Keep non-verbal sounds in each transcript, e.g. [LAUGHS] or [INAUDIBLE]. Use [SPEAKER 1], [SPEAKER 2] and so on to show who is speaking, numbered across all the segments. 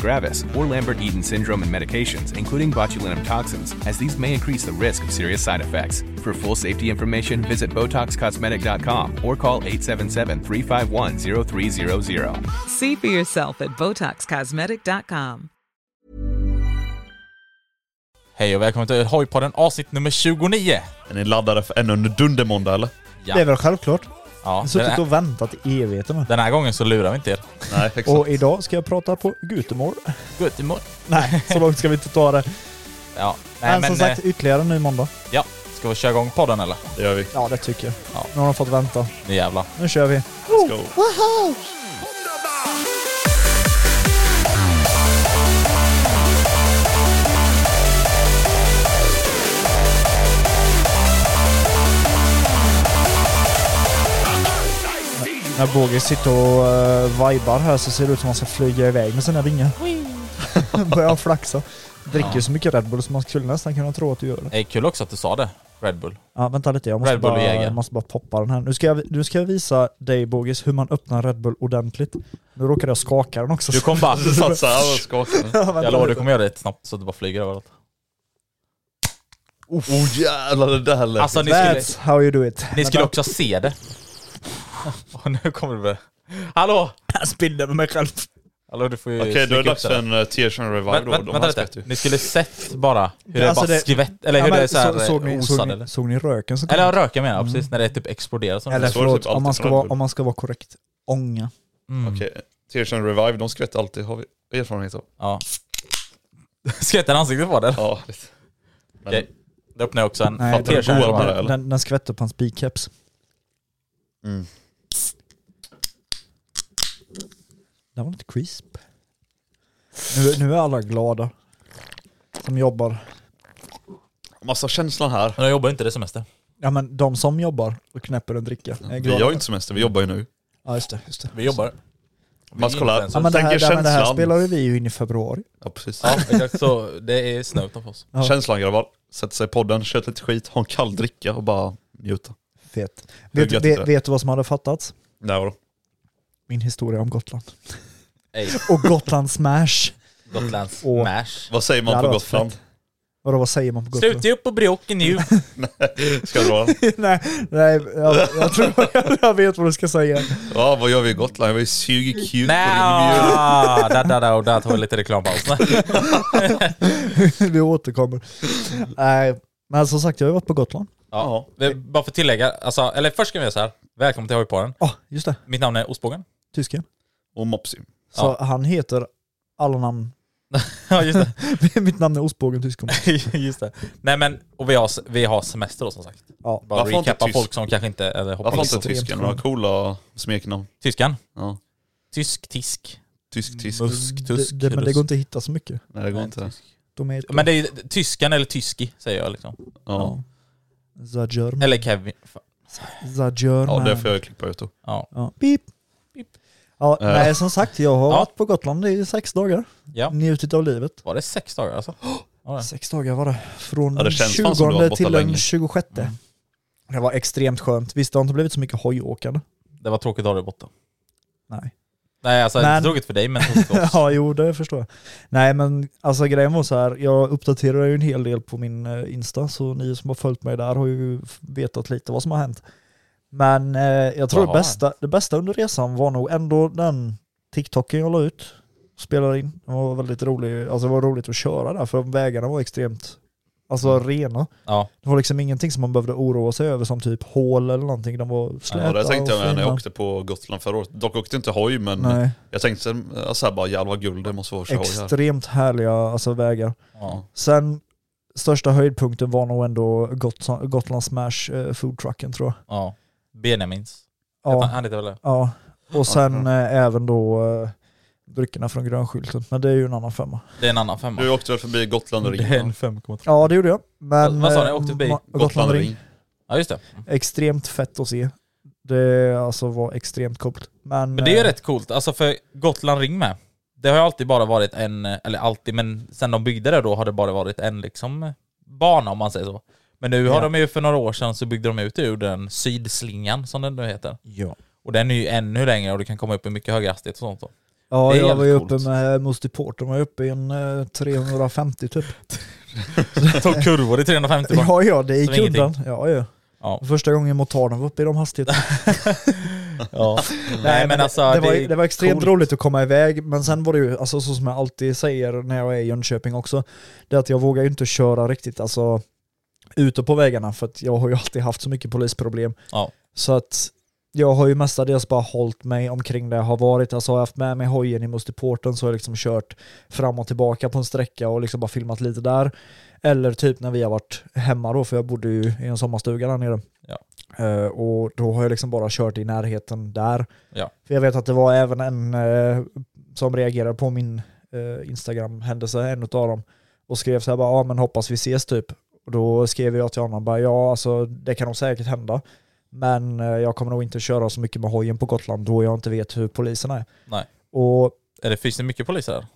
[SPEAKER 1] gravis, or Lambert Eaton syndrome, and medications, including botulinum toxins, as these may increase the risk of serious side effects. For full safety information, visit BotoxCosmetic.com or call 877 351 0300.
[SPEAKER 2] See for yourself at BotoxCosmetic.com.
[SPEAKER 3] Hej och välkommen till Hojpodden avsnitt nummer 29.
[SPEAKER 4] Är ni laddade för ännu en dundermåndag eller?
[SPEAKER 3] Ja.
[SPEAKER 5] Det är väl självklart.
[SPEAKER 3] Ja,
[SPEAKER 5] Jag har
[SPEAKER 3] den,
[SPEAKER 5] suttit
[SPEAKER 3] här,
[SPEAKER 5] och väntat i evigheter nu.
[SPEAKER 3] den här gången så lurar vi inte er.
[SPEAKER 4] Nej, exakt.
[SPEAKER 5] Och idag ska jag prata på Gutemål.
[SPEAKER 3] Gott imorgon.
[SPEAKER 5] Nej, [LAUGHS] så långt ska vi inte ta det.
[SPEAKER 3] Ja, nej
[SPEAKER 5] Men
[SPEAKER 3] men,
[SPEAKER 5] som sagt,
[SPEAKER 3] eh,
[SPEAKER 5] ytterligare en ny måndag.
[SPEAKER 3] ja. Ska vi köra igång podden eller?
[SPEAKER 4] Det [LAUGHS] gör vi.
[SPEAKER 5] Ja, det tycker jag.
[SPEAKER 3] Ja.
[SPEAKER 5] Nu har de fått vänta.
[SPEAKER 3] Nu jävlar.
[SPEAKER 5] Nu kör vi.
[SPEAKER 4] Let's go.
[SPEAKER 5] När Bogi sitter och uh, vibar här så ser det ut som att han ska flyga iväg med sina vingar. [LAUGHS] Börjar flaxa. Dricker så mycket Red Bull som man skulle nästan kunna tro att du gör det.
[SPEAKER 3] Det är kul också att du sa det. Red Bull.
[SPEAKER 5] Ja, vänta lite, jag måste,
[SPEAKER 3] Red Bull och
[SPEAKER 5] bara,
[SPEAKER 3] Jäger.
[SPEAKER 5] jag måste bara poppa den här. Nu ska jag, nu ska jag visa dig Bogis hur man öppnar Red Bull ordentligt. Nu råkade jag skaka den också.
[SPEAKER 3] Du kom bara...
[SPEAKER 4] Du satt såhär och skakade.
[SPEAKER 5] [LAUGHS] Ja, vänta
[SPEAKER 3] Jag lovar du
[SPEAKER 5] lite.
[SPEAKER 3] kommer göra det snabbt så att du bara flyger överallt.
[SPEAKER 4] Oh jävlar det där lät.
[SPEAKER 3] Alltså ni skulle,
[SPEAKER 5] That's how you do it.
[SPEAKER 3] ni skulle också se
[SPEAKER 5] [LAUGHS]
[SPEAKER 3] det. Och nu kommer du börja... Hallå!
[SPEAKER 5] Jag spinner med mig själv.
[SPEAKER 3] Hallå du får ju
[SPEAKER 4] Okej, då är
[SPEAKER 3] slicka
[SPEAKER 4] det
[SPEAKER 3] upp
[SPEAKER 4] dags
[SPEAKER 3] där.
[SPEAKER 4] för en uh, Tears and Revive
[SPEAKER 3] Vä-
[SPEAKER 4] då.
[SPEAKER 3] vä-
[SPEAKER 4] De
[SPEAKER 3] vänta
[SPEAKER 4] här
[SPEAKER 3] lite.
[SPEAKER 4] skvätter ju.
[SPEAKER 3] Ni skulle sett bara hur det
[SPEAKER 5] Alltså
[SPEAKER 3] bara
[SPEAKER 5] det-
[SPEAKER 3] skvätt, eller hur
[SPEAKER 5] men
[SPEAKER 3] det är såhär
[SPEAKER 5] så-
[SPEAKER 3] så, eh,
[SPEAKER 5] såg, ni, såg,
[SPEAKER 3] osad
[SPEAKER 5] ni,
[SPEAKER 3] eller?
[SPEAKER 5] såg ni röken som kom?
[SPEAKER 3] Eller röka menar jag, precis. När det typ exploderar som
[SPEAKER 5] Eller
[SPEAKER 3] det.
[SPEAKER 4] så är det
[SPEAKER 5] förlåt,
[SPEAKER 4] typ alltid
[SPEAKER 5] om, man ska
[SPEAKER 4] från
[SPEAKER 5] vara,
[SPEAKER 4] Red Bull.
[SPEAKER 5] om man ska vara korrekt, ånga.
[SPEAKER 3] Mm.
[SPEAKER 4] Okej, Tears and Revive, de skvätter alltid. Har vi erfarenhet av?
[SPEAKER 3] Ja. [LAUGHS] Skvätt den i ansiktet på dig?
[SPEAKER 4] Ja, lite. Men
[SPEAKER 3] Okej. Då öppnar jag också en
[SPEAKER 5] Nej,
[SPEAKER 3] Fattig
[SPEAKER 5] den,
[SPEAKER 4] erkänner
[SPEAKER 3] erkännelse.
[SPEAKER 4] goa med
[SPEAKER 5] den,
[SPEAKER 4] eller?
[SPEAKER 5] den, den skvätte på hans bikeps.
[SPEAKER 4] Mm.
[SPEAKER 5] Den var lite crisp. Nu, nu är alla glada. Som jobbar.
[SPEAKER 4] massa känslan här.
[SPEAKER 3] Men jag jobbar ju inte det semester.
[SPEAKER 5] Ja men de som jobbar och knäpper en dricka är
[SPEAKER 4] Mm. Vi
[SPEAKER 5] glada.
[SPEAKER 4] har ju inte semester, vi jobbar ju nu.
[SPEAKER 5] Ja just det, just det.
[SPEAKER 3] Vi jobbar.
[SPEAKER 4] Mats kolla.
[SPEAKER 3] influencers.
[SPEAKER 5] Ja, men det, här,
[SPEAKER 4] Tänker
[SPEAKER 5] det, här, men det här
[SPEAKER 4] känslan.
[SPEAKER 5] spelar ju vi ju in i februari.
[SPEAKER 4] Ja precis.
[SPEAKER 3] Ja, exakt. Så det är snö utanför oss.
[SPEAKER 5] Ja.
[SPEAKER 4] Känslan grabbar. Sätter sig i podden, kör lite skit, har en kall dricka och bara njuta.
[SPEAKER 5] Fet.
[SPEAKER 4] Hur
[SPEAKER 5] Vet,
[SPEAKER 4] gött det är.
[SPEAKER 5] vet, vet du vad som hade fattats?
[SPEAKER 4] Nej vadå?
[SPEAKER 5] Min historia om Gotland.
[SPEAKER 3] Ey,
[SPEAKER 5] Och
[SPEAKER 4] [LAUGHS]
[SPEAKER 5] Gotland Smash.
[SPEAKER 3] Gotlands
[SPEAKER 5] Åh.
[SPEAKER 3] mash.
[SPEAKER 4] Vad säger
[SPEAKER 5] Det
[SPEAKER 4] man
[SPEAKER 5] hade
[SPEAKER 4] på
[SPEAKER 5] varit
[SPEAKER 4] Gotland?
[SPEAKER 5] Vadå vad säger man på Gotland? [LAUGHS]
[SPEAKER 3] Sluta upp och bråka nu.
[SPEAKER 4] Ska jag dra den?
[SPEAKER 5] nej, nej jag, jag tror [LAUGHS] jag, jag vet vad du ska säga. [LAUGHS]
[SPEAKER 4] Ja vad gör vi i Gotland? Vi suger kuk på
[SPEAKER 3] Nej,
[SPEAKER 4] din mjöl.
[SPEAKER 3] ah, där, där, där, och där tar vi lite reklampaus.
[SPEAKER 5] vi återkommer. Nej, men som sagt jag har ju varit på Gotland.
[SPEAKER 3] Ja. Vi- Bara för att tillägga, alltså, eller först ska vi göra så här. Välkommen till Hojparen.
[SPEAKER 5] Ja, just det.
[SPEAKER 3] Mitt namn är Ostbågen. [LAUGHS]
[SPEAKER 5] Tysken.
[SPEAKER 4] Och Mopsy.
[SPEAKER 5] Så han heter alla namn. [LAUGHS]
[SPEAKER 3] Ja, just det.
[SPEAKER 5] Mitt namn är Ostbågen Tysken.
[SPEAKER 3] just det. Nej men, och vi har, vi har semester då som sagt.
[SPEAKER 5] Ja.
[SPEAKER 3] Bara
[SPEAKER 4] Varför inte
[SPEAKER 3] recappa
[SPEAKER 4] tysk?
[SPEAKER 3] folk som kanske inte, eller hoppar
[SPEAKER 4] Varför
[SPEAKER 3] liksom.
[SPEAKER 4] inte tysken?
[SPEAKER 5] extremt
[SPEAKER 4] De har coola smeknamn.
[SPEAKER 3] Tyskan?
[SPEAKER 4] Ja.
[SPEAKER 3] Tysk, tisk.
[SPEAKER 4] Tysk, tysk.
[SPEAKER 3] Musk,
[SPEAKER 5] Det,
[SPEAKER 3] tusk,
[SPEAKER 5] Mm. det, men det
[SPEAKER 3] rusk.
[SPEAKER 5] går inte att hitta så mycket.
[SPEAKER 4] Nej det går inte.
[SPEAKER 5] De heter...
[SPEAKER 3] Men det är ju tyskan eller tyski säger jag liksom.
[SPEAKER 4] Ja.
[SPEAKER 5] Zajörn.
[SPEAKER 3] Eller Kevin. Fan.
[SPEAKER 5] Zajörn.
[SPEAKER 4] Ja det får jag klippa ut då.
[SPEAKER 3] Ja.
[SPEAKER 5] Ja. Pip.
[SPEAKER 3] Pip.
[SPEAKER 5] Ja,
[SPEAKER 4] Eh.
[SPEAKER 5] nej som sagt, jag har
[SPEAKER 3] Ja.
[SPEAKER 5] varit på Gotland i sex dagar.
[SPEAKER 3] ja.
[SPEAKER 5] Njutit av livet.
[SPEAKER 3] Var det sex dagar alltså? Ja, det.
[SPEAKER 5] Sex dagar var det. Från
[SPEAKER 4] Ja, det känns fan som du har
[SPEAKER 5] 20
[SPEAKER 4] varit borta
[SPEAKER 5] till den
[SPEAKER 4] länge. Mm.
[SPEAKER 5] 26. Det var extremt skönt. Visst, det har inte blivit så mycket hojåkande.
[SPEAKER 3] det var tråkigt att ha dig borta.
[SPEAKER 5] Nej.
[SPEAKER 3] Nej alltså
[SPEAKER 5] Men-
[SPEAKER 3] inte tråkigt för dig men tråkigt för oss.
[SPEAKER 5] [LAUGHS] Ja, jo det förstår jag. Nej men alltså grejen var så här, jag uppdaterar ju en hel del på min eh, Insta, så ni som har följt mig där har ju f- vetat lite vad som har hänt. Men eh, jag tror
[SPEAKER 3] Vad
[SPEAKER 5] det
[SPEAKER 3] har
[SPEAKER 5] bästa, det bästa under resan var nog ändå den TikToken jag la ut, spelade in. Den var väldigt rolig, alltså det var roligt att köra där för vägarna var extremt Alltså
[SPEAKER 4] Mm.
[SPEAKER 5] rena.
[SPEAKER 3] Ja.
[SPEAKER 5] Det var liksom ingenting som man behövde oroa sig över som typ hål eller någonting. De var släta
[SPEAKER 4] Ja, det tänkte jag
[SPEAKER 5] och
[SPEAKER 4] när jag
[SPEAKER 5] fina.
[SPEAKER 4] åkte på Gotland förra året. Dock åkte jag inte hoj men
[SPEAKER 5] Nej,
[SPEAKER 4] jag tänkte eh, så här bara jävlar vad guld det måste vara att köra hoj här.
[SPEAKER 5] extremt härliga alltså, vägar.
[SPEAKER 3] Ja.
[SPEAKER 5] Sen största höjdpunkten var nog ändå Gotland, Gotland Smash eh, foodtrucken tror jag.
[SPEAKER 3] ja. Benjamins.
[SPEAKER 5] Ja.
[SPEAKER 3] Han heter väl det?
[SPEAKER 5] Ja, och sen eh, även då eh, dryckerna från grönskylten. Men det är ju en annan femma.
[SPEAKER 3] Det är en annan femma.
[SPEAKER 4] Du åkte väl förbi Gotland
[SPEAKER 3] Det
[SPEAKER 4] Ring?
[SPEAKER 3] är en
[SPEAKER 4] va?
[SPEAKER 3] 5,3.
[SPEAKER 5] Ja, det gjorde jag. Men,
[SPEAKER 3] Vad- vad sa ni?
[SPEAKER 5] eh,
[SPEAKER 3] Åkte förbi?
[SPEAKER 5] ma-
[SPEAKER 4] Gotland Ring.
[SPEAKER 3] Ja just det.
[SPEAKER 5] Extremt fett att se. Det alltså var extremt coolt. Men,
[SPEAKER 3] Men det är ju
[SPEAKER 5] eh,
[SPEAKER 3] rätt coolt, alltså för Gotland Ring med. Det har ju alltid bara varit en, eller alltid, men sen de byggde det då har det bara varit en liksom bana om man säger så. Men nu har
[SPEAKER 5] Ja.
[SPEAKER 3] de ju för några år sedan så byggde de ut det ur den sydslingan som den nu heter.
[SPEAKER 5] Ja,
[SPEAKER 3] Och den är ju ännu längre och du kan komma upp i mycket högre hastighet och sånt då.
[SPEAKER 5] ja
[SPEAKER 3] Det är
[SPEAKER 5] jag var ju
[SPEAKER 3] jävligt coolt.
[SPEAKER 5] uppe med Musti Port. De var ju uppe i en eh, 350 typ.
[SPEAKER 3] Tog kurvor i 350 bara.
[SPEAKER 5] ja, ja, det gick
[SPEAKER 3] Som ingenting.
[SPEAKER 5] undan. Ja, ja.
[SPEAKER 3] Ja.
[SPEAKER 5] Första gången motarden var uppe i de hastigheterna.
[SPEAKER 3] [LAUGHS] Ja. Nej men alltså
[SPEAKER 5] det, det, var, ju- det var extremt
[SPEAKER 3] coolt.
[SPEAKER 5] roligt att komma iväg, men sen var det ju, alltså, så som jag alltid säger när jag är i Jönköping också, det är att jag vågar ju inte köra riktigt alltså, ute på vägarna för att jag har ju alltid haft så mycket polisproblem.
[SPEAKER 3] Ja.
[SPEAKER 5] Så att jag har ju mestadels bara hållit mig omkring där jag har varit. Alltså har jag haft med mig hojen i Mustiporten så har jag liksom kört fram och tillbaka på en sträcka och liksom bara filmat lite där. Eller typ när vi har varit hemma då, för jag bodde ju i en sommarstuga där nere.
[SPEAKER 3] Ja.
[SPEAKER 5] Eh, och då har jag liksom bara kört i närheten där.
[SPEAKER 3] Ja.
[SPEAKER 5] För jag vet att det var även en eh, som reagerade på min eh, Instagram-händelse, en utav dem, och skrev så här bara, ja men hoppas vi ses typ. Och då skrev jag till honom bara, ja alltså det kan nog säkert hända. Men eh, jag kommer nog inte köra så mycket med hojen på Gotland då jag inte vet hur polisen är.
[SPEAKER 3] Nej.
[SPEAKER 5] Och
[SPEAKER 3] Är det, finns det mycket poliser där?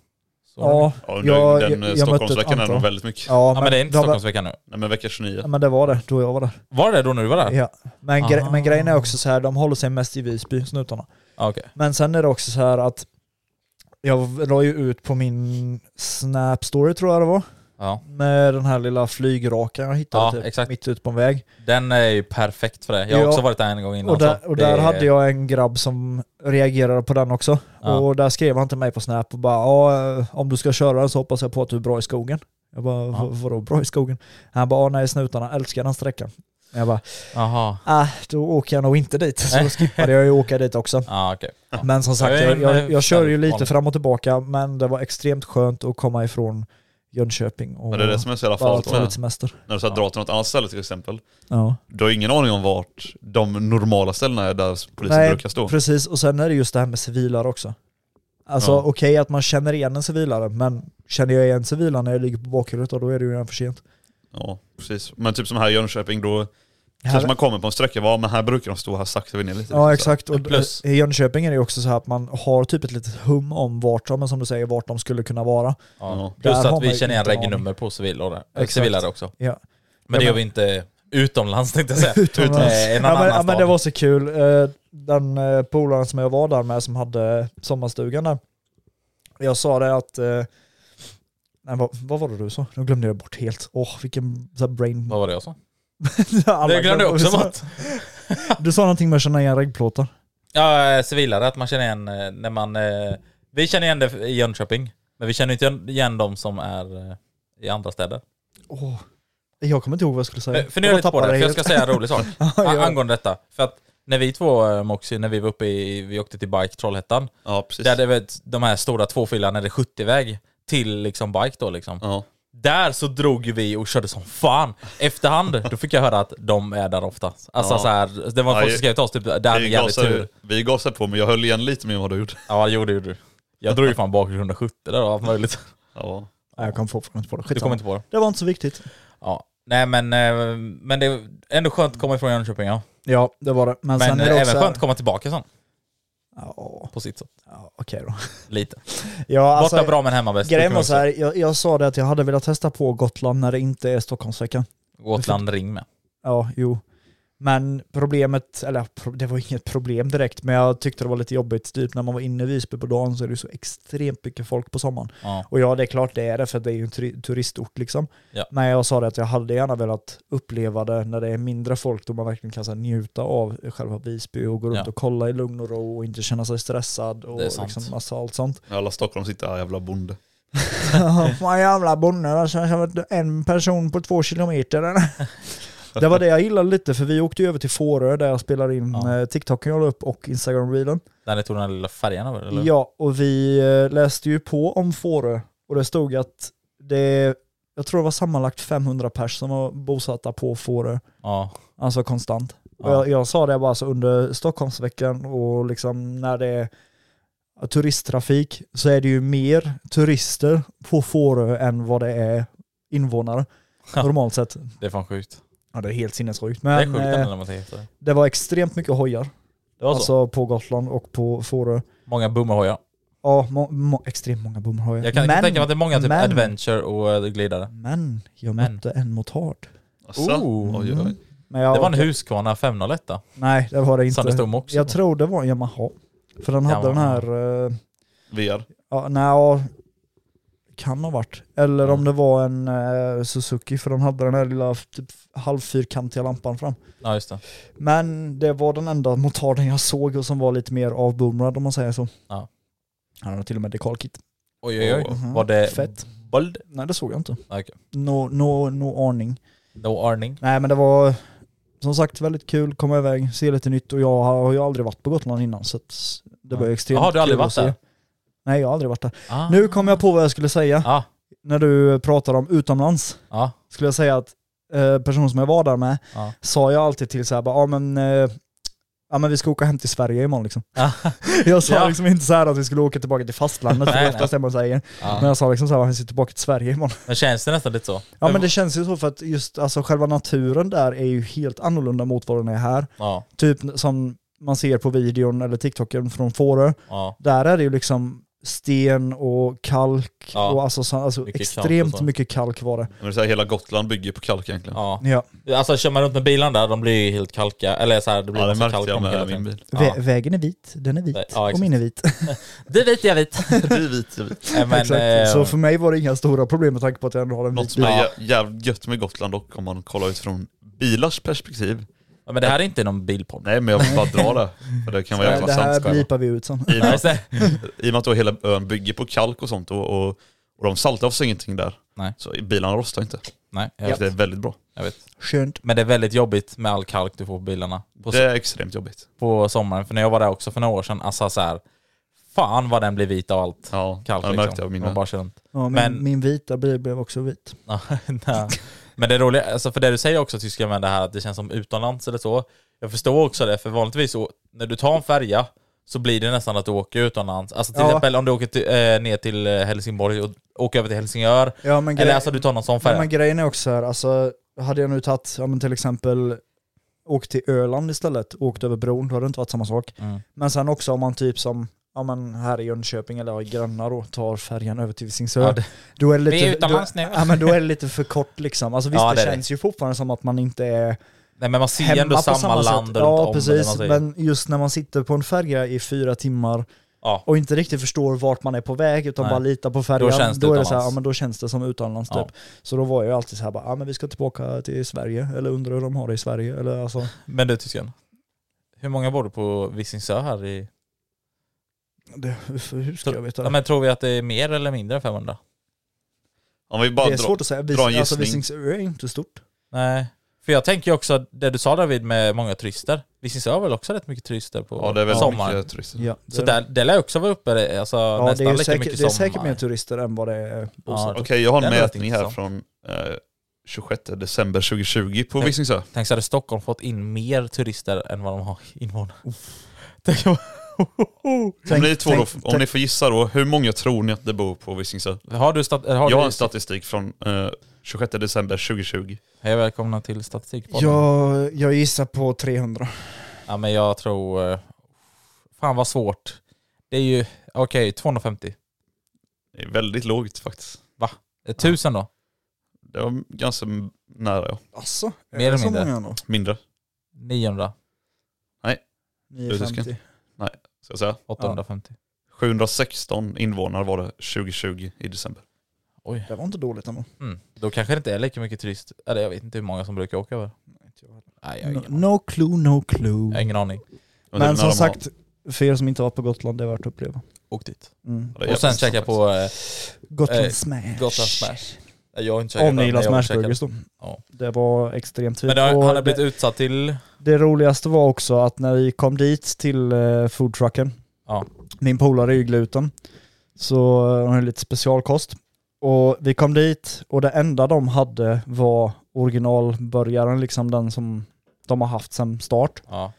[SPEAKER 3] Så
[SPEAKER 5] ja,
[SPEAKER 4] Ja,
[SPEAKER 5] Jag-
[SPEAKER 4] den
[SPEAKER 5] jag-
[SPEAKER 4] jag,
[SPEAKER 5] jag
[SPEAKER 4] Stockholmsveckan
[SPEAKER 5] mötte ett
[SPEAKER 4] är nog
[SPEAKER 5] antal.
[SPEAKER 4] väldigt mycket.
[SPEAKER 5] ja,
[SPEAKER 3] Ja men det är inte
[SPEAKER 5] de-
[SPEAKER 3] Stockholmsveckan nu.
[SPEAKER 4] Nej men vecka 29.
[SPEAKER 5] Men det var det, då jag var där.
[SPEAKER 3] Var det då när du var där?
[SPEAKER 5] Ja. Men, gre-
[SPEAKER 3] Ah.
[SPEAKER 5] men grejen är också så här, de håller sig mest i Visby, snutarna.
[SPEAKER 3] Ja, Okej.
[SPEAKER 5] Men sen är det också så här att jag la ju ut på min Snap-story tror jag det var,
[SPEAKER 3] Ja.
[SPEAKER 5] med den här lilla flygrakan jag hittade
[SPEAKER 3] Ja,
[SPEAKER 5] typ,
[SPEAKER 3] exakt.
[SPEAKER 5] mitt ute på en väg.
[SPEAKER 3] Den är ju perfekt för det. Jag har
[SPEAKER 5] Ja.
[SPEAKER 3] också varit där en gång innan.
[SPEAKER 5] Och där, och
[SPEAKER 3] Det
[SPEAKER 5] där
[SPEAKER 3] är-
[SPEAKER 5] hade jag en grabb som reagerade på den också.
[SPEAKER 3] Ja.
[SPEAKER 5] Och där skrev han till mig på Snap och bara "Ja, eh, om du ska köra den så hoppas jag på att du är bra i skogen. Jag bara
[SPEAKER 3] Ja.
[SPEAKER 5] "Vad- vadå bra i skogen? Han bara "Ja, nej snutarna älskar den sträckan. Jag bara
[SPEAKER 3] Jaha.
[SPEAKER 5] ah, då åker jag nog inte dit. [LAUGHS] Så då skippade jag ju att åka dit också.
[SPEAKER 3] [LAUGHS] Ja okej.
[SPEAKER 5] Men som sagt,
[SPEAKER 3] Ja,
[SPEAKER 5] jag, jag,
[SPEAKER 3] men-
[SPEAKER 5] jag kör ju lite
[SPEAKER 3] vanligt.
[SPEAKER 5] fram och tillbaka men det var extremt skönt att komma ifrån Jönköping och
[SPEAKER 4] Men det är det som är så jävla
[SPEAKER 5] bara
[SPEAKER 4] farligt
[SPEAKER 5] ta
[SPEAKER 4] med
[SPEAKER 5] lite semester.
[SPEAKER 4] när du så här, drar till något annat ställe till exempel.
[SPEAKER 5] Ja.
[SPEAKER 4] Du har ingen aning om vart de normala ställena är där polisen
[SPEAKER 5] Nej,
[SPEAKER 4] brukar stå.
[SPEAKER 5] Precis, och sen är det just det här med civilare också. Alltså
[SPEAKER 4] Ja.
[SPEAKER 5] okej att man känner igen en civilare, men känner jag igen civilaren när jag ligger på bakhuvudet då är det ju redan för sent.
[SPEAKER 4] Ja, precis. Men typ som här i Jönköping då
[SPEAKER 5] Här-
[SPEAKER 4] kanske man kommer på en sträcka, va, men här brukar de stå, här saktar vi ner lite.
[SPEAKER 5] Ja exakt, och eh,
[SPEAKER 3] Plus-
[SPEAKER 5] i Jönköping är det ju också så här att man har typ ett litet hum om vart, ja, men som du säger, vart de skulle kunna vara.
[SPEAKER 3] Ja.
[SPEAKER 4] Ja.
[SPEAKER 5] Där
[SPEAKER 3] Plus
[SPEAKER 5] har
[SPEAKER 3] att
[SPEAKER 5] man
[SPEAKER 3] vi
[SPEAKER 5] ju
[SPEAKER 3] känner igen
[SPEAKER 5] inte en
[SPEAKER 3] regnummer på civilare,
[SPEAKER 5] Exakt.
[SPEAKER 3] civilare också.
[SPEAKER 5] Ja.
[SPEAKER 3] Men det
[SPEAKER 5] Ja,
[SPEAKER 3] gör vi inte utomlands tänkte jag säga.
[SPEAKER 5] [LAUGHS] Utomlands.
[SPEAKER 3] Eh, en
[SPEAKER 5] Ja, men,
[SPEAKER 3] annan
[SPEAKER 5] ja, men
[SPEAKER 3] stad.
[SPEAKER 5] det var så kul. Eh, Den eh, polaren som jag var där med som hade sommarstugan där. Jag sa det att... eh, Nej, vad, vad var det du sa? Nu glömde jag bort helt. Åh, vilken så här brain...
[SPEAKER 3] Vad var det jag sa?
[SPEAKER 5] Alla
[SPEAKER 3] Det glömde jag
[SPEAKER 5] [LAUGHS] glömmer-
[SPEAKER 3] också
[SPEAKER 5] du sa-
[SPEAKER 3] bort.
[SPEAKER 5] Du sa någonting med att känna igen reggplåtar.
[SPEAKER 3] Ja, eh, civilare, att man känner igen eh, när man... eh, Vi känner igen det i Jönköping, men vi känner inte igen de som är eh, i andra städer.
[SPEAKER 5] Åh, Jag kommer inte ihåg vad jag skulle säga.
[SPEAKER 3] Men Fundera Eh, lite på det,
[SPEAKER 5] tappade
[SPEAKER 3] för jag
[SPEAKER 5] helt.
[SPEAKER 3] ska säga en rolig sak.
[SPEAKER 5] Ja, ja.
[SPEAKER 3] Angående detta. För att när vi två, eh, Moxie, när vi var uppe i, vi åkte till Bike Trollhättan,
[SPEAKER 4] Ja, precis.
[SPEAKER 3] där det var ett- de här stora tvåfilarna, det är 70-väg till liksom bike då liksom.
[SPEAKER 4] Ja.
[SPEAKER 3] Där så drog ju vi och körde som fan. Efterhand, då fick jag höra att de är där oftast. Alltså
[SPEAKER 4] Ja.
[SPEAKER 3] så här, det var
[SPEAKER 4] Ja,
[SPEAKER 3] folk som
[SPEAKER 4] ju-
[SPEAKER 3] skrev till oss typ, där hade
[SPEAKER 4] Vi,
[SPEAKER 3] jävligt
[SPEAKER 4] gasade,
[SPEAKER 3] tur.
[SPEAKER 4] vi gasade på, men jag höll igen lite mer än vad du gjorde. [LAUGHS]
[SPEAKER 3] Ja det gjorde ju du. Jag drog ju fan bak 170 där och allt [LAUGHS] möjligt.
[SPEAKER 4] Ja.
[SPEAKER 5] Nej, jag kom fortfarande inte på det.
[SPEAKER 3] Du kom
[SPEAKER 5] Skitsamma.
[SPEAKER 3] inte på det?
[SPEAKER 5] Det var inte så viktigt.
[SPEAKER 3] Ja. Nej men, eh, men det är ändå skönt att komma ifrån Jönköping ja.
[SPEAKER 5] Ja, det var det. Men,
[SPEAKER 3] Men
[SPEAKER 5] sen Alltså, är
[SPEAKER 3] eh,
[SPEAKER 5] det
[SPEAKER 3] även
[SPEAKER 5] också...
[SPEAKER 3] skönt
[SPEAKER 5] här-
[SPEAKER 3] att komma tillbaka sen,
[SPEAKER 5] Ja,
[SPEAKER 3] på sitt sätt.
[SPEAKER 5] ja, okej då.
[SPEAKER 3] Lite.
[SPEAKER 5] Ja,
[SPEAKER 3] Borta
[SPEAKER 5] alltså,
[SPEAKER 3] bra men hemma bäst. brukar
[SPEAKER 5] Grejen var
[SPEAKER 3] man
[SPEAKER 5] så här, jag, jag sa det att jag hade velat testa på Gotland när det inte är Stockholmsveckan.
[SPEAKER 3] säga. Gotland ring med.
[SPEAKER 5] Ja, jo. Men problemet, eller pro- det var inget problem direkt, men jag tyckte det var lite jobbigt. Typ när man var inne i Visby på dagen så är det ju så extremt mycket folk på sommaren.
[SPEAKER 3] Ja.
[SPEAKER 5] Och ja, det är klart det är det, för det är ju en turi- turistort liksom.
[SPEAKER 3] Ja.
[SPEAKER 5] Men jag sa det att jag hade gärna velat uppleva det när det är mindre folk, då man verkligen kan så här, njuta av själva Visby och gå runt
[SPEAKER 3] Ja.
[SPEAKER 5] och kolla i lugn och ro och inte känna sig stressad och
[SPEAKER 3] Det är sant. [LAUGHS]
[SPEAKER 5] liksom massa allt sånt. [LAUGHS]
[SPEAKER 4] Alla Stockholm sitter här jävla bonde.
[SPEAKER 5] Fan jävla bonde, alltså, det har varit en person på två kilometer. [LAUGHS] det var det jag gillade lite, för vi åkte ju över till Fårö där jag spelar in
[SPEAKER 3] Ja.
[SPEAKER 5] eh, TikToken jag la upp och Instagram-reelen.
[SPEAKER 3] Där ni tog den här lilla färjan över eller?
[SPEAKER 5] Ja, och vi eh, läste ju på om Fårö och det stod att det, jag tror det var sammanlagt 500 pers som var bosatta på Fårö,
[SPEAKER 3] Ja.
[SPEAKER 5] alltså konstant. Och
[SPEAKER 3] Ja.
[SPEAKER 5] jag, jag sa det bara alltså under Stockholmsveckan och liksom när det är turisttrafik så är det ju mer turister på Fårö än vad det är invånare
[SPEAKER 3] Ja.
[SPEAKER 5] normalt sett.
[SPEAKER 3] Det är fan sjukt.
[SPEAKER 5] Ja det är helt sinnessjukt.
[SPEAKER 3] Det är
[SPEAKER 5] Men
[SPEAKER 3] sjukt
[SPEAKER 5] eh,
[SPEAKER 3] ändå när man tänker efter.
[SPEAKER 5] det var extremt mycket hojar,
[SPEAKER 3] Det var så.
[SPEAKER 5] alltså på Gotland och på Fårö.
[SPEAKER 3] Många boomerhojar.
[SPEAKER 5] Ja, må, må, extremt många boomhojar.
[SPEAKER 3] Jag kan, jag kan tänka mig att det är många typ
[SPEAKER 5] men-
[SPEAKER 3] adventure och eh, glidare.
[SPEAKER 5] Men jag
[SPEAKER 3] Men.
[SPEAKER 5] mötte en motard.
[SPEAKER 4] Asså?
[SPEAKER 3] Oh.
[SPEAKER 4] Oj, oj.
[SPEAKER 5] Men jag,
[SPEAKER 3] det var en Husqvarna 501 då.
[SPEAKER 5] Nej, det var det inte.
[SPEAKER 3] Som det stod med också.
[SPEAKER 5] jag tror det var en Yamaha. För den hade den
[SPEAKER 3] Yamaha.
[SPEAKER 5] här, eh,
[SPEAKER 4] VR.
[SPEAKER 5] ja, nej, ja, kan ha varit. Eller om
[SPEAKER 3] Mm.
[SPEAKER 5] det var en eh, Suzuki, för den hade den här lilla typ, halvfyrkantiga lampan fram.
[SPEAKER 3] Ja just det.
[SPEAKER 5] Men det var den enda motarden jag såg och som var lite mer avboomrad om man säger så.
[SPEAKER 3] Ja.
[SPEAKER 5] Han hade till och med dekalkit.
[SPEAKER 3] Oj oj oj.
[SPEAKER 5] Mhm.
[SPEAKER 3] Var det
[SPEAKER 5] Fett.
[SPEAKER 3] bold?
[SPEAKER 5] Nej det såg jag inte.
[SPEAKER 3] Okej.
[SPEAKER 5] No, no, no aning.
[SPEAKER 3] No arning.
[SPEAKER 5] Nej men det var som sagt väldigt kul, komma iväg, se lite nytt och jag har ju aldrig varit på Gotland innan så att det var ju extremt
[SPEAKER 3] Jaha, du har aldrig
[SPEAKER 5] kul att
[SPEAKER 3] varit
[SPEAKER 5] se.
[SPEAKER 3] där?
[SPEAKER 5] Nej jag har aldrig varit där.
[SPEAKER 3] Ah.
[SPEAKER 5] Nu kom jag på vad jag skulle säga
[SPEAKER 3] Ja.
[SPEAKER 5] när du pratar om utomlands.
[SPEAKER 3] Ja.
[SPEAKER 5] Skulle jag säga att eh, personen som jag var där med
[SPEAKER 3] Ja.
[SPEAKER 5] sa jag alltid till så här, bara, ja men eh, Ja men vi ska åka hem till Sverige imorgon liksom.
[SPEAKER 3] Ja.
[SPEAKER 5] [LAUGHS] Jag sa
[SPEAKER 3] Ah. Ja.
[SPEAKER 5] liksom inte så här att vi skulle åka tillbaka till fastlandet, för det
[SPEAKER 3] Nej, Ah.
[SPEAKER 5] är oftast det man säger. Men
[SPEAKER 3] ja.
[SPEAKER 5] jag sa liksom så här, vi ska tillbaka till Sverige imorgon.
[SPEAKER 3] Men känns det nästan lite så?
[SPEAKER 5] Ja men det känns ju så för att just alltså, själva naturen där är ju helt annorlunda mot vad den är här.
[SPEAKER 3] Ja.
[SPEAKER 5] Typ som man ser på videon eller TikToken från Fårö.
[SPEAKER 3] Ja.
[SPEAKER 5] Där är det ju liksom sten och kalk
[SPEAKER 3] Ja.
[SPEAKER 5] och alltså, så, alltså
[SPEAKER 3] Mycket kalk
[SPEAKER 5] extremt
[SPEAKER 3] och så.
[SPEAKER 5] mycket kalk var det.
[SPEAKER 4] Men det är så här, hela Gotland bygger på kalk egentligen.
[SPEAKER 3] Ja.
[SPEAKER 5] Ja.
[SPEAKER 3] Alltså kör man runt med bilarna där, de blir ju helt kalka. Eller så här, det blir
[SPEAKER 4] Ja, det
[SPEAKER 3] massa
[SPEAKER 4] märkte
[SPEAKER 3] kalk
[SPEAKER 4] jag
[SPEAKER 3] om hela
[SPEAKER 4] med
[SPEAKER 3] tiden.
[SPEAKER 4] min bil. [LAUGHS]
[SPEAKER 3] Ja.
[SPEAKER 5] Vä- Vägen är vit, den är vit
[SPEAKER 3] Ja, exakt.
[SPEAKER 5] och min är vit.
[SPEAKER 3] Du är vit, jag är [LAUGHS] vit.
[SPEAKER 4] Det är vit, det är vit.
[SPEAKER 3] Nej, Men, eh,
[SPEAKER 5] [LAUGHS] Exakt. Så för mig var det inga stora problem med tanke på att jag ändå har en
[SPEAKER 4] Något
[SPEAKER 5] vit
[SPEAKER 4] som
[SPEAKER 5] bil.
[SPEAKER 4] är
[SPEAKER 3] Ja.
[SPEAKER 4] jä- jävligt gött med Gotland dock, om man kollar utifrån bilars perspektiv.
[SPEAKER 3] ja, men det här är inte någon bilpodd.
[SPEAKER 4] Nej, men jag vill bara dra det. För det kan vara
[SPEAKER 5] Eh, Det
[SPEAKER 4] jävla sant.
[SPEAKER 5] här
[SPEAKER 4] ska jag vara.
[SPEAKER 5] blipar vi ut sen.
[SPEAKER 4] I och med
[SPEAKER 3] Ja,
[SPEAKER 4] att-
[SPEAKER 3] just det.
[SPEAKER 4] I och med att då hela ön bygger på kalk och sånt och, och, och de saltar oss ingenting där.
[SPEAKER 3] Nej.
[SPEAKER 4] Så bilarna rostar inte.
[SPEAKER 3] [LAUGHS] Nej, jag
[SPEAKER 4] Ja.
[SPEAKER 3] vet,
[SPEAKER 4] Det är väldigt bra.
[SPEAKER 3] jag vet.
[SPEAKER 5] Skönt.
[SPEAKER 3] Men det är väldigt jobbigt med all kalk du får på bilarna. På,
[SPEAKER 4] Det är extremt jobbigt.
[SPEAKER 3] på sommaren, för när jag var där också för några år sedan, alltså så här, fan vad den blir vit av allt
[SPEAKER 4] Ja,
[SPEAKER 3] kalk.
[SPEAKER 4] ja, det
[SPEAKER 3] liksom.
[SPEAKER 4] märkte jag av mina.
[SPEAKER 3] Man bara kör runt.
[SPEAKER 5] Ja, min,
[SPEAKER 3] Men-
[SPEAKER 5] min vita bil blev också vit.
[SPEAKER 3] Ja, [LAUGHS] nej. Men det roliga, alltså för det du säger också Tyskland med det här att det känns som utomlands eller så. Jag förstår också det, för vanligtvis så, när du tar en färja så blir det nästan att du åker utomlands. Alltså till
[SPEAKER 5] Ja.
[SPEAKER 3] exempel om du åker till, eh, ner till eh, Helsingborg och åker över till Helsingör.
[SPEAKER 5] Ja, men
[SPEAKER 3] eller
[SPEAKER 5] grej-
[SPEAKER 3] alltså du tar någon sån
[SPEAKER 5] Ja,
[SPEAKER 3] färja.
[SPEAKER 5] men grejen är också här, alltså, hade jag nu tagit, ja, men till exempel åkt till Öland istället, åkt över bron, då hade det inte varit samma sak.
[SPEAKER 3] Mm.
[SPEAKER 5] Men sen också om man typ som, ja men här i Jönköping eller i Gränna då, tar färjan över till Visingsö.
[SPEAKER 3] Ja, det-
[SPEAKER 5] då är det
[SPEAKER 3] Vi är
[SPEAKER 5] lite, då,
[SPEAKER 3] utomlands nu.
[SPEAKER 5] ja, men då är det lite för kort liksom. Alltså visst,
[SPEAKER 3] Ja,
[SPEAKER 5] det,
[SPEAKER 3] det är
[SPEAKER 5] känns ju fortfarande som att man inte är
[SPEAKER 3] [LAUGHS] Nej men man ser
[SPEAKER 5] hemma
[SPEAKER 3] ju ändå
[SPEAKER 5] på
[SPEAKER 3] samma,
[SPEAKER 5] samma
[SPEAKER 3] land runt
[SPEAKER 5] sätt.
[SPEAKER 3] om.
[SPEAKER 5] Ja,
[SPEAKER 3] eller vad man
[SPEAKER 5] precis.
[SPEAKER 3] säger.
[SPEAKER 5] Men just när man sitter på en färja i fyra timmar
[SPEAKER 3] Ja.
[SPEAKER 5] och inte riktigt förstår vart man är på väg utan
[SPEAKER 3] Nej.
[SPEAKER 5] bara litar på färjan,
[SPEAKER 3] Då
[SPEAKER 5] då,
[SPEAKER 3] känns det
[SPEAKER 5] är det så här,
[SPEAKER 3] utomlands.
[SPEAKER 5] ja, men då känns det som utomlands
[SPEAKER 3] Ja.
[SPEAKER 5] typ. Så då var jag ju alltid så här, bara, ja men vi ska tillbaka till Sverige, eller undrar hur de har det i Sverige. Eller, alltså,
[SPEAKER 3] men du tysken, hur många bor du på Visingsö här i...
[SPEAKER 5] det, hur ska jag veta
[SPEAKER 3] Ja,
[SPEAKER 5] det?
[SPEAKER 3] men tror vi att det är mer eller mindre än 500?
[SPEAKER 4] Om vi bara
[SPEAKER 5] Det är
[SPEAKER 4] drar,
[SPEAKER 5] svårt att säga,
[SPEAKER 4] dra en
[SPEAKER 5] Vis- alltså,
[SPEAKER 4] gissning.
[SPEAKER 5] Visingsö är inte stort.
[SPEAKER 3] Nej. För jag tänker ju också, det du sa David med många turister, Visingsö har väl också rätt mycket turister på
[SPEAKER 4] ja det är väldigt
[SPEAKER 3] sommaren?
[SPEAKER 4] mycket turister.
[SPEAKER 5] Ja, det,
[SPEAKER 3] Så där, det lär också vara uppe alltså,
[SPEAKER 5] ja, det
[SPEAKER 3] nästan
[SPEAKER 5] är, ju
[SPEAKER 3] lika
[SPEAKER 5] säkert,
[SPEAKER 3] mycket
[SPEAKER 5] det är
[SPEAKER 3] som...
[SPEAKER 5] säkert mer turister än vad det är bosatta.
[SPEAKER 4] Okej, jag har en
[SPEAKER 3] Den lät
[SPEAKER 4] mätning här
[SPEAKER 3] intressant.
[SPEAKER 4] från eh, 26 december 2020 på
[SPEAKER 3] Ja.
[SPEAKER 4] Visingsö.
[SPEAKER 3] Tänk så hade Stockholm fått in mer turister än vad de har invånare. [LAUGHS] Tänk vad-
[SPEAKER 4] Om
[SPEAKER 5] Tänk-
[SPEAKER 4] ni, två då,
[SPEAKER 5] tänk-
[SPEAKER 4] om ni får gissa då, hur många tror ni att det bor på Visingsö?
[SPEAKER 3] Har du stat... Har
[SPEAKER 4] Jag har
[SPEAKER 3] du...
[SPEAKER 4] en statistik från eh, 26 december 2020.
[SPEAKER 3] Hej välkomna till Statistikpodden. Ja.
[SPEAKER 5] Jag, jag gissar på 300.
[SPEAKER 3] ja men jag tror... eh, Fan vad svårt. Det är ju, okej Eh, 250.
[SPEAKER 4] Det är väldigt lågt faktiskt.
[SPEAKER 3] Eh, 1000 då?
[SPEAKER 4] Det var ganska m- nära ja.
[SPEAKER 5] Alltså, är
[SPEAKER 3] Mer
[SPEAKER 5] det
[SPEAKER 3] eller
[SPEAKER 5] så
[SPEAKER 3] mindre.
[SPEAKER 5] många ändå?
[SPEAKER 4] Mindre,
[SPEAKER 3] 900?
[SPEAKER 4] tysken.
[SPEAKER 5] 950.
[SPEAKER 4] ska jag säga.
[SPEAKER 3] 850?
[SPEAKER 4] 716 invånare var det 2020 i december.
[SPEAKER 3] Oj.
[SPEAKER 5] Det var inte dåligt ändå.
[SPEAKER 3] Mm. Då kanske det inte är lika mycket turist... Eller jag vet inte hur många som brukar åka över. Nej jag har
[SPEAKER 5] No,
[SPEAKER 3] ingen,
[SPEAKER 5] no clue, no
[SPEAKER 3] jag har
[SPEAKER 5] clue.
[SPEAKER 3] ingen aning.
[SPEAKER 4] Jag undrar när
[SPEAKER 5] Men
[SPEAKER 4] de
[SPEAKER 5] som
[SPEAKER 4] har-
[SPEAKER 5] sagt, för er som inte har varit på Gotland, det är värt att uppleva.
[SPEAKER 3] åk dit.
[SPEAKER 5] Mm.
[SPEAKER 4] Det är
[SPEAKER 3] Och sen
[SPEAKER 4] jävligt
[SPEAKER 3] käka
[SPEAKER 4] sant
[SPEAKER 3] på eh,
[SPEAKER 5] Gotland
[SPEAKER 3] Eh,
[SPEAKER 5] Smash.
[SPEAKER 3] Gotland Smash. Jag har inte käkat
[SPEAKER 5] Om ni
[SPEAKER 3] den,
[SPEAKER 5] gillar
[SPEAKER 3] jag har
[SPEAKER 5] smashburgers
[SPEAKER 3] käkat-
[SPEAKER 5] då.
[SPEAKER 3] Ja.
[SPEAKER 5] Det var extremt fint.
[SPEAKER 3] Men det har,
[SPEAKER 5] Och
[SPEAKER 3] han har blivit
[SPEAKER 5] det,
[SPEAKER 3] utsatt till...
[SPEAKER 5] det roligaste var också att när vi kom dit till eh, foodtrucken,
[SPEAKER 3] Ja.
[SPEAKER 5] min polare är ju gluten, så eh, hon har lite specialkost. Och vi kom dit och det enda de hade var originalburgaren, liksom den som de har haft sedan start.
[SPEAKER 3] Ja.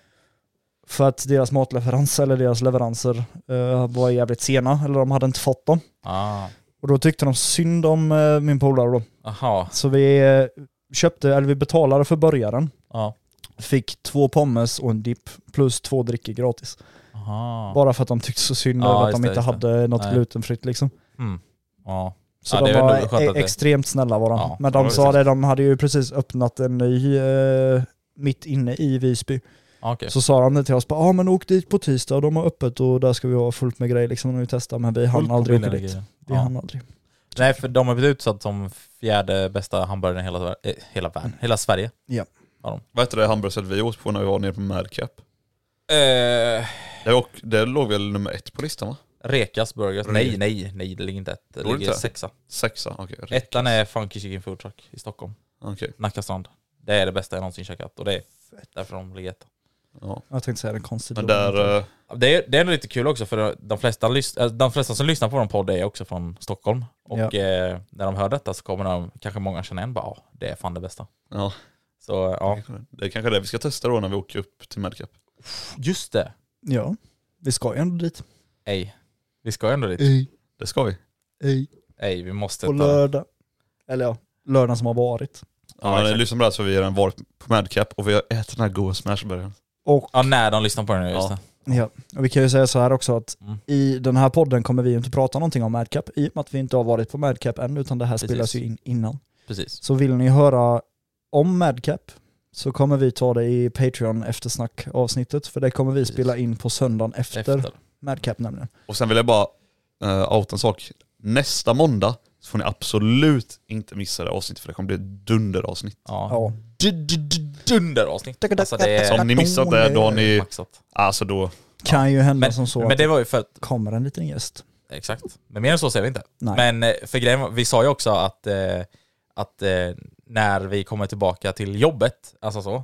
[SPEAKER 5] För att deras matleverans eller deras leveranser eh, var jävligt sena, eller de hade inte fått dem.
[SPEAKER 3] Ah.
[SPEAKER 5] Och då tyckte de synd om eh, min polare då.
[SPEAKER 3] Aha.
[SPEAKER 5] Så vi eh, köpte, eller vi betalade för burgaren.
[SPEAKER 3] Ja.
[SPEAKER 5] Fick två pommes och en dipp plus två drickor gratis.
[SPEAKER 3] Aha.
[SPEAKER 5] Bara för att de tyckte så synd
[SPEAKER 3] Ja,
[SPEAKER 5] över att
[SPEAKER 3] just
[SPEAKER 5] de
[SPEAKER 3] det,
[SPEAKER 5] inte
[SPEAKER 3] just det.
[SPEAKER 5] hade något
[SPEAKER 3] Nej.
[SPEAKER 5] glutenfritt liksom.
[SPEAKER 3] Mm. Ja.
[SPEAKER 5] Så
[SPEAKER 3] Ja, det
[SPEAKER 5] de
[SPEAKER 3] är väl
[SPEAKER 5] var
[SPEAKER 3] skönt att
[SPEAKER 5] e-
[SPEAKER 3] det-
[SPEAKER 5] extremt snälla var de.
[SPEAKER 3] Ja,
[SPEAKER 5] Men
[SPEAKER 3] det var
[SPEAKER 5] de
[SPEAKER 3] ju
[SPEAKER 5] sa
[SPEAKER 3] sant.
[SPEAKER 5] det, de hade ju precis öppnat en ny eh, mitt inne i Visby.
[SPEAKER 3] Ah, Okej.
[SPEAKER 5] Så sa de det till oss, ja ah, men åk dit på tisdag, de har öppet och där ska vi ha fullt med grejer liksom när vi testar. Men vi hann
[SPEAKER 3] Fullt på
[SPEAKER 5] aldrig åka
[SPEAKER 3] billigare
[SPEAKER 5] dit.
[SPEAKER 3] grejer.
[SPEAKER 5] Vi
[SPEAKER 3] Ja.
[SPEAKER 5] hann aldrig.
[SPEAKER 3] Nej, för de har blivit utsatt som fjärde bästa hamburgaren i hela, vär- eh, hela världen. Hela Sverige.
[SPEAKER 4] Vad hette det hamburgerstället vi åt på när vi var nere på Madcap?
[SPEAKER 3] Eh,
[SPEAKER 4] Det, åk- det låg väl nummer ett på listan va?
[SPEAKER 3] Rekas Burgers. Nej, nej, nej, det ligger inte ett. Det
[SPEAKER 4] Går det
[SPEAKER 3] ligger
[SPEAKER 4] inte?
[SPEAKER 3] sexa.
[SPEAKER 4] Sexa, okej. Okay.
[SPEAKER 3] Ettan är Funky Chicken Food Truck i Stockholm. Nacka strand. Det är det bästa jag någonsin käkat och det är därför de ligger etta.
[SPEAKER 4] Ja.
[SPEAKER 5] Jag tänkte säga det konstigt.
[SPEAKER 4] Men där, eh,
[SPEAKER 3] Det är, det är ändå lite kul också för de flesta, lys- äh, de flesta som lyssnar på vår podd är också från Stockholm. Och
[SPEAKER 5] Ja.
[SPEAKER 3] eh, när de hör detta så kommer de, kanske många känna igen bara, ja, det är fan det bästa.
[SPEAKER 4] ja.
[SPEAKER 3] Så eh, ja,
[SPEAKER 4] Det är kanske det vi ska testa då när vi åker upp till Madcap.
[SPEAKER 3] just det.
[SPEAKER 5] Ja, vi ska ju ändå dit.
[SPEAKER 3] Ej, vi ska ju ändå dit.
[SPEAKER 5] Ej,
[SPEAKER 4] Det ska vi.
[SPEAKER 5] ej.
[SPEAKER 3] Ej, vi måste
[SPEAKER 5] På
[SPEAKER 3] ta...
[SPEAKER 5] lördag. Eller ja, lördagen som har varit.
[SPEAKER 3] Ja,
[SPEAKER 4] Ja, ja,
[SPEAKER 3] exakt.
[SPEAKER 4] lyssna på det här så har vi redan varit på Madcap och vi har ätit den här goda smashburgaren.
[SPEAKER 5] Och,
[SPEAKER 3] Ja, när de lyssnar på den nu, just
[SPEAKER 4] Ja.
[SPEAKER 3] det.
[SPEAKER 5] ja, och vi kan ju säga så här också att
[SPEAKER 3] Mm.
[SPEAKER 5] i den här podden kommer vi ju inte prata någonting om Madcap i och med att vi inte har varit på Madcap än utan det här
[SPEAKER 3] Precis.
[SPEAKER 5] spelas ju in innan.
[SPEAKER 3] Precis.
[SPEAKER 5] Så vill ni höra om Madcap så kommer vi ta det i Patreon eftersnack avsnittet för det kommer vi
[SPEAKER 3] Precis.
[SPEAKER 5] spela in på söndagen efter,
[SPEAKER 3] Efter.
[SPEAKER 5] Madcap nämligen.
[SPEAKER 4] Och sen vill jag bara uh, outa en sak. Nästa måndag så får ni absolut inte missa det avsnittet för det kommer bli ett dunderavsnitt.
[SPEAKER 3] Ja.
[SPEAKER 5] Ja.
[SPEAKER 3] Du- du- du- Dunderavsnitt. Alltså det
[SPEAKER 4] Så
[SPEAKER 3] är
[SPEAKER 4] om ni missat det, då har ni...
[SPEAKER 3] maxat.
[SPEAKER 4] Alltså då...
[SPEAKER 5] Kan ju hända
[SPEAKER 3] Men,
[SPEAKER 5] som så
[SPEAKER 3] men
[SPEAKER 5] att det
[SPEAKER 3] det var ju för att
[SPEAKER 5] kommer en liten gäst.
[SPEAKER 3] Exakt. Men mer än så ser vi inte.
[SPEAKER 5] Nej.
[SPEAKER 3] Men eh, för grejen, var- vi sa ju också att, eh, att eh, när vi kommer tillbaka till jobbet, alltså så,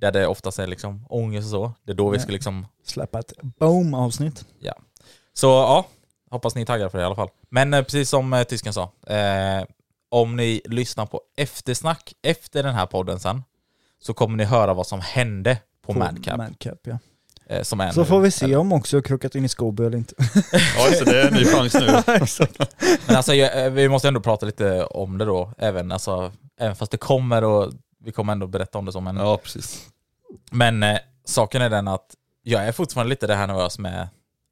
[SPEAKER 3] där det oftast är liksom ångest och så, det är då vi
[SPEAKER 5] Ja.
[SPEAKER 3] ska liksom...
[SPEAKER 5] Släppa ett boom-avsnitt.
[SPEAKER 3] Så ja, hoppas ni är taggade för det i alla fall. Men eh, precis som eh, tysken sa, eh, om ni lyssnar på eftersnack efter den här podden sen, så kommer ni höra vad som hände på, Madcap.
[SPEAKER 5] Madcap ja.
[SPEAKER 3] eh, som är
[SPEAKER 5] Så
[SPEAKER 3] nu.
[SPEAKER 5] får vi se om också har krockat in i Scooby eller inte.
[SPEAKER 4] Ja just det, det är en ny chans nu.
[SPEAKER 3] Men alltså, jag, eh, vi måste ändå prata lite om det då, även, alltså, även fast det kommer och vi kommer ändå berätta om det så. Men,
[SPEAKER 4] Ja precis.
[SPEAKER 3] men eh, saken är den att jag är fortfarande lite det här nervös med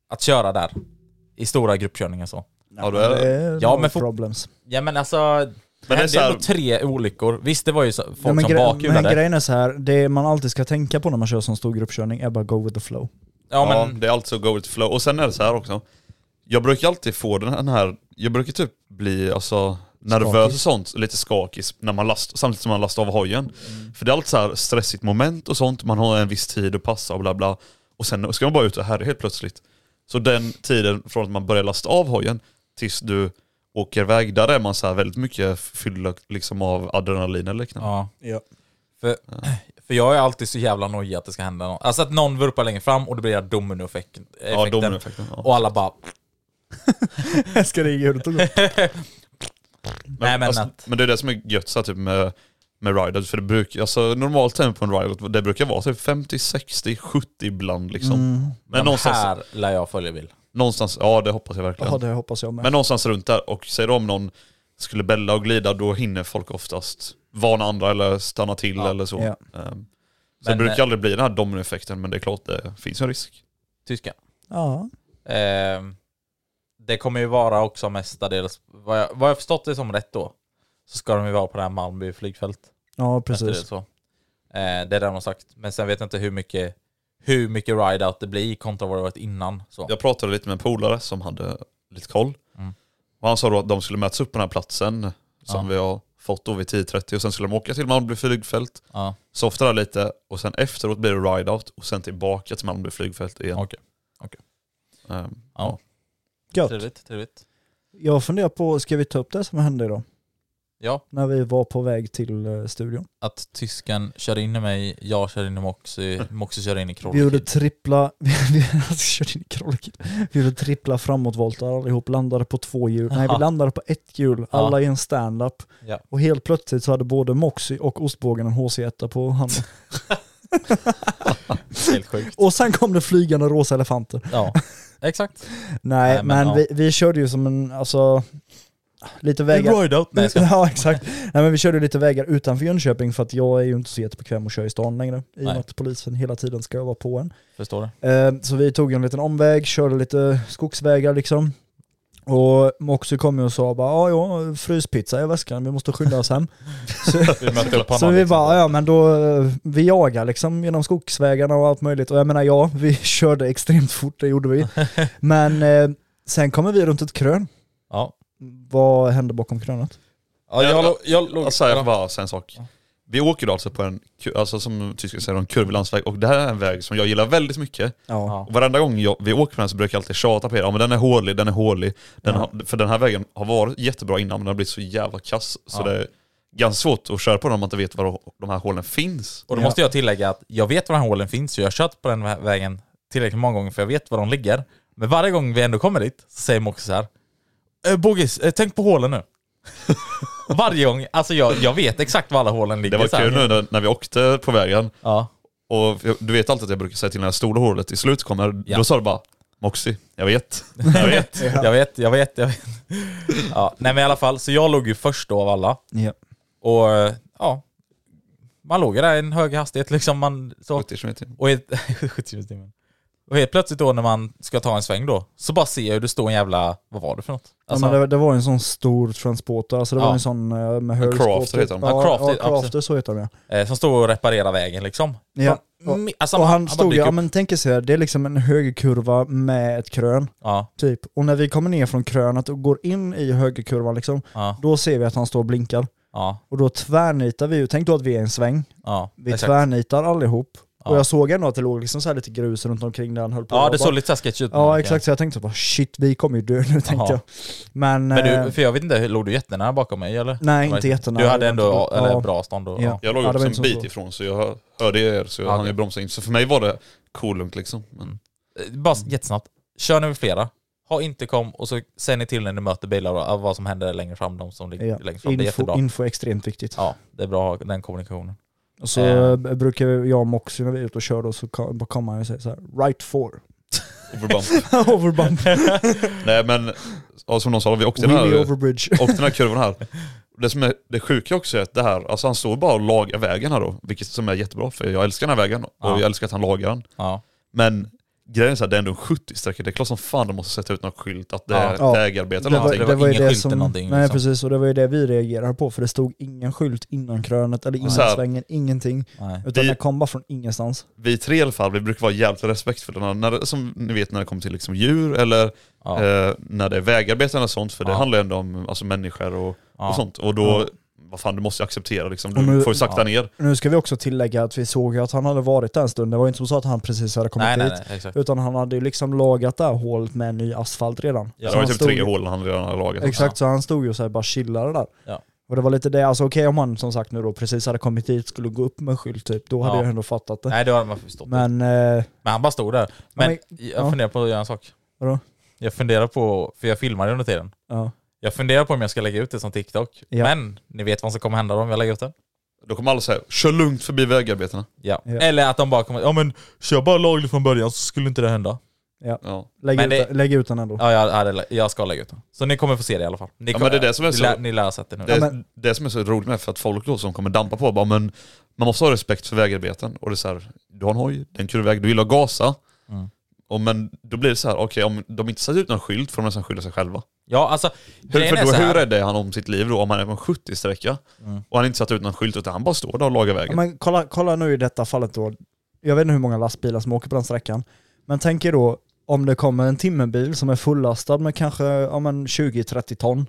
[SPEAKER 3] att köra där. I stora gruppkörningar så.
[SPEAKER 4] Ja, då är det.
[SPEAKER 3] Ja,
[SPEAKER 5] ja,
[SPEAKER 3] men
[SPEAKER 5] men
[SPEAKER 3] for-
[SPEAKER 5] problems.
[SPEAKER 3] Ja men alltså, det
[SPEAKER 4] det är
[SPEAKER 3] hände
[SPEAKER 4] så här-
[SPEAKER 3] ändå tre olyckor. Visst det var ju så, folk
[SPEAKER 5] Ja, men
[SPEAKER 3] som
[SPEAKER 5] gre- men
[SPEAKER 3] bakhjulade.
[SPEAKER 5] grejen är så här, det man alltid ska tänka på när man kör sån stor gruppkörning är bara go with the flow. [LAUGHS]
[SPEAKER 3] Ja
[SPEAKER 4] Ja,
[SPEAKER 3] men,
[SPEAKER 4] det är alltså go with flow. Och sen är det så här också. Jag brukar alltid få den här, den här jag brukar typ bli alltså, nervös
[SPEAKER 5] Skakig.
[SPEAKER 4] och sånt, lite skakig när man last, samtidigt som man lastar av hojen. För det är alltid så här stressigt moment och sånt, man har en viss tid att passa och bla bla. Och sen ska man bara ut och härja helt plötsligt. Så den tiden från att man börjar lasta av hojen tills du åker iväg, där är man så här väldigt mycket fylld liksom av adrenalin eller liknande.
[SPEAKER 3] ja.
[SPEAKER 5] Ja.
[SPEAKER 3] För, [CLEARS THROAT] för jag är alltid så jävla nojig att det ska hända något. Alltså att någon vurpar längre fram och det blir dominoeffekten.
[SPEAKER 4] Ja, dominoeffekten. Ja.
[SPEAKER 3] Och alla bara...
[SPEAKER 5] ska det ljudet gå?
[SPEAKER 3] Nej men
[SPEAKER 4] alltså,
[SPEAKER 3] att...
[SPEAKER 4] men det är det som är gött så här, typ med, med rideout, för det brukar, alltså normalt tempo på en rideout, det brukar vara typ 50, 60, 70 ibland liksom. Men
[SPEAKER 3] Men
[SPEAKER 4] någonstans,
[SPEAKER 3] Mm. här lär jag följa bil.
[SPEAKER 4] någonstans, ja det hoppas jag verkligen.
[SPEAKER 5] Ja, det hoppas jag med.
[SPEAKER 4] Men någonstans runt där, och säger du om någon skulle bälla och glida, då hinner folk oftast varna andra eller stanna till
[SPEAKER 3] Ja.
[SPEAKER 4] eller så.
[SPEAKER 5] Ja.
[SPEAKER 4] Ehm, så
[SPEAKER 3] Men,
[SPEAKER 4] det brukar
[SPEAKER 3] eh,
[SPEAKER 4] aldrig bli den här dominoeffekten, men det är klart det finns en risk.
[SPEAKER 3] Tyska.
[SPEAKER 5] ja.
[SPEAKER 3] Ehm, det kommer ju vara också mestadels, vad jag, vad jag förstått det som rätt då, så ska de ju vara på det här Malmby flygfält.
[SPEAKER 5] ja,
[SPEAKER 3] efter Det,
[SPEAKER 5] precis.
[SPEAKER 3] så. Ehm, det är det de har sagt. Men sen vet jag inte hur mycket, hur mycket ride-out det blir kontra vad det varit innan. Så.
[SPEAKER 4] Jag pratade lite med en polare som hade lite koll.
[SPEAKER 3] Mm.
[SPEAKER 4] Och han sa då att de skulle mötas upp på den här platsen som
[SPEAKER 3] Ja.
[SPEAKER 4] vi har fått då vid 10.30 och sen skulle de åka till Malmby flygfält.
[SPEAKER 3] Ja,
[SPEAKER 4] softa där lite och sen efteråt blir det ride-out och sen tillbaka till Malmö flygfält igen.
[SPEAKER 3] Okej. Okej.
[SPEAKER 4] Ehm,
[SPEAKER 3] ja.
[SPEAKER 5] Gött.
[SPEAKER 3] Trevligt, trevligt.
[SPEAKER 5] Jag funderar på, ska vi ta upp det som hände idag?
[SPEAKER 3] Ja,
[SPEAKER 5] När vi var på väg till eh, studion.
[SPEAKER 3] att tysken kör in i mig, jag kör in i Moxie, Moxie kör in i
[SPEAKER 5] Vi gjorde
[SPEAKER 3] Krollikid.
[SPEAKER 5] trippla, [LAUGHS] vi, vi, alltså, körde in i krollet. vi gjorde trippla framåtvoltar allihop, landade på två hjul. Nej, vi
[SPEAKER 3] Aha.
[SPEAKER 5] landade på ett hjul, alla i en stand-up.
[SPEAKER 3] Ja.
[SPEAKER 5] Och helt plötsligt så hade både Moxie och ostbågen en HC1 på handen.
[SPEAKER 3] Helt sjukt.
[SPEAKER 5] och sen kom det flygande rosa elefanter.
[SPEAKER 3] Ja, exakt.
[SPEAKER 5] Nej,
[SPEAKER 3] Nej, men
[SPEAKER 5] men,
[SPEAKER 3] ja.
[SPEAKER 5] vi, vi körde ju som en, alltså, lite vägar...
[SPEAKER 3] Roidout. Nej, jag ska...
[SPEAKER 5] [LAUGHS] ja exakt. Nej men vi körde lite vägar utanför Jönköping för att jag är ju inte så jättebekväm att köra i stan längre. I och med
[SPEAKER 3] Nej.
[SPEAKER 5] att polisen hela tiden ska vara på en.
[SPEAKER 3] Förstår du?
[SPEAKER 5] Eh, Så vi tog en liten omväg, körde lite skogsvägar liksom. Och Moxie kom ju och sa bara "Ja, ja, fryspizza i väskan, vi måste skynda oss hem.
[SPEAKER 3] Vi mötte
[SPEAKER 4] [LAUGHS]
[SPEAKER 3] upp honom.
[SPEAKER 5] Så vi
[SPEAKER 3] liksom.
[SPEAKER 5] bara, ja men då, eh, vi jagar liksom genom skogsvägarna och allt möjligt. Och jag menar ja, vi [LAUGHS] körde extremt fort, det gjorde vi. Men eh, sen kommer vi runt ett krön.
[SPEAKER 3] Ja.
[SPEAKER 5] Vad hände bakom krönet?
[SPEAKER 3] Ja, jag, lo- jag låg...
[SPEAKER 4] Alltså, jag får
[SPEAKER 3] ja.
[SPEAKER 4] bara säga en sak. Vi åker då alltså på en, ku- alltså som tyskarna säger, en kurvig landsväg. Och det här är en väg som jag gillar väldigt mycket.
[SPEAKER 5] Ja.
[SPEAKER 4] Och varenda gång jag, vi åker på den så brukar jag alltid tjata på er. Ja men den är hålig, den är hålig. Den
[SPEAKER 5] Ja.
[SPEAKER 4] har, för den här vägen har varit jättebra innan men den har blivit så jävla kass. Så
[SPEAKER 3] Ja.
[SPEAKER 4] det är ganska svårt att köra på den om man inte vet var de här hålen finns.
[SPEAKER 3] Och då måste jag tillägga att jag vet var de här hålen finns, så jag har kört på den här vägen tillräckligt många gånger för jag vet var de ligger. Men varje gång vi ändå kommer dit så säger Moxie så här. "Eh, Bogis, eh, tänk på hålen
[SPEAKER 4] [LAUGHS]
[SPEAKER 3] nu. varje gång, alltså jag, jag vet exakt var alla hålen ligger.
[SPEAKER 4] Det var
[SPEAKER 3] så här.
[SPEAKER 4] kul nu när, när vi åkte på vägen.
[SPEAKER 3] Ja.
[SPEAKER 4] Och jag- du vet alltid att jag brukar säga till när det stora hålet i slut kommer.
[SPEAKER 3] Ja.
[SPEAKER 4] Då sa du bara Moxie, jag vet. Jag
[SPEAKER 3] [LAUGHS]
[SPEAKER 4] vet.
[SPEAKER 3] Jag vet, jag vet, jag vet. Ja, nej men i alla fall, så jag låg ju först då av alla.
[SPEAKER 5] Ja.
[SPEAKER 3] Och eh, ja, man låg ju där i en hög hastighet liksom. Man, så,
[SPEAKER 4] 70 km i timmen.
[SPEAKER 3] och, helt, [LAUGHS] 70 km i timmen. och helt plötsligt då när man ska ta en sväng då, så bara ser jag hur det står en jävla, vad var det för något? Alltså,
[SPEAKER 5] ja, men det, det var en sån stor transporter, alltså det
[SPEAKER 3] Ja.
[SPEAKER 5] var en sån eh, med hög
[SPEAKER 4] Crafter
[SPEAKER 5] skåp, typ.
[SPEAKER 4] heter de.
[SPEAKER 5] Ja,
[SPEAKER 3] Ja, Crafter,
[SPEAKER 5] ja,
[SPEAKER 3] absolut.
[SPEAKER 5] crafter så heter de ja.
[SPEAKER 3] eh, som står och reparerar vägen liksom.
[SPEAKER 5] Ja.
[SPEAKER 3] Bara, mm, alltså,
[SPEAKER 5] och
[SPEAKER 3] man-
[SPEAKER 5] han
[SPEAKER 3] bara
[SPEAKER 5] stod ju,
[SPEAKER 3] dyker
[SPEAKER 5] ja
[SPEAKER 3] upp.
[SPEAKER 5] men tänk er så här, det är liksom en högerkurva med ett krön,
[SPEAKER 3] Ja,
[SPEAKER 5] typ. Och när vi kommer ner från krönet och går in i högerkurvan liksom,
[SPEAKER 3] ja,
[SPEAKER 5] då ser vi att han står och blinkar.
[SPEAKER 3] ja,
[SPEAKER 5] Och då tvärnitar vi ju, tänk då att vi är i en sväng,
[SPEAKER 3] ja.
[SPEAKER 5] vi
[SPEAKER 3] exakt.
[SPEAKER 5] tvärnitar allihop.
[SPEAKER 3] Ja.
[SPEAKER 5] Och jag såg ändå att det låg liksom så här lite grus runt omkring där han höll på.
[SPEAKER 3] Ja,
[SPEAKER 5] Jag
[SPEAKER 3] det
[SPEAKER 5] bara-
[SPEAKER 3] såg lite så här sketch ut.
[SPEAKER 5] Ja exakt, så jag tänkte så bara shit, vi kommer ju dö nu [LAUGHS] tänkte
[SPEAKER 3] Jaha.
[SPEAKER 5] jag. Men,
[SPEAKER 3] Men
[SPEAKER 5] eh,
[SPEAKER 3] du, för jag vet inte, låg du jättenära bakom mig eller?
[SPEAKER 5] nej
[SPEAKER 3] Det var-
[SPEAKER 5] inte jättenära.
[SPEAKER 3] Du hade ändå
[SPEAKER 5] Ja.
[SPEAKER 3] eller, bra liksom. stånd då?
[SPEAKER 5] Ja.
[SPEAKER 4] Jag låg
[SPEAKER 5] Ja, det
[SPEAKER 4] också
[SPEAKER 5] var inte
[SPEAKER 4] en
[SPEAKER 5] så
[SPEAKER 4] bit
[SPEAKER 5] svårt.
[SPEAKER 4] ifrån så jag hör- hörde er så jag
[SPEAKER 3] Ja,
[SPEAKER 4] hann
[SPEAKER 3] okej.
[SPEAKER 4] ju bromsa in. Så för mig var det kolugnt liksom. Men
[SPEAKER 3] Eh, Bara jättesnabbt. Kör över flera. Ha inte kom och så säg ni till när ni möter bilar och eh, vad som händer längre fram, de som ligger
[SPEAKER 5] Ja.
[SPEAKER 3] längst fram. Det är
[SPEAKER 5] Info,
[SPEAKER 3] jättebra.
[SPEAKER 5] info är extremt viktigt.
[SPEAKER 3] Ja, det är bra att ha den kommunikationen.
[SPEAKER 5] Och Så
[SPEAKER 3] Eh.
[SPEAKER 5] eh, brukar jag och Moxie när vi är ute och kör då så ka- bara kommer han och säger så här, right four.
[SPEAKER 4] overbump.
[SPEAKER 5] Overbump.
[SPEAKER 4] Nej men, ja, som någon sa, vi åkte den
[SPEAKER 5] Willy
[SPEAKER 3] [LAUGHS]
[SPEAKER 4] här,
[SPEAKER 5] overbridge.
[SPEAKER 4] åkte den här kurvan här. Det som är det sjuka också är att det här, alltså han står bara och lagar vägen här då, vilket som är jättebra för jag älskar den här vägen och
[SPEAKER 3] Ja.
[SPEAKER 4] jag älskar att han lagar den.
[SPEAKER 3] Ja.
[SPEAKER 4] Men grejen är så här, det är ändå en 70-sträcka, det är klart som fan de måste sätta ut någon skylt att det
[SPEAKER 3] Ja.
[SPEAKER 4] är
[SPEAKER 5] Ja.
[SPEAKER 4] vägarbete eller
[SPEAKER 3] Det var-
[SPEAKER 4] någonting.
[SPEAKER 3] det var ingen skylt eller någonting,
[SPEAKER 5] Nej
[SPEAKER 3] liksom.
[SPEAKER 5] precis, och det var ju det vi reagerade på för det stod ingen skylt innan krönet eller innan
[SPEAKER 4] Så här-
[SPEAKER 5] svängen, ingenting.
[SPEAKER 3] Nej.
[SPEAKER 5] Utan
[SPEAKER 4] Vi-
[SPEAKER 5] det kom bara från ingenstans.
[SPEAKER 4] Vi tre i alla fall, vi brukar vara jävligt respektfulla när, när, som ni vet när det kommer till liksom djur eller
[SPEAKER 3] Ja.
[SPEAKER 4] eh, när det är vägarbeten eller sånt, för det
[SPEAKER 3] Ja.
[SPEAKER 4] handlar ju ändå om alltså, människor och,
[SPEAKER 3] Ja.
[SPEAKER 4] och sånt. Och då, vad fan du måste ju acceptera liksom, du
[SPEAKER 5] Och nu-
[SPEAKER 4] får ju sakta
[SPEAKER 3] Ja.
[SPEAKER 4] ner.
[SPEAKER 5] Nu ska vi också tillägga att vi såg ju att han hade varit där en stund. Det var ju inte som så att han precis hade kommit
[SPEAKER 3] nej, nej,
[SPEAKER 5] dit.
[SPEAKER 3] nej, exakt.
[SPEAKER 5] Utan han hade ju liksom lagat det här hålet med ny asfalt redan.
[SPEAKER 3] Ja,
[SPEAKER 4] det var
[SPEAKER 5] han
[SPEAKER 4] ju typ
[SPEAKER 5] stod
[SPEAKER 4] tre
[SPEAKER 5] ju-
[SPEAKER 4] hål han redan hade lagat.
[SPEAKER 5] Exakt, så han stod ju och så här bara chillade där.
[SPEAKER 3] Ja.
[SPEAKER 5] Och det var lite det, alltså okej om han som sagt nu då precis hade kommit dit skulle gå upp med skylt typ, då hade
[SPEAKER 3] Ja.
[SPEAKER 5] jag ändå fattat det.
[SPEAKER 3] Nej, det har man förstått. Men,
[SPEAKER 5] Men, eh,
[SPEAKER 3] han bara stod där. Men
[SPEAKER 5] men-
[SPEAKER 3] jag
[SPEAKER 5] ja.
[SPEAKER 3] funderar på att göra en sak.
[SPEAKER 5] vadå?
[SPEAKER 3] Jag funderar på, för jag filmade under tiden.
[SPEAKER 5] Ja.
[SPEAKER 3] Jag funderar på om jag ska lägga ut det som TikTok.
[SPEAKER 5] Ja.
[SPEAKER 3] Men ni vet vad som kommer hända om jag lägger ut det?
[SPEAKER 4] Då kommer alla säga, kör lugnt förbi vägarbetena.
[SPEAKER 3] Ja.
[SPEAKER 5] Ja.
[SPEAKER 3] Eller att de bara kommer, ja men kör bara lagligt från början så skulle inte det hända.
[SPEAKER 4] Ja.
[SPEAKER 5] Lägg, ut,
[SPEAKER 3] Men
[SPEAKER 5] det... lägg ut den ändå.
[SPEAKER 3] Ja, jag, ja, det- jag ska lägga ut den. Så ni kommer få se det i alla fall. Ni
[SPEAKER 4] Ja,
[SPEAKER 3] kommer-
[SPEAKER 4] men det är det som är
[SPEAKER 3] ni
[SPEAKER 4] så-
[SPEAKER 3] Lär, ni lär ha sett det nu.
[SPEAKER 4] Det,
[SPEAKER 5] Ja, men-
[SPEAKER 4] det som är så roligt med för att folk då som kommer dampa på bara, men man måste ha respekt för vägarbeten. Och det är så här, du har en hoj, den kör iväg, du vill ha gasa.
[SPEAKER 3] Mm.
[SPEAKER 4] Och men då blir det så här, okej om de inte sätter ut någon skylt får de nästan skylla sig själva.
[SPEAKER 3] Ja, alltså...
[SPEAKER 4] Hur,
[SPEAKER 3] grejen
[SPEAKER 4] för
[SPEAKER 3] är
[SPEAKER 4] då,
[SPEAKER 3] så här-
[SPEAKER 4] hur rädd är han om sitt liv då om han är på en 70-sträcka
[SPEAKER 3] Mm.
[SPEAKER 4] och han inte satt ut någon skylt utan han bara står där och lagar
[SPEAKER 5] Ja,
[SPEAKER 4] vägen?
[SPEAKER 5] men kolla, kolla nu i detta fallet då. Jag vet inte hur många lastbilar som åker på den sträckan. Men tänk er då om det kommer en timmerbil som är fullastad med kanske ja, men 20-30 ton.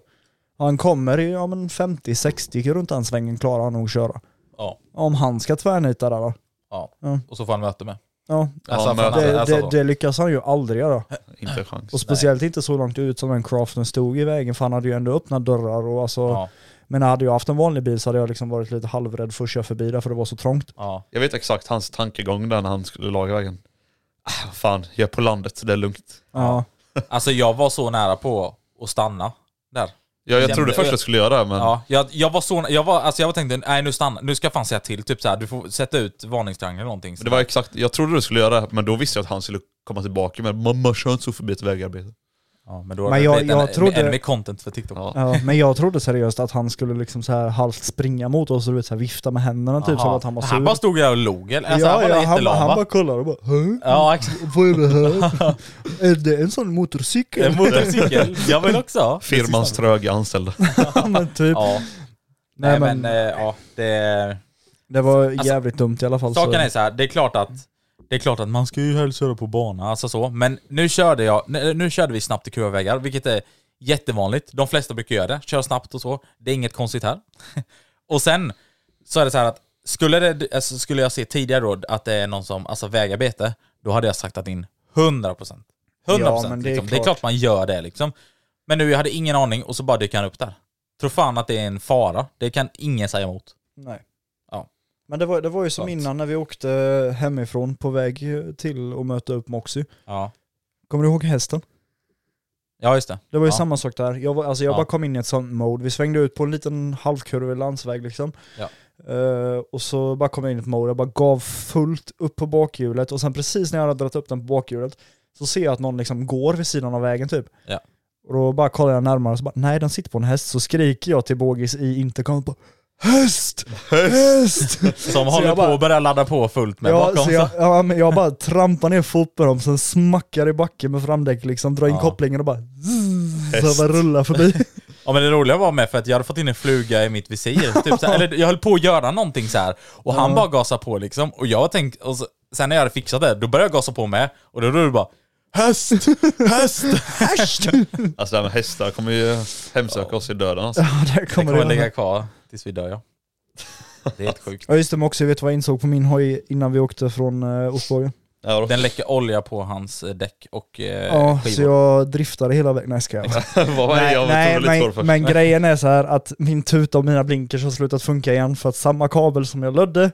[SPEAKER 5] Och han kommer i ja, men 50-60 runt den svängen klarar han nog att köra.
[SPEAKER 3] Ja,
[SPEAKER 5] Om han ska tvärnita där då.
[SPEAKER 3] ja.
[SPEAKER 5] Ja.
[SPEAKER 3] Och så får han möte med.
[SPEAKER 5] Ja,
[SPEAKER 3] Alltså,
[SPEAKER 4] Ja, men-
[SPEAKER 3] från-
[SPEAKER 5] det,
[SPEAKER 3] alltså,
[SPEAKER 5] det, det lyckas han ju aldrig göra.
[SPEAKER 4] Inte en chans.
[SPEAKER 5] Och speciellt inte så långt ut som den craften stod i vägen för han hade ju ändå öppnat dörrar och alltså,
[SPEAKER 3] ja,
[SPEAKER 5] men hade jag haft en vanlig bil så hade jag liksom varit lite halvrädd för att köra förbi där för det var så trångt.
[SPEAKER 3] ja.
[SPEAKER 4] Jag vet exakt hans tankegång där när han skulle laga vägen. Ah, vad fan, jag är på landet så det är lugnt.
[SPEAKER 5] Ja.
[SPEAKER 3] Alltså jag var så nära på att stanna där.
[SPEAKER 4] Ja, jag
[SPEAKER 3] Jämte-
[SPEAKER 4] trodde först jag skulle göra det men
[SPEAKER 3] Ja, jag, jag var så jag var, alltså jag var tänkte, nej nu stanna, nu ska jag fan säga till, typ så här, du får sätta ut varningstriangel eller någonting.
[SPEAKER 4] men det var exakt, jag trodde du skulle göra det men då visste jag att han skulle komma tillbaka med mamma kör inte så förbi ett vägarbete.
[SPEAKER 3] ja, men då
[SPEAKER 5] Men
[SPEAKER 3] men
[SPEAKER 5] jag-
[SPEAKER 3] jag,
[SPEAKER 5] jag
[SPEAKER 3] en,
[SPEAKER 5] trodde-
[SPEAKER 3] en med content för TikTok.
[SPEAKER 4] Ja.
[SPEAKER 5] Ja, men jag trodde seriöst att han skulle liksom så här halvt springa mot oss och du vet, så här vifta med händerna typ som
[SPEAKER 3] Aha.
[SPEAKER 5] att han var sur.
[SPEAKER 3] han bara stod där och log, eller? Alltså, han var
[SPEAKER 5] ja,
[SPEAKER 3] ja,
[SPEAKER 5] han,
[SPEAKER 3] jättelama.
[SPEAKER 5] han bara kollade och bara "Hä?
[SPEAKER 3] Ja, exakt.
[SPEAKER 5] Vad är
[SPEAKER 3] [LAUGHS]
[SPEAKER 5] det här? är det en sån
[SPEAKER 3] En
[SPEAKER 5] motorcykel?
[SPEAKER 4] [LAUGHS]
[SPEAKER 3] motorcykel. Jag vill också ha.
[SPEAKER 4] Firmans tröga [LAUGHS] anställda.
[SPEAKER 5] [LAUGHS] Ja, men typ.
[SPEAKER 3] Ja.
[SPEAKER 5] Nej,
[SPEAKER 3] Nej
[SPEAKER 5] men-
[SPEAKER 3] men, eh, ja, det...
[SPEAKER 5] Det var jävligt dumt i alla fall.
[SPEAKER 3] Alltså, Saken
[SPEAKER 5] så.
[SPEAKER 3] är så här, det är klart att det är klart att man ska ju helst köra på bana, alltså så. Men nu körde jag, nu nu körde vi snabbt i kurvvägar, vilket är jättevanligt. De flesta brukar göra det, kör snabbt och så. Det är inget konstigt här. [LAUGHS] och sen så är det så här att skulle, det, alltså, skulle jag se tidigare då att det är någon som, alltså vägarbete, då hade jag saktat in 100%. 100%
[SPEAKER 5] Ja, men
[SPEAKER 3] procent
[SPEAKER 5] det är
[SPEAKER 3] liksom. det är
[SPEAKER 5] klart.
[SPEAKER 3] klart man gör det liksom. Men nu, jag hade ingen aning och så bara dyker han upp där. Tror fan att det är en fara, det kan ingen säga emot.
[SPEAKER 5] Nej.
[SPEAKER 3] Ja.
[SPEAKER 5] Men det var, det var ju som
[SPEAKER 3] Sant.
[SPEAKER 5] innan när vi åkte hemifrån på väg till att möta upp Moxie.
[SPEAKER 3] Ja,
[SPEAKER 5] Kommer du ihåg hästen?
[SPEAKER 3] ja just det.
[SPEAKER 5] Det var ju
[SPEAKER 3] Ja.
[SPEAKER 5] samma sak där. Jag, var, alltså jag
[SPEAKER 3] Ja.
[SPEAKER 5] bara kom in i ett sånt mode. Vi svängde ut på en liten halvkurvig landsväg liksom.
[SPEAKER 3] Ja.
[SPEAKER 5] Eh, och så bara kom jag in i ett mode. Jag bara gav fullt upp på bakhjulet och sen precis när jag hade dragit upp den på bakhjulet så ser jag att någon liksom går vid sidan av vägen typ.
[SPEAKER 3] Ja.
[SPEAKER 5] Och då bara kollar jag närmare och så bara nej den sitter på en häst. Så skriker jag till Bågis i intercom på häst! Häst!
[SPEAKER 3] [LAUGHS] Som
[SPEAKER 5] Så
[SPEAKER 3] håller
[SPEAKER 5] jag bara-
[SPEAKER 3] på att börja ladda på fullt med
[SPEAKER 5] ja,
[SPEAKER 3] bakom.
[SPEAKER 5] så
[SPEAKER 3] Så
[SPEAKER 5] jag, ja, men jag bara trampar ner fotbromsen, smackar i backen med framdäck liksom, drar in
[SPEAKER 3] Ja.
[SPEAKER 5] kopplingen och bara zzz,
[SPEAKER 4] Häst.
[SPEAKER 5] [LAUGHS] så jag bara rullar förbi.
[SPEAKER 3] Ja, men det roliga var med för att jag hade fått in en fluga i mitt visir. Typ, så
[SPEAKER 5] [LAUGHS]
[SPEAKER 3] här, eller jag höll på att göra någonting så här. Och han bara gasade på liksom. Och jag tänkte, och så, sen när jag hade fixat det, då började jag gasa på med. Och då var det bara Häst! Häst! Häst!
[SPEAKER 4] Alltså det här med hästar kommer ju hemsöka oss i döden alltså.
[SPEAKER 5] [LAUGHS] Ja, där
[SPEAKER 3] Det
[SPEAKER 5] kommer
[SPEAKER 3] kommer
[SPEAKER 5] det.
[SPEAKER 3] att ligga kvar tills vi dör ja. Det är helt sjukt.
[SPEAKER 5] Ja just det, men också jag vet vad jag insåg på min hoj innan vi åkte från uh,
[SPEAKER 3] Eh,
[SPEAKER 5] Ostbågen.
[SPEAKER 4] Ja, då.
[SPEAKER 3] Den läcker olja på hans eh, däck och eh,
[SPEAKER 5] Ja, så
[SPEAKER 3] skivor.
[SPEAKER 5] jag driftade hela vägen. Nej,
[SPEAKER 3] [LAUGHS]
[SPEAKER 5] ska jag.
[SPEAKER 4] [LAUGHS] Vad var det? Jag
[SPEAKER 5] nej,
[SPEAKER 4] trodde lite på det
[SPEAKER 5] men,
[SPEAKER 4] först.
[SPEAKER 5] men grejen är så här att min tuta och mina blinkers har slutat funka igen för att samma kabel som jag lödde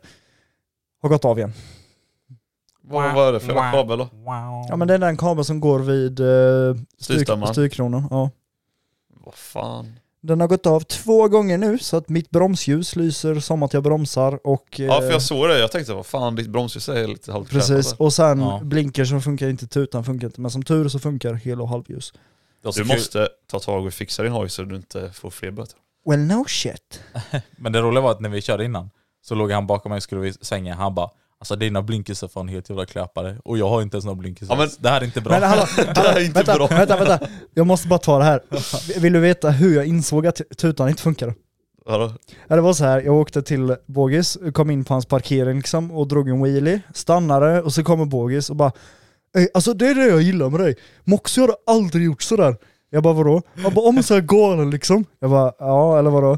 [SPEAKER 5] har gått av igen.
[SPEAKER 4] Vad var det för kabel då?
[SPEAKER 5] Ja men det är den kabeln som går vid uh,
[SPEAKER 4] Styrstammarna.
[SPEAKER 5] styrkronan. Ja.
[SPEAKER 4] Vad fan?
[SPEAKER 5] Den har gått av två gånger nu så att mitt bromsljus lyser som att jag bromsar och... eh,
[SPEAKER 4] Ja för jag såg det, jag tänkte vad fan ditt bromsljus är lite alltså. halvt
[SPEAKER 5] Precis, och sen
[SPEAKER 3] Ja.
[SPEAKER 5] blinker som funkar inte, tutan funkar inte, men som tur så funkar hel och halvljus.
[SPEAKER 3] Det var så
[SPEAKER 4] Du
[SPEAKER 3] kul.
[SPEAKER 4] måste ta tag och fixa din hoj så du inte får fler
[SPEAKER 5] [LAUGHS]
[SPEAKER 4] böter.
[SPEAKER 5] Well no shit.
[SPEAKER 3] Men det roliga var att när vi körde innan så låg han bakom mig och skulle vi svänga. Han bara Alltså dina blinkers är fan helt jävla klöpare och jag har inte ens några blinkers
[SPEAKER 4] Ja, men-
[SPEAKER 3] alls. Det här är inte bra.
[SPEAKER 5] Men hallå,
[SPEAKER 4] [LAUGHS] Det här är inte
[SPEAKER 5] vänta,
[SPEAKER 4] bra.
[SPEAKER 5] vänta, vänta, jag måste bara ta
[SPEAKER 4] [LAUGHS]
[SPEAKER 5] det här. Vill du veta hur jag insåg att tutan inte funkade?
[SPEAKER 4] Vadå?
[SPEAKER 5] Ja, det var så här, jag åkte till Bogis, kom in på hans parkering liksom och drog en wheelie, stannade och så kommer Bogis och bara "Ey, Alltså det är det jag gillar med dig, Moxie har aldrig gjort sådär. Jag bara vadå? Han bara om så här galen liksom. Jag bara ja eller vadå?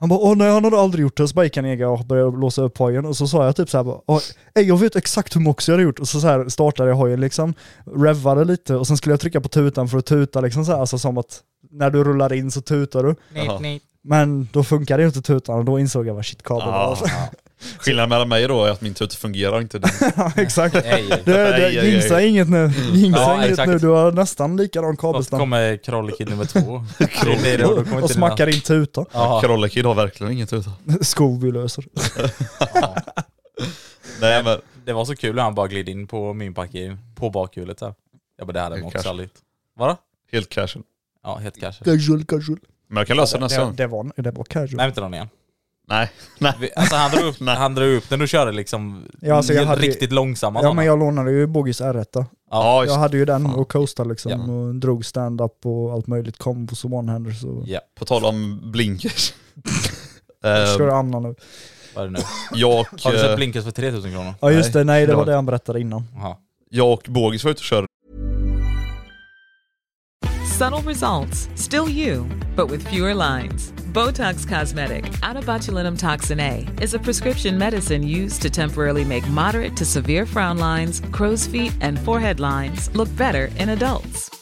[SPEAKER 5] Han bara åh nej han har aldrig gjort det. Så bara gick han egen och började låsa upp hojen och så sa jag typ såhär bara "Åh, ey, jag vet exakt hur Moxie hade gjort. Och så, så här startade jag hojen liksom, revvade lite och sen skulle jag trycka på tutan för att tuta liksom så här, alltså som att när du rullar in så tutar du.
[SPEAKER 4] Jaha.
[SPEAKER 5] Men då funkade ju inte tutan och då insåg jag vad shit kabeln var. alltså."
[SPEAKER 4] Ah, skillnaden mellan mig då är att min tuta fungerar inte.
[SPEAKER 5] [LAUGHS] Ja, exakt. [LAUGHS]
[SPEAKER 3] Nej. Mm.
[SPEAKER 5] Du,
[SPEAKER 4] Ej, ej,
[SPEAKER 5] du,
[SPEAKER 4] ej.
[SPEAKER 5] jinxa inget nu. Jinxa
[SPEAKER 3] Ja,
[SPEAKER 5] inget
[SPEAKER 3] exakt.
[SPEAKER 5] nu. Du har nästan likadan
[SPEAKER 3] Så
[SPEAKER 5] kabelstam.
[SPEAKER 3] kommer Krollikid nummer
[SPEAKER 5] [LAUGHS]
[SPEAKER 3] två. Det blir det, då kommer
[SPEAKER 5] Och
[SPEAKER 3] inte
[SPEAKER 5] smackar in tutan. [LAUGHS]
[SPEAKER 3] dina- Ja.
[SPEAKER 4] Krollekid har verkligen ingen tuta.
[SPEAKER 5] Scooby löser.
[SPEAKER 4] Nej men
[SPEAKER 3] Det var så kul när han bara gled in på min parkering, på bakhjulet där. Jag bara det här
[SPEAKER 4] Det
[SPEAKER 3] är
[SPEAKER 4] är
[SPEAKER 3] också
[SPEAKER 4] kanske-
[SPEAKER 3] aldrig. Vadå?
[SPEAKER 4] helt casual.
[SPEAKER 3] Ja, helt kanske.
[SPEAKER 5] Casual, casual.
[SPEAKER 4] Men jag kan lösa den nästa
[SPEAKER 5] Det,
[SPEAKER 4] gång.
[SPEAKER 5] det, var, det var casual.
[SPEAKER 3] Nej, inte någon igen.
[SPEAKER 4] Nej. Nej.
[SPEAKER 3] Vi- Alltså han drog
[SPEAKER 5] [LAUGHS]
[SPEAKER 3] upp, han drog upp den och körde liksom
[SPEAKER 5] Ja, alltså, jag hade-
[SPEAKER 3] riktigt långsamma
[SPEAKER 5] ja,
[SPEAKER 3] sådana.
[SPEAKER 5] men jag lånade ju Bogis R1.
[SPEAKER 4] Ja,
[SPEAKER 5] Jag
[SPEAKER 4] just,
[SPEAKER 5] hade ju den och coastade liksom.
[SPEAKER 3] Ja.
[SPEAKER 5] Och drog stand-up och allt möjligt. Combos och one-handers. Och...
[SPEAKER 3] Ja,
[SPEAKER 4] på tal om blinkers.
[SPEAKER 5] Kör
[SPEAKER 3] ehm,
[SPEAKER 4] eh,
[SPEAKER 5] Anna nu.
[SPEAKER 3] vad är det nu?
[SPEAKER 4] jag,
[SPEAKER 3] Har
[SPEAKER 4] och,
[SPEAKER 3] du sett
[SPEAKER 4] eh,
[SPEAKER 3] blinkers för 3000 kronor?
[SPEAKER 5] Ja just det, nej det var
[SPEAKER 4] bra.
[SPEAKER 5] det han berättade innan.
[SPEAKER 3] Jaha.
[SPEAKER 4] jag och Bågis var ute och körde
[SPEAKER 2] Subtle results, still you, but with fewer lines. Botox Cosmetic, out of botulinum toxin A, is a prescription medicine used to temporarily make moderate to severe frown lines, crow's feet, and forehead lines look better in adults.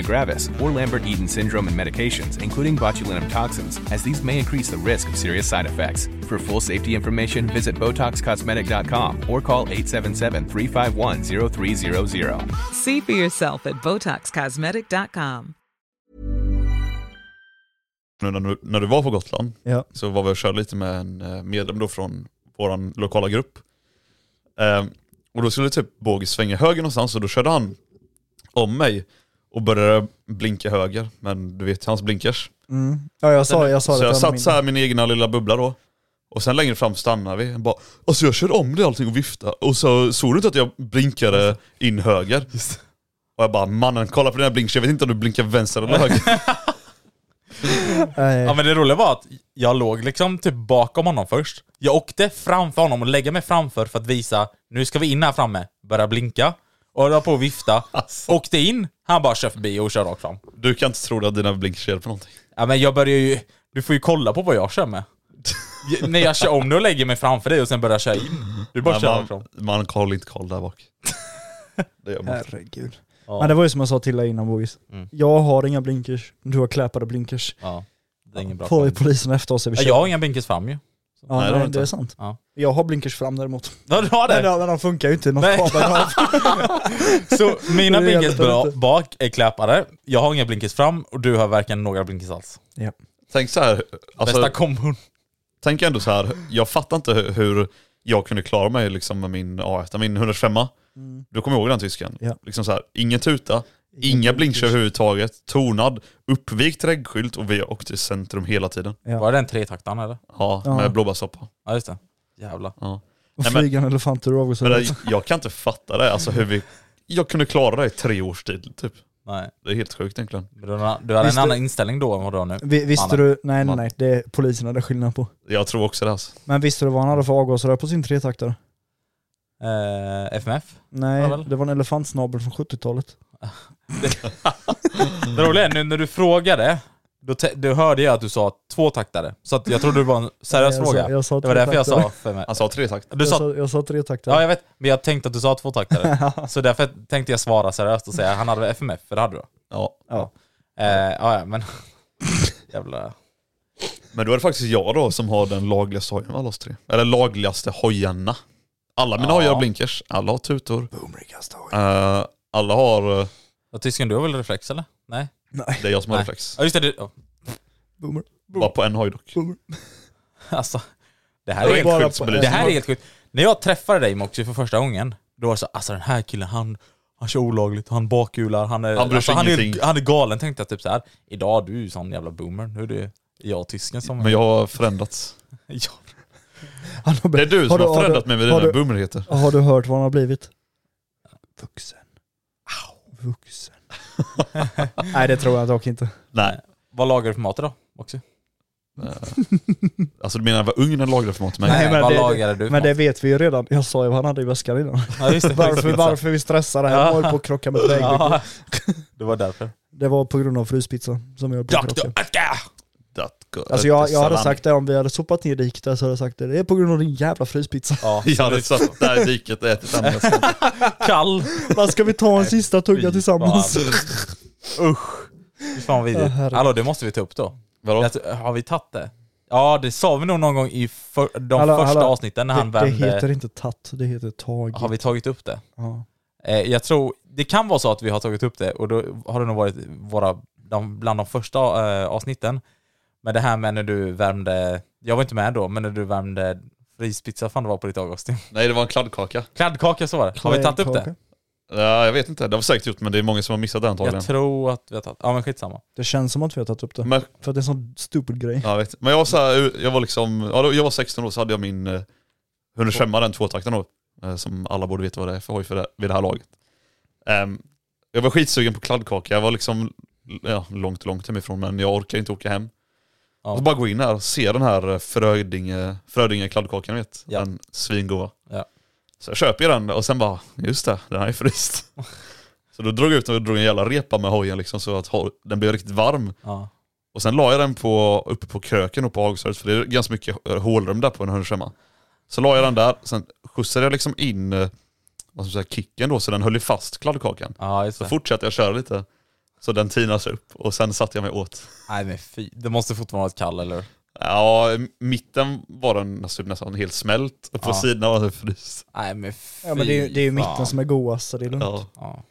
[SPEAKER 1] gravis, or Lambert-Eaton syndrome and medications including botulinum toxins, as these may increase the risk of serious side effects. For full safety information, visit BotoxCosmetic.com or call 877-351-0300.
[SPEAKER 2] See for yourself at BotoxCosmetic.com.
[SPEAKER 4] Nu när, du, när du var på Gotland
[SPEAKER 5] Ja.
[SPEAKER 4] så var vi och körde lite med en eh, medlem då från vår lokala grupp. Ehm, och då skulle typ båge svänga höger någonstans och då körde han om mig och började blinka höger. Men du vet hans blinkers.
[SPEAKER 5] Mm. ja, jag sa, jag sa
[SPEAKER 4] så
[SPEAKER 5] det
[SPEAKER 4] jag
[SPEAKER 5] till honom
[SPEAKER 4] satt så här i min egna lilla bubbla då. Och sen längre fram stannar vi. Bara, alltså jag körde om det allting och viftade. Och så såg du inte att jag blinkade in höger? Och jag bara, mannen kolla på dina blinkers, jag vet inte om du blinkar vänster eller höger.
[SPEAKER 5] innan. Nej.
[SPEAKER 3] Ja men det roliga var att jag låg liksom typ bakom honom först. Jag åkte framför honom och lägger mig framför för att visa, nu ska vi in här framme, börja blinka. Och jag var på att vifta.
[SPEAKER 4] Alltså.
[SPEAKER 3] Åkte in, han bara kör förbi och kör rakt fram.
[SPEAKER 4] Du kan inte tro att dina blinkers hjälper någonting.
[SPEAKER 3] Ja men jag börjar ju, du får ju kolla på vad jag kör med. J- När jag kör om dig och lägger mig framför dig och sen börjar köra in. Du bara
[SPEAKER 4] Men
[SPEAKER 3] kör
[SPEAKER 4] man,
[SPEAKER 3] rakt fram.
[SPEAKER 4] man håller inte koll där bak. Det gör man inte.
[SPEAKER 5] Herregud.
[SPEAKER 3] Ja.
[SPEAKER 5] Men det var ju som jag sa till dig innan Bogis.
[SPEAKER 3] Mm.
[SPEAKER 5] Jag har inga blinkers, du har kläpade blinkers.
[SPEAKER 3] Ja, det är ingen bra.
[SPEAKER 5] Får
[SPEAKER 3] Ja,
[SPEAKER 5] ju polisen efter oss.
[SPEAKER 3] jag har inga blinkers fram ju.
[SPEAKER 5] ja,
[SPEAKER 4] Nej, det
[SPEAKER 5] nej,
[SPEAKER 4] har
[SPEAKER 5] det,
[SPEAKER 4] du inte.
[SPEAKER 5] är sant.
[SPEAKER 3] Ja.
[SPEAKER 5] Jag har blinkers fram däremot.
[SPEAKER 3] Ja, du har
[SPEAKER 5] Nej,
[SPEAKER 3] det?
[SPEAKER 5] men de funkar ju inte. Någon
[SPEAKER 3] Nej. [LAUGHS]
[SPEAKER 5] kabel har-
[SPEAKER 3] Så mina
[SPEAKER 5] Det
[SPEAKER 3] blinkers
[SPEAKER 5] hjälper
[SPEAKER 3] bra,
[SPEAKER 5] inte.
[SPEAKER 3] bak är kläpade, jag har inga blinkers fram och du har verkligen några blinkers alls.
[SPEAKER 4] Tänk så här, alltså,
[SPEAKER 3] Bästa kombon.
[SPEAKER 4] tänk ändå så här, jag fattar inte hu- hur jag kunde klara mig liksom med min A1, min 125
[SPEAKER 5] Mm.
[SPEAKER 4] Du kommer ihåg den tysken?
[SPEAKER 5] Ja.
[SPEAKER 4] Liksom så här, ingen tuta, inga blinkers överhuvudtaget, tonad, uppvikt reggskylt och vi åkte i centrum hela tiden.
[SPEAKER 3] Var det den tretaktaren eller?
[SPEAKER 4] Ja,
[SPEAKER 5] Ja.
[SPEAKER 4] med blåbärssoppa.
[SPEAKER 3] Ja just det. Jävlar.
[SPEAKER 5] Och
[SPEAKER 4] Nej, men-
[SPEAKER 5] flygande elefanter och
[SPEAKER 4] Men
[SPEAKER 5] avgasrör.
[SPEAKER 4] det, jag kan inte fatta det, alltså hur vi... Jag kunde klara det i tre års tid typ.
[SPEAKER 3] Nej.
[SPEAKER 4] Det är helt sjukt egentligen.
[SPEAKER 3] Men Du har- du hade en
[SPEAKER 5] Visst,
[SPEAKER 3] annan inställning då än vad du har nu.
[SPEAKER 5] Vi- Visste
[SPEAKER 3] Mannen.
[SPEAKER 5] du, nej nej
[SPEAKER 4] Mannen.
[SPEAKER 5] nej, det är polisen hade skillnad på.
[SPEAKER 4] Jag tror också det alltså.
[SPEAKER 5] Men visste du vad han hade för avgasrör på sin tretaktare?
[SPEAKER 3] Eh, FMF.
[SPEAKER 5] Nej,
[SPEAKER 3] Ja, väl.
[SPEAKER 5] det var en elefantsnabel från 70-talet.
[SPEAKER 3] Det roliga är nu när du frågade, då, te- då hörde jag att du sa tvåtaktare. Så att jag trodde det var
[SPEAKER 5] [LAUGHS]
[SPEAKER 3] en seriös
[SPEAKER 5] Jag sa-
[SPEAKER 3] fråga.
[SPEAKER 5] jag sa
[SPEAKER 3] det var därför jag sa
[SPEAKER 5] tretaktare.
[SPEAKER 3] FMF.
[SPEAKER 4] Han sa tre takt.
[SPEAKER 3] Du
[SPEAKER 5] Jag
[SPEAKER 3] sa,
[SPEAKER 5] sa, jag sa tretaktare.
[SPEAKER 3] ja jag vet, men jag tänkte att du sa
[SPEAKER 5] [LAUGHS]
[SPEAKER 3] tvåtaktare. Så därför tänkte jag svara seriöst och säga han hade väl FMF, för det hade du.
[SPEAKER 4] Ja.
[SPEAKER 5] Ja.
[SPEAKER 3] Eh, ja, ja,
[SPEAKER 5] [LAUGHS]
[SPEAKER 3] men... Jävla...
[SPEAKER 4] Men då är det faktiskt jag då som har den lagligaste hojen av alla oss tre. Eller lagligaste hojarna. Alla mina
[SPEAKER 3] Ja.
[SPEAKER 4] hojar har blinkers, alla har tutor.
[SPEAKER 5] Boomrigast har jag.
[SPEAKER 4] Eh, alla har... eh,
[SPEAKER 3] Ja, Tysken, du har väl reflex eller? Nej?
[SPEAKER 5] Nej,
[SPEAKER 4] Det är jag som har
[SPEAKER 3] Nej.
[SPEAKER 4] reflex.
[SPEAKER 3] Ja just det, du... ja.
[SPEAKER 5] boomer.
[SPEAKER 4] Bara på en hoj dock.
[SPEAKER 5] boomer.
[SPEAKER 3] [LAUGHS] Alltså, det här
[SPEAKER 4] Det var
[SPEAKER 3] är
[SPEAKER 4] helt
[SPEAKER 5] bara
[SPEAKER 4] sjukt
[SPEAKER 5] på
[SPEAKER 4] som
[SPEAKER 5] en.
[SPEAKER 3] Det
[SPEAKER 4] belysning.
[SPEAKER 3] här är helt sjukt. När jag träffade dig Moxie för första gången, då var det så alltså den här killen han, han kör olagligt, han bakhjular, han är, alltså,
[SPEAKER 4] Han bryr sig
[SPEAKER 3] han är,
[SPEAKER 4] ingenting.
[SPEAKER 3] han är galen tänkte jag typ så här. idag du är ju sån jävla boomer, nu är det jag och tysken som...
[SPEAKER 4] Men jag har förändrats.
[SPEAKER 3] Ja.
[SPEAKER 5] Han har,
[SPEAKER 4] Det är du som
[SPEAKER 5] du-
[SPEAKER 4] har
[SPEAKER 5] har
[SPEAKER 4] förändrat
[SPEAKER 5] du-
[SPEAKER 4] mig med
[SPEAKER 5] har
[SPEAKER 4] dina
[SPEAKER 5] du-
[SPEAKER 4] boomerheter. [LAUGHS]
[SPEAKER 5] Har du hört vad han har blivit? Vuxen. Vuxen. Nej det tror jag dock inte.
[SPEAKER 4] Nej.
[SPEAKER 3] [LAUGHS] Vad lagar du för mat då Moxie?
[SPEAKER 4] Eh, Alltså du menar jag var ung när du lagade för mat till mig?
[SPEAKER 5] Nej, men
[SPEAKER 3] vad
[SPEAKER 5] det-
[SPEAKER 3] lagade du för
[SPEAKER 5] Men
[SPEAKER 3] mat?
[SPEAKER 5] det vet vi ju redan. Jag sa ju vad han hade i väskan innan.
[SPEAKER 3] Ja, just det,
[SPEAKER 5] [LAUGHS] Varför, varför vi stressar det här. Jag höll på att krocka med ett vägg.
[SPEAKER 3] Ja, [LAUGHS] det var därför.
[SPEAKER 5] Det var på grund av fryspizzan som jag höll på att
[SPEAKER 3] Dr.
[SPEAKER 5] krocka.
[SPEAKER 3] Aska!
[SPEAKER 4] That go-
[SPEAKER 5] Alltså jag, jag hade
[SPEAKER 4] salami.
[SPEAKER 5] sagt det om vi hade sopat ner diket där så hade jag sagt det. Det är på grund av din jävla fryspizza. [LAUGHS]
[SPEAKER 3] Ja,
[SPEAKER 4] [LAUGHS] Jag hade satt där i diket och ätit annars.
[SPEAKER 3] kall.
[SPEAKER 5] Vad ska vi ta en sista tugga
[SPEAKER 3] Fy
[SPEAKER 5] tillsammans?
[SPEAKER 3] Usch. Fy fan vad
[SPEAKER 5] Ja,
[SPEAKER 3] vidrigt.
[SPEAKER 5] herregud.
[SPEAKER 3] Hallå, det måste vi ta upp då.
[SPEAKER 4] Vadå?
[SPEAKER 3] Jag tror- har vi tagit det? Ja, det sa vi nog någon gång i för, de
[SPEAKER 5] Hallå,
[SPEAKER 3] första
[SPEAKER 5] hallå.
[SPEAKER 3] avsnitten när han
[SPEAKER 5] det, det
[SPEAKER 3] vände.
[SPEAKER 5] heter inte tatt, det heter tag.
[SPEAKER 3] Har vi tagit upp det?
[SPEAKER 5] Ja.
[SPEAKER 3] Eh, jag tror, det kan vara så att vi har tagit upp det och då har det nog varit våra, de, bland de första eh, avsnitten. Men det här med när du värmde, jag var inte med då, men när du värmde frispizza fan det var på ditt Augustin. [LAUGHS]
[SPEAKER 4] Nej det var en kladdkaka.
[SPEAKER 3] Kladdkaka så var det. Har vi tagit upp det?
[SPEAKER 5] Kaka.
[SPEAKER 4] Ja, jag vet inte, det har vi säkert gjort men det är många som har missat det antagligen.
[SPEAKER 3] Jag tror att vi har tagit... Ja men skitsamma.
[SPEAKER 5] Det känns som att vi har tagit upp det.
[SPEAKER 4] Men,
[SPEAKER 5] För att det är en sån stupid grej.
[SPEAKER 4] ja, jag vet. men jag var så här, jag var liksom, ja, då- jag var 16 år så hade jag min eh, 125 den tvåtakten då. eh, Som alla borde veta vad det är för hoj för det, vid det här laget. Ehm, jag var skitsugen på kladdkaka, jag var liksom ja, långt, långt hemifrån men jag orkar inte åka hem.
[SPEAKER 3] Ja.
[SPEAKER 4] Och så bara gå in här och se den här eh, Frödinge, Frödinge kladdkakan vet.
[SPEAKER 3] Ja.
[SPEAKER 4] Den svingoda.
[SPEAKER 3] Ja.
[SPEAKER 4] Så jag köper ju den och sen bara, just det, den här
[SPEAKER 3] [LAUGHS]
[SPEAKER 4] är fryst. så då drog jag ut den och drog en jävla repa med hojen liksom så att ho- den blev riktigt varm.
[SPEAKER 3] Ja.
[SPEAKER 4] Och sen la jag den på, uppe på kröken och på Hagservice för det är ganska mycket eh, hålrum där på en hörnskärma. Så la jag den där, sen skjutsade jag liksom in eh, vad ska man säga, kicken då så den höll ju fast kladdkakan.
[SPEAKER 3] Ja just
[SPEAKER 4] Så
[SPEAKER 3] det.
[SPEAKER 4] fortsatte jag köra lite. Så den tinas upp och sen satte jag mig åt.
[SPEAKER 3] Nej men fy. Det måste fortfarande vara ett kall eller hur?
[SPEAKER 4] Ja, i mitten var den typ nästan helt smält och på
[SPEAKER 3] Ja.
[SPEAKER 4] sidorna var den fryst.
[SPEAKER 3] Nej men fy
[SPEAKER 5] Ja men det är, det är ju mitten
[SPEAKER 3] fan.
[SPEAKER 5] som är godast så det är lugnt.
[SPEAKER 4] Ja.
[SPEAKER 3] Ja.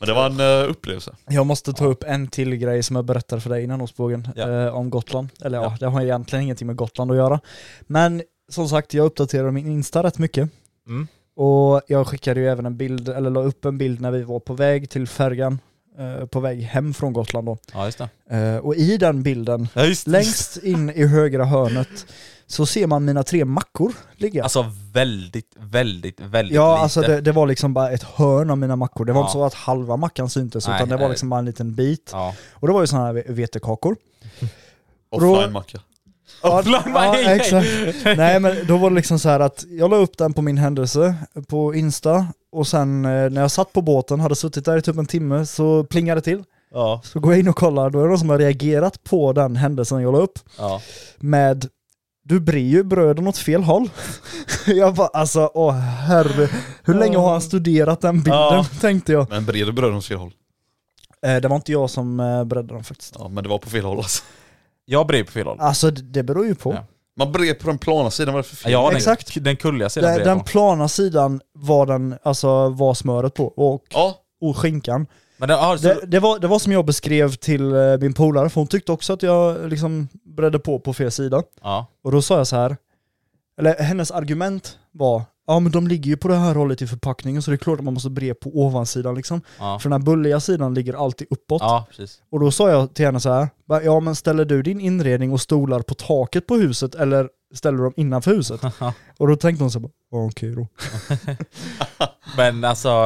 [SPEAKER 4] Men det var en eh, upplevelse.
[SPEAKER 5] Jag måste ta upp en till grej som jag berättade för dig innan Ostbågen
[SPEAKER 3] Ja.
[SPEAKER 5] eh, om Gotland. Eller ja.
[SPEAKER 3] Ja.
[SPEAKER 5] det har egentligen ingenting med Gotland att göra. Men som sagt, jag uppdaterar min Insta rätt mycket.
[SPEAKER 3] Mm.
[SPEAKER 5] Och jag skickade ju även en bild, eller la upp en bild när vi var på väg till färjan, eh, på väg hem från Gotland då.
[SPEAKER 3] ja just det.
[SPEAKER 5] Eh, och i den bilden,
[SPEAKER 3] Ja, just
[SPEAKER 5] längst in i högra hörnet, så ser man mina tre mackor ligga.
[SPEAKER 3] Alltså väldigt, väldigt, väldigt
[SPEAKER 5] Ja,
[SPEAKER 3] lite.
[SPEAKER 5] alltså det, det var liksom bara ett hörn av mina mackor. Det var
[SPEAKER 3] Ja.
[SPEAKER 5] inte så att halva mackan syntes,
[SPEAKER 3] Nej,
[SPEAKER 5] utan det var
[SPEAKER 3] nej.
[SPEAKER 5] liksom bara en liten bit.
[SPEAKER 3] Ja.
[SPEAKER 5] Och det var ju sådana här vetekakor. Och då-
[SPEAKER 4] Offline-macka.
[SPEAKER 5] Ja,
[SPEAKER 3] Offline,
[SPEAKER 5] ja,
[SPEAKER 3] nej, nej.
[SPEAKER 5] exakt. Nej men då var det liksom så här att jag la upp den på min händelse på Insta och sen eh, när jag satt på båten, hade suttit där i typ en timme, så plingade det till.
[SPEAKER 3] Ja.
[SPEAKER 5] Så går jag in och kollar, då är det någon som har reagerat på den händelsen jag la upp
[SPEAKER 3] Ja.
[SPEAKER 5] med du brer ju bröden åt fel håll. [LAUGHS] Jag bara alltså, åh herre. Hur länge har han studerat den bilden? [LAUGHS]
[SPEAKER 3] Ja.
[SPEAKER 5] Tänkte jag.
[SPEAKER 4] Men breder bröd åt fel håll.
[SPEAKER 5] Eh, det var inte jag som eh, bredde den faktiskt.
[SPEAKER 4] Ja, men det var på fel håll alltså.
[SPEAKER 3] Jag brer på fel håll.
[SPEAKER 5] Alltså det, det beror ju på.
[SPEAKER 3] Ja.
[SPEAKER 4] Man bred på den plana sidan, vad är det för fel?
[SPEAKER 3] Ja, den,
[SPEAKER 5] Exakt.
[SPEAKER 3] den kulliga sidan
[SPEAKER 5] Den,
[SPEAKER 3] brer
[SPEAKER 5] den
[SPEAKER 3] jag på.
[SPEAKER 5] plana sidan var, den, alltså, var smöret på och,
[SPEAKER 4] Ja,
[SPEAKER 5] och skinkan.
[SPEAKER 3] Men den, ja, så,
[SPEAKER 5] Det, det, var, det var som jag beskrev till eh, min polare, för hon tyckte också att jag liksom bredde på på fel sida.
[SPEAKER 3] ja.
[SPEAKER 5] Och då sa jag så här, eller hennes argument var, ja men de ligger ju på det här hållet i förpackningen så det är klart att man måste bre på ovansidan liksom.
[SPEAKER 3] Ja.
[SPEAKER 5] För den här bulliga sidan ligger alltid uppåt.
[SPEAKER 3] ja, precis.
[SPEAKER 5] Och då sa jag till henne så här, "Va, ja men ställer du din inredning och stolar på taket på huset eller ställer du dem innanför
[SPEAKER 3] [LAUGHS]
[SPEAKER 5] huset? och då tänkte hon så här, bara, "Ja, okej då.
[SPEAKER 3] Men alltså...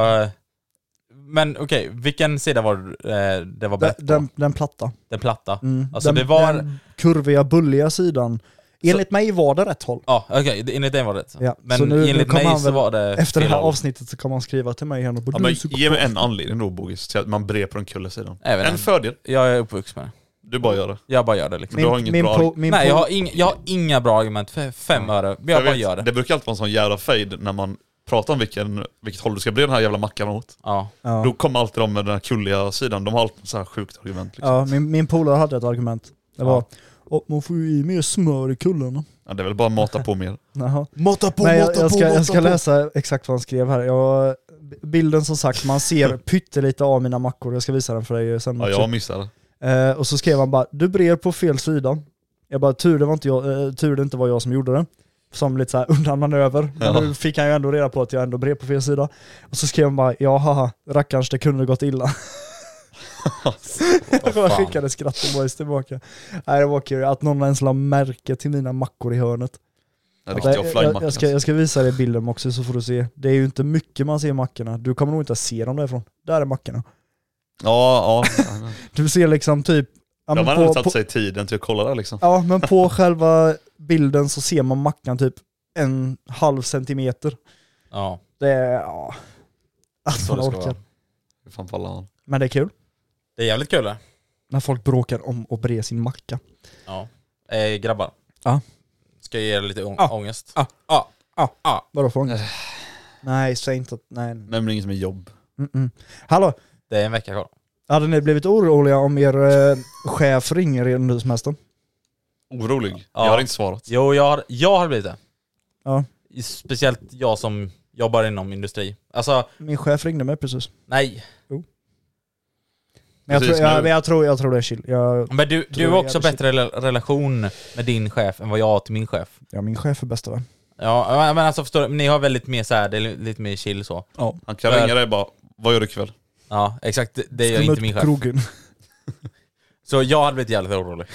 [SPEAKER 3] Men okej, vilken sida var eh, det var
[SPEAKER 5] Den,
[SPEAKER 3] bäst på?
[SPEAKER 5] den, den platta.
[SPEAKER 3] Den platta?
[SPEAKER 5] Mm.
[SPEAKER 3] Alltså,
[SPEAKER 5] den,
[SPEAKER 3] det var-
[SPEAKER 5] den kurviga, bulliga sidan. Enligt mig var det rätt håll.
[SPEAKER 3] Ja, okej, enligt dig var det rätt.
[SPEAKER 5] Ja,
[SPEAKER 3] Men
[SPEAKER 5] så nu- nu
[SPEAKER 3] enligt
[SPEAKER 5] kommer
[SPEAKER 3] mig
[SPEAKER 5] han
[SPEAKER 3] så
[SPEAKER 5] väl-
[SPEAKER 3] var det
[SPEAKER 5] Efter det
[SPEAKER 3] fel
[SPEAKER 5] här
[SPEAKER 3] håll.
[SPEAKER 5] avsnittet så kommer han skriva till mig igen och bara
[SPEAKER 4] ja
[SPEAKER 5] du är
[SPEAKER 4] men
[SPEAKER 5] psykopat."
[SPEAKER 4] ge mig en anledning då Bogis, till att man bred på den kulla sidan.
[SPEAKER 3] Även
[SPEAKER 4] En fördel,
[SPEAKER 3] Jag är uppvuxen med det.
[SPEAKER 4] du bara gör det.
[SPEAKER 3] Jag bara gör det liksom.
[SPEAKER 4] Men du har
[SPEAKER 5] Min,
[SPEAKER 4] inget
[SPEAKER 5] min,
[SPEAKER 4] bra
[SPEAKER 5] po, min
[SPEAKER 3] Nej,
[SPEAKER 5] po-
[SPEAKER 3] jag har, ing, jag har inga bra argument för fem öre, men jag,
[SPEAKER 4] För
[SPEAKER 3] bara
[SPEAKER 4] vet,
[SPEAKER 3] gör det.
[SPEAKER 4] Det brukar alltid vara en sån jävla fade när man pratar om vilken, vilket håll du ska bre den här jävla mackan åt.
[SPEAKER 3] Ja.
[SPEAKER 5] ja.
[SPEAKER 4] Då kommer alltid de med den här kulliga sidan, de har alltid så här sjukt argument. Liksom. Ja.
[SPEAKER 5] Ja, min, min polare hade ett argument. Det var,
[SPEAKER 3] Ja.
[SPEAKER 5] "Åh, man får ju i mer smör i kullarna.
[SPEAKER 4] det är väl bara att mata på
[SPEAKER 3] Mm.
[SPEAKER 4] mer.
[SPEAKER 5] Jaha.
[SPEAKER 6] Mata på,
[SPEAKER 5] Nej,
[SPEAKER 6] mata
[SPEAKER 5] jag, jag
[SPEAKER 6] på,
[SPEAKER 5] ska,
[SPEAKER 6] mata
[SPEAKER 5] jag ska
[SPEAKER 6] på.
[SPEAKER 5] läsa exakt vad han skrev här. Jag, bilden som sagt, man ser pyttelite av mina mackor. Jag ska visa den för dig sen.
[SPEAKER 4] Ja, jag missar det.
[SPEAKER 5] Eh, och så skrev han bara, du brer på fel sida. Jag bara, tur det, var inte jag, eh, tur det inte var jag som gjorde det. Som lite [LAUGHS] såhär undanmanöver. Men
[SPEAKER 4] Ja.
[SPEAKER 5] nu fick han ju ändå reda på att jag ändå bred på fel sida. Och så skrev han bara, ja haha, rackarns det kunde gått illa.
[SPEAKER 3] Vad
[SPEAKER 5] [LAUGHS]
[SPEAKER 3] [LAUGHS]
[SPEAKER 5] [LAUGHS] jag
[SPEAKER 3] fan.
[SPEAKER 5] skickade skrattevoice tillbaka. Nej det var kul, att någon ens la märke till mina mackor i hörnet.
[SPEAKER 4] En
[SPEAKER 5] Nej,
[SPEAKER 4] riktig
[SPEAKER 5] jag,
[SPEAKER 4] offline-macka.
[SPEAKER 5] jag, ska, jag ska visa dig bilden också så får du se. Det är ju inte mycket man ser mackorna. Du kommer nog inte se dem därifrån. Där är mackorna. [LAUGHS]
[SPEAKER 4] Ja, ja.
[SPEAKER 5] Du ser liksom typ... Ja,
[SPEAKER 4] De
[SPEAKER 5] men
[SPEAKER 4] hade nog
[SPEAKER 5] på,
[SPEAKER 4] tagit
[SPEAKER 5] på,
[SPEAKER 4] sig tiden till att kolla det liksom.
[SPEAKER 5] ja men på själva bilden så ser man mackan typ en halv centimeter.
[SPEAKER 3] Ja.
[SPEAKER 5] Det är... Ja. Att
[SPEAKER 3] Så
[SPEAKER 5] man
[SPEAKER 3] det ska
[SPEAKER 5] orkar.
[SPEAKER 3] vara.
[SPEAKER 4] Hur fan faller han?
[SPEAKER 5] Men det är kul.
[SPEAKER 3] Det är jävligt kul det.
[SPEAKER 5] När folk bråkar om att bre sin macka.
[SPEAKER 3] Ja. Eh, grabbar.
[SPEAKER 5] Ja.
[SPEAKER 3] Ska jag ge er lite ång-
[SPEAKER 5] Ja.
[SPEAKER 3] ångest?
[SPEAKER 5] Ja.
[SPEAKER 3] ja.
[SPEAKER 5] Ja.
[SPEAKER 3] ja.
[SPEAKER 5] Vadå för
[SPEAKER 4] Äh.
[SPEAKER 5] ångest? Nej, säg inte att... Nej. nej.
[SPEAKER 4] Nämligen inget med jobb.
[SPEAKER 5] Mm-mm. Hallå!
[SPEAKER 3] Det är en vecka kvar.
[SPEAKER 5] Hade ni blivit oroliga om er eh, chef ringer er nu som helst då?
[SPEAKER 4] Orolig?
[SPEAKER 3] Ja.
[SPEAKER 4] Jag har inte svarat.
[SPEAKER 3] Jo, jag har, jag har blivit det.
[SPEAKER 5] Ja.
[SPEAKER 3] Speciellt jag som jobbar inom industri. Alltså,
[SPEAKER 5] Min chef ringde mig precis.
[SPEAKER 3] nej.
[SPEAKER 5] Men jag,
[SPEAKER 4] Precis
[SPEAKER 5] tror, jag,
[SPEAKER 4] nu.
[SPEAKER 5] men jag, tror, jag tror det är chill. Jag,
[SPEAKER 3] Men du, du
[SPEAKER 5] jag
[SPEAKER 3] har
[SPEAKER 5] är
[SPEAKER 3] också
[SPEAKER 5] jävligt
[SPEAKER 3] bättre rela- relation med din chef än vad jag har till min chef.
[SPEAKER 5] ja, min chef är bästa vän.
[SPEAKER 3] Ja, men alltså förstår du, ni har väldigt mer så här, det är li- lite mer chill så.
[SPEAKER 5] Ja.
[SPEAKER 4] Han kan
[SPEAKER 3] Där.
[SPEAKER 4] ringa dig bara, Vad gör du ikväll?
[SPEAKER 3] Ja, exakt. Det, det gör
[SPEAKER 5] Skulle
[SPEAKER 3] inte
[SPEAKER 5] ut
[SPEAKER 3] min
[SPEAKER 5] på
[SPEAKER 3] chef.
[SPEAKER 5] krogen.
[SPEAKER 3] Så jag hade blivit jävligt orolig.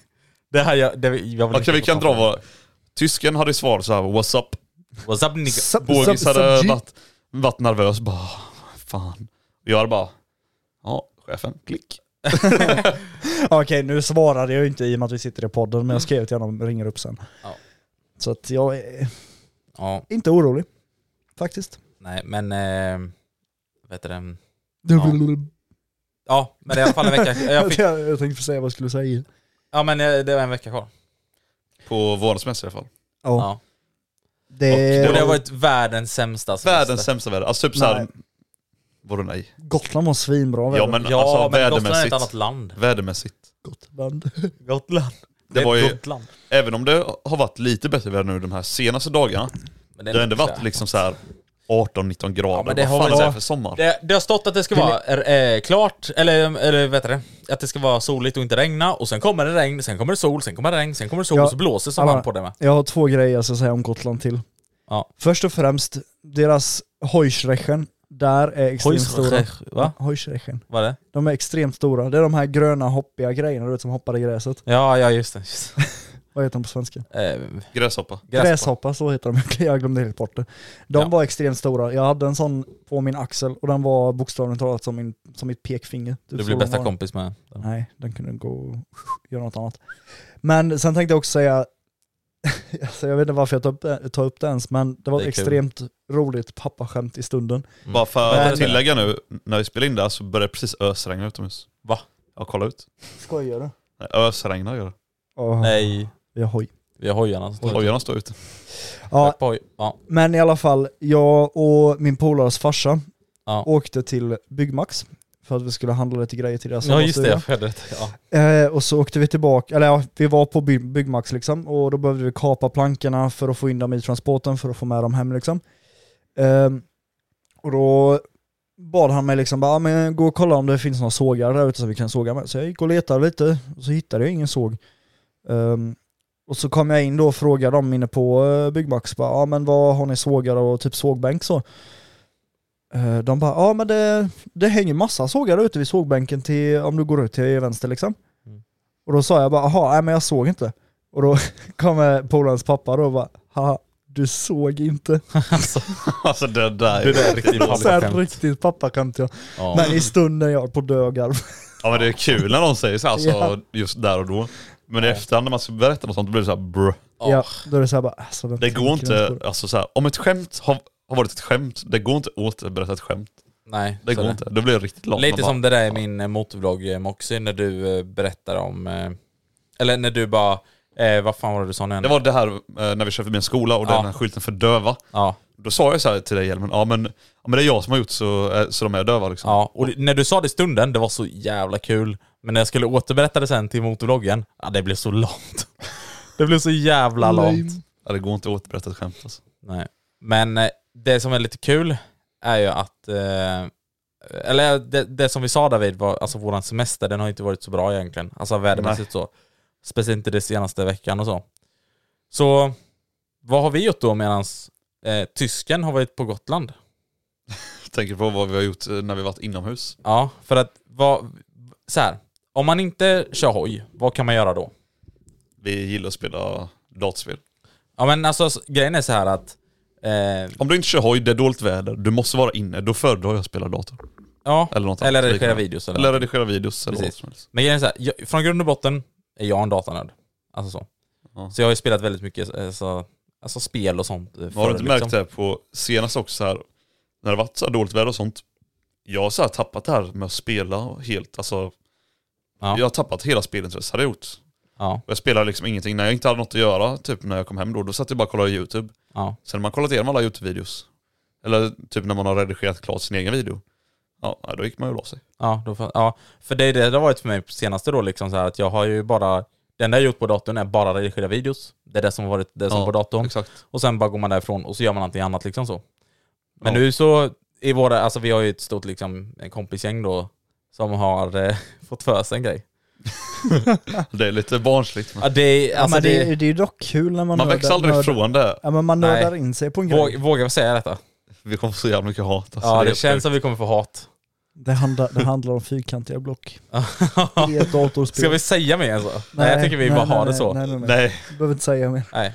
[SPEAKER 3] [LAUGHS] Det här jag... Det, jag vill
[SPEAKER 4] Okej
[SPEAKER 3] inte
[SPEAKER 4] vi kan
[SPEAKER 3] prata
[SPEAKER 4] dra
[SPEAKER 3] om
[SPEAKER 4] vad... Tysken hade svar så här, what's up?
[SPEAKER 3] det. What's up nigga?
[SPEAKER 5] Sub-
[SPEAKER 4] Bogis
[SPEAKER 5] sub-
[SPEAKER 4] hade
[SPEAKER 3] eh,
[SPEAKER 5] subject.
[SPEAKER 4] varit, varit nervös bara, fan. Jag hade bara, ja chefen, klick. [LAUGHS]
[SPEAKER 5] Okej, nu svarade jag ju inte i och med att vi sitter i podden, men jag skrev till honom och ringer upp sen.
[SPEAKER 3] Mm. Ja.
[SPEAKER 5] Så att jag är
[SPEAKER 3] Ja,
[SPEAKER 5] inte orolig, faktiskt.
[SPEAKER 3] nej men... Eh, vet du det?
[SPEAKER 5] Ja.
[SPEAKER 3] Ja, men det är i alla fall en vecka. Jag
[SPEAKER 5] Jag,
[SPEAKER 3] fick,
[SPEAKER 5] [LAUGHS] jag tänkte säga vad jag skulle säga.
[SPEAKER 3] ja men eh, det var en vecka kvar.
[SPEAKER 4] På våran semester i alla fall.
[SPEAKER 5] Ja.
[SPEAKER 3] Ja.
[SPEAKER 5] Det,
[SPEAKER 3] Och det har varit världens sämsta semester.
[SPEAKER 4] Världens sämsta väder. Alltså typ såhär,
[SPEAKER 5] Nej.
[SPEAKER 4] vadå nej?
[SPEAKER 5] Gotland var svinbra
[SPEAKER 4] Ja
[SPEAKER 5] väder.
[SPEAKER 4] men
[SPEAKER 3] Ja
[SPEAKER 4] alltså
[SPEAKER 3] men Gotland är ett
[SPEAKER 4] vädermässigt.
[SPEAKER 3] annat land.
[SPEAKER 4] Vädermässigt.
[SPEAKER 5] Gotland.
[SPEAKER 3] Gotland.
[SPEAKER 4] Det var ju,
[SPEAKER 3] Gotland.
[SPEAKER 4] även om det har varit lite bättre väder nu de här senaste dagarna,
[SPEAKER 3] Men
[SPEAKER 4] det har ändå
[SPEAKER 3] inte så
[SPEAKER 4] varit
[SPEAKER 3] här.
[SPEAKER 4] liksom så här 18-19 grader.
[SPEAKER 3] Ja, men det
[SPEAKER 4] Vad
[SPEAKER 3] har
[SPEAKER 4] fan
[SPEAKER 3] väl-
[SPEAKER 4] är det här för sommar?
[SPEAKER 3] Det, det har stått att det ska vara eh, klart, eller, eller vet du det? Att det ska vara soligt och inte regna, och sen kommer det regn, sen kommer det sol, sen kommer det regn, sen kommer det sol,
[SPEAKER 5] Ja.
[SPEAKER 3] och så blåser som
[SPEAKER 5] Alla-
[SPEAKER 3] fan på det med.
[SPEAKER 5] Jag har två grejer jag ska säga om Gotland till.
[SPEAKER 3] Ja.
[SPEAKER 5] Först och främst, deras hojsrechen, där är extremt stora.
[SPEAKER 3] Va?
[SPEAKER 5] Hojsrechen.
[SPEAKER 3] Vad är det?
[SPEAKER 5] De är extremt stora. Det är de här gröna hoppiga grejerna du vet som hoppar i gräset.
[SPEAKER 3] Ja, ja just det. Just.
[SPEAKER 5] Vad heter de på svenska?
[SPEAKER 3] det. Eh,
[SPEAKER 4] Gräshoppa.
[SPEAKER 5] Gräshoppa, så heter de. [LAUGHS] Jag glömde helt bort det. De
[SPEAKER 3] Ja.
[SPEAKER 5] var extremt stora. Jag hade en sån på min axel och den var bokstavligen talat som, min, som mitt pekfinger. Typ
[SPEAKER 3] Du
[SPEAKER 5] så
[SPEAKER 3] blir
[SPEAKER 5] lång
[SPEAKER 3] bästa
[SPEAKER 5] var den.
[SPEAKER 3] kompis med den.
[SPEAKER 5] Nej, den kunde gå och [LAUGHS] göra något annat. Men sen tänkte jag också säga, [LAUGHS] alltså jag vet inte varför jag tar upp det, tar upp det ens, men det var
[SPEAKER 3] Det är
[SPEAKER 5] ett
[SPEAKER 3] kul.
[SPEAKER 5] extremt roligt pappaskämt i stunden.
[SPEAKER 3] Mm.
[SPEAKER 4] Bara för
[SPEAKER 5] Väder.
[SPEAKER 4] att tillägga nu, när vi spelar in det här så börjar det precis ösregna utomhus.
[SPEAKER 3] Va?
[SPEAKER 4] Ja kolla ut.
[SPEAKER 5] Skojar du?
[SPEAKER 4] Nej, Ösregnar gör det.
[SPEAKER 3] Nej,
[SPEAKER 5] Jag hoj.
[SPEAKER 3] vi har hojarna som står ute.
[SPEAKER 4] Hojarna står ute. [LAUGHS]
[SPEAKER 5] Ja,
[SPEAKER 3] Tack på hoj. Ja.
[SPEAKER 5] men i alla fall, jag och min polares farsa
[SPEAKER 3] Ja.
[SPEAKER 5] åkte till Byggmax för att vi skulle handla lite grejer till deras
[SPEAKER 3] ja just det,
[SPEAKER 5] sommarstuga.
[SPEAKER 3] jag hörde det. Ja.
[SPEAKER 5] Eh, och så åkte vi tillbaka, eller ja, vi var på by- Byggmax liksom och då behövde vi kapa plankorna för att få in dem i transporten för att få med dem hem liksom. Ehm, och då bad han mig liksom bara, "Ja, men gå och kolla om det finns några sågar där ute som vi kan såga med. Så jag gick och letade lite och så hittade jag ingen såg. Ehm, och så kom jag in då och frågade dem inne på eh, Byggmax, bara, ja men vad har ni sågar och typ sågbänk så? Eh, De bara, ja men det, det hänger massa sågar ute vid sågbänken till, om du går ut till vänster liksom. Och då sa jag bara, aha, nej men jag såg inte. Och då [LAUGHS] kom eh, polarens pappa då och bara, haha, du såg inte.
[SPEAKER 3] Alltså,
[SPEAKER 4] Alltså det där
[SPEAKER 3] det där är riktigt
[SPEAKER 5] Så här
[SPEAKER 3] pappaskämt.
[SPEAKER 5] riktigt pappaskämt jag.
[SPEAKER 3] Ja.
[SPEAKER 5] Men i stunden jag höll på dögar.
[SPEAKER 4] Ja men det är kul när någon säger så här, alltså,
[SPEAKER 5] Ja.
[SPEAKER 4] just där och då. Men i efterhand när man ska berätta något sånt, då blir det så här brr.
[SPEAKER 3] Ja.
[SPEAKER 5] Ja, då är det så här bara, alltså, den
[SPEAKER 4] Det går
[SPEAKER 5] tänker jag
[SPEAKER 4] inte,
[SPEAKER 5] på.
[SPEAKER 4] alltså så här, om ett skämt har, har varit ett skämt, det går inte att återberätta ett skämt.
[SPEAKER 3] Nej,
[SPEAKER 4] Det
[SPEAKER 3] så
[SPEAKER 4] går inte. Det blir riktigt långt.
[SPEAKER 3] Lite
[SPEAKER 4] Man bara,
[SPEAKER 3] som det där i min eh, motorvlogg eh, Moxie, när du eh, berättar om... eh, Eller när du bara... Eh, vad fan var det du sa nu igen?
[SPEAKER 4] Det var det här eh, när vi körde förbi en skola och
[SPEAKER 3] Ja.
[SPEAKER 4] den här skylten för döva.
[SPEAKER 3] Ja,
[SPEAKER 4] Då sa jag så här till dig Hjelmen, ja men, ja men det är jag som har gjort så, eh, så de är döva liksom.
[SPEAKER 3] ja. Och det- när du sa det i stunden, det var så jävla kul. Men när jag skulle återberätta det sen till motorvloggen, ja det blev så långt. [LAUGHS] Det blev så jävla långt.
[SPEAKER 4] Ja, det går inte att återberätta ett skämt alltså.
[SPEAKER 3] Nej. Men eh, det som är lite kul är ju att... Eh, eller eh, det, det som vi sa David, var, alltså våran semester den har inte varit så bra egentligen. Alltså vädermässigt så. Speciellt inte det senaste veckan och så. Så vad har vi gjort då medans eh, tysken har varit på Gotland?
[SPEAKER 4] Jag tänker på vad vi har gjort eh, när vi varit inomhus.
[SPEAKER 3] Ja, för att vad... Så här, om man inte kör hoj, vad kan man göra då?
[SPEAKER 4] Vi gillar att spela dataspel.
[SPEAKER 3] Ja men alltså s- grejen är så här att... Eh,
[SPEAKER 4] Om du inte kör hoj, det är dåligt väder, du måste vara inne, då föredrar jag att spela dator.
[SPEAKER 3] ja,
[SPEAKER 4] Eller något
[SPEAKER 3] eller
[SPEAKER 4] annat
[SPEAKER 3] redigera
[SPEAKER 4] liknande.
[SPEAKER 3] videos eller,
[SPEAKER 4] Eller redigera videos eller
[SPEAKER 3] Precis.
[SPEAKER 4] vad som helst.
[SPEAKER 3] Men grejen är så här, jag, från grund och botten är jag en datanörd. Alltså så.
[SPEAKER 4] Ja.
[SPEAKER 3] Så jag har ju spelat väldigt mycket alltså, alltså spel och sånt. eh,
[SPEAKER 4] Men har
[SPEAKER 3] förr,
[SPEAKER 4] du inte märkt det här på senast också så här, när det varit så här dåligt väder och sånt, jag har så här tappat det här med att spela helt, alltså
[SPEAKER 3] Ja.
[SPEAKER 4] jag har tappat hela spelintresset, hade jag gjort.
[SPEAKER 3] Ja,
[SPEAKER 4] Och jag spelade liksom ingenting, när jag inte hade något att göra, typ när jag kom hem då, då satt jag bara och kollade YouTube.
[SPEAKER 3] ja.
[SPEAKER 4] Sen när man kollat igenom alla YouTube-videos, eller typ när man har redigerat klart sin egen video, ja då gick man ju och la sig.
[SPEAKER 3] Ja, då, fa- ja, för det är det det har varit för mig på senaste då liksom så här att jag har ju bara det enda jag gjort på datorn är bara redigera videos. Det är det som har varit det som
[SPEAKER 4] Ja,
[SPEAKER 3] på datorn.
[SPEAKER 4] Exakt. [LAUGHS]
[SPEAKER 3] Och sen bara går man därifrån och så gör man någonting annat liksom så. Men
[SPEAKER 4] Ja.
[SPEAKER 3] nu så, i våra, alltså vi har ju ett stort liksom kompisgäng då som har eh, [LAUGHS] fått för sig en grej.
[SPEAKER 4] Det är lite barnsligt. Men
[SPEAKER 3] Ja, det, är-
[SPEAKER 5] Ja,
[SPEAKER 3] alltså,
[SPEAKER 5] men
[SPEAKER 3] det,
[SPEAKER 5] det, är- det är ju dock kul när man
[SPEAKER 4] man
[SPEAKER 5] nördar-
[SPEAKER 4] växer aldrig
[SPEAKER 5] nördar-
[SPEAKER 4] ifrån det.
[SPEAKER 5] Ja men man
[SPEAKER 3] Nej.
[SPEAKER 5] nördar in sig på en
[SPEAKER 3] våg,
[SPEAKER 5] grej.
[SPEAKER 3] vågar jag säga detta?
[SPEAKER 4] Vi kommer få så jävla mycket hat. Alltså,
[SPEAKER 3] Ja, det
[SPEAKER 4] är
[SPEAKER 3] känns
[SPEAKER 4] sjukt.
[SPEAKER 3] som vi kommer få
[SPEAKER 4] [LAUGHS]
[SPEAKER 3] hat.
[SPEAKER 5] Det handlar, det handlar om fyrkantiga block i ett datorspel.
[SPEAKER 3] Ska vi säga mer än så? Nej, jag tycker vi bara har det så.
[SPEAKER 5] Nej, nej, nej.
[SPEAKER 4] Nej,
[SPEAKER 5] Du behöver inte säga mer.
[SPEAKER 3] Nej.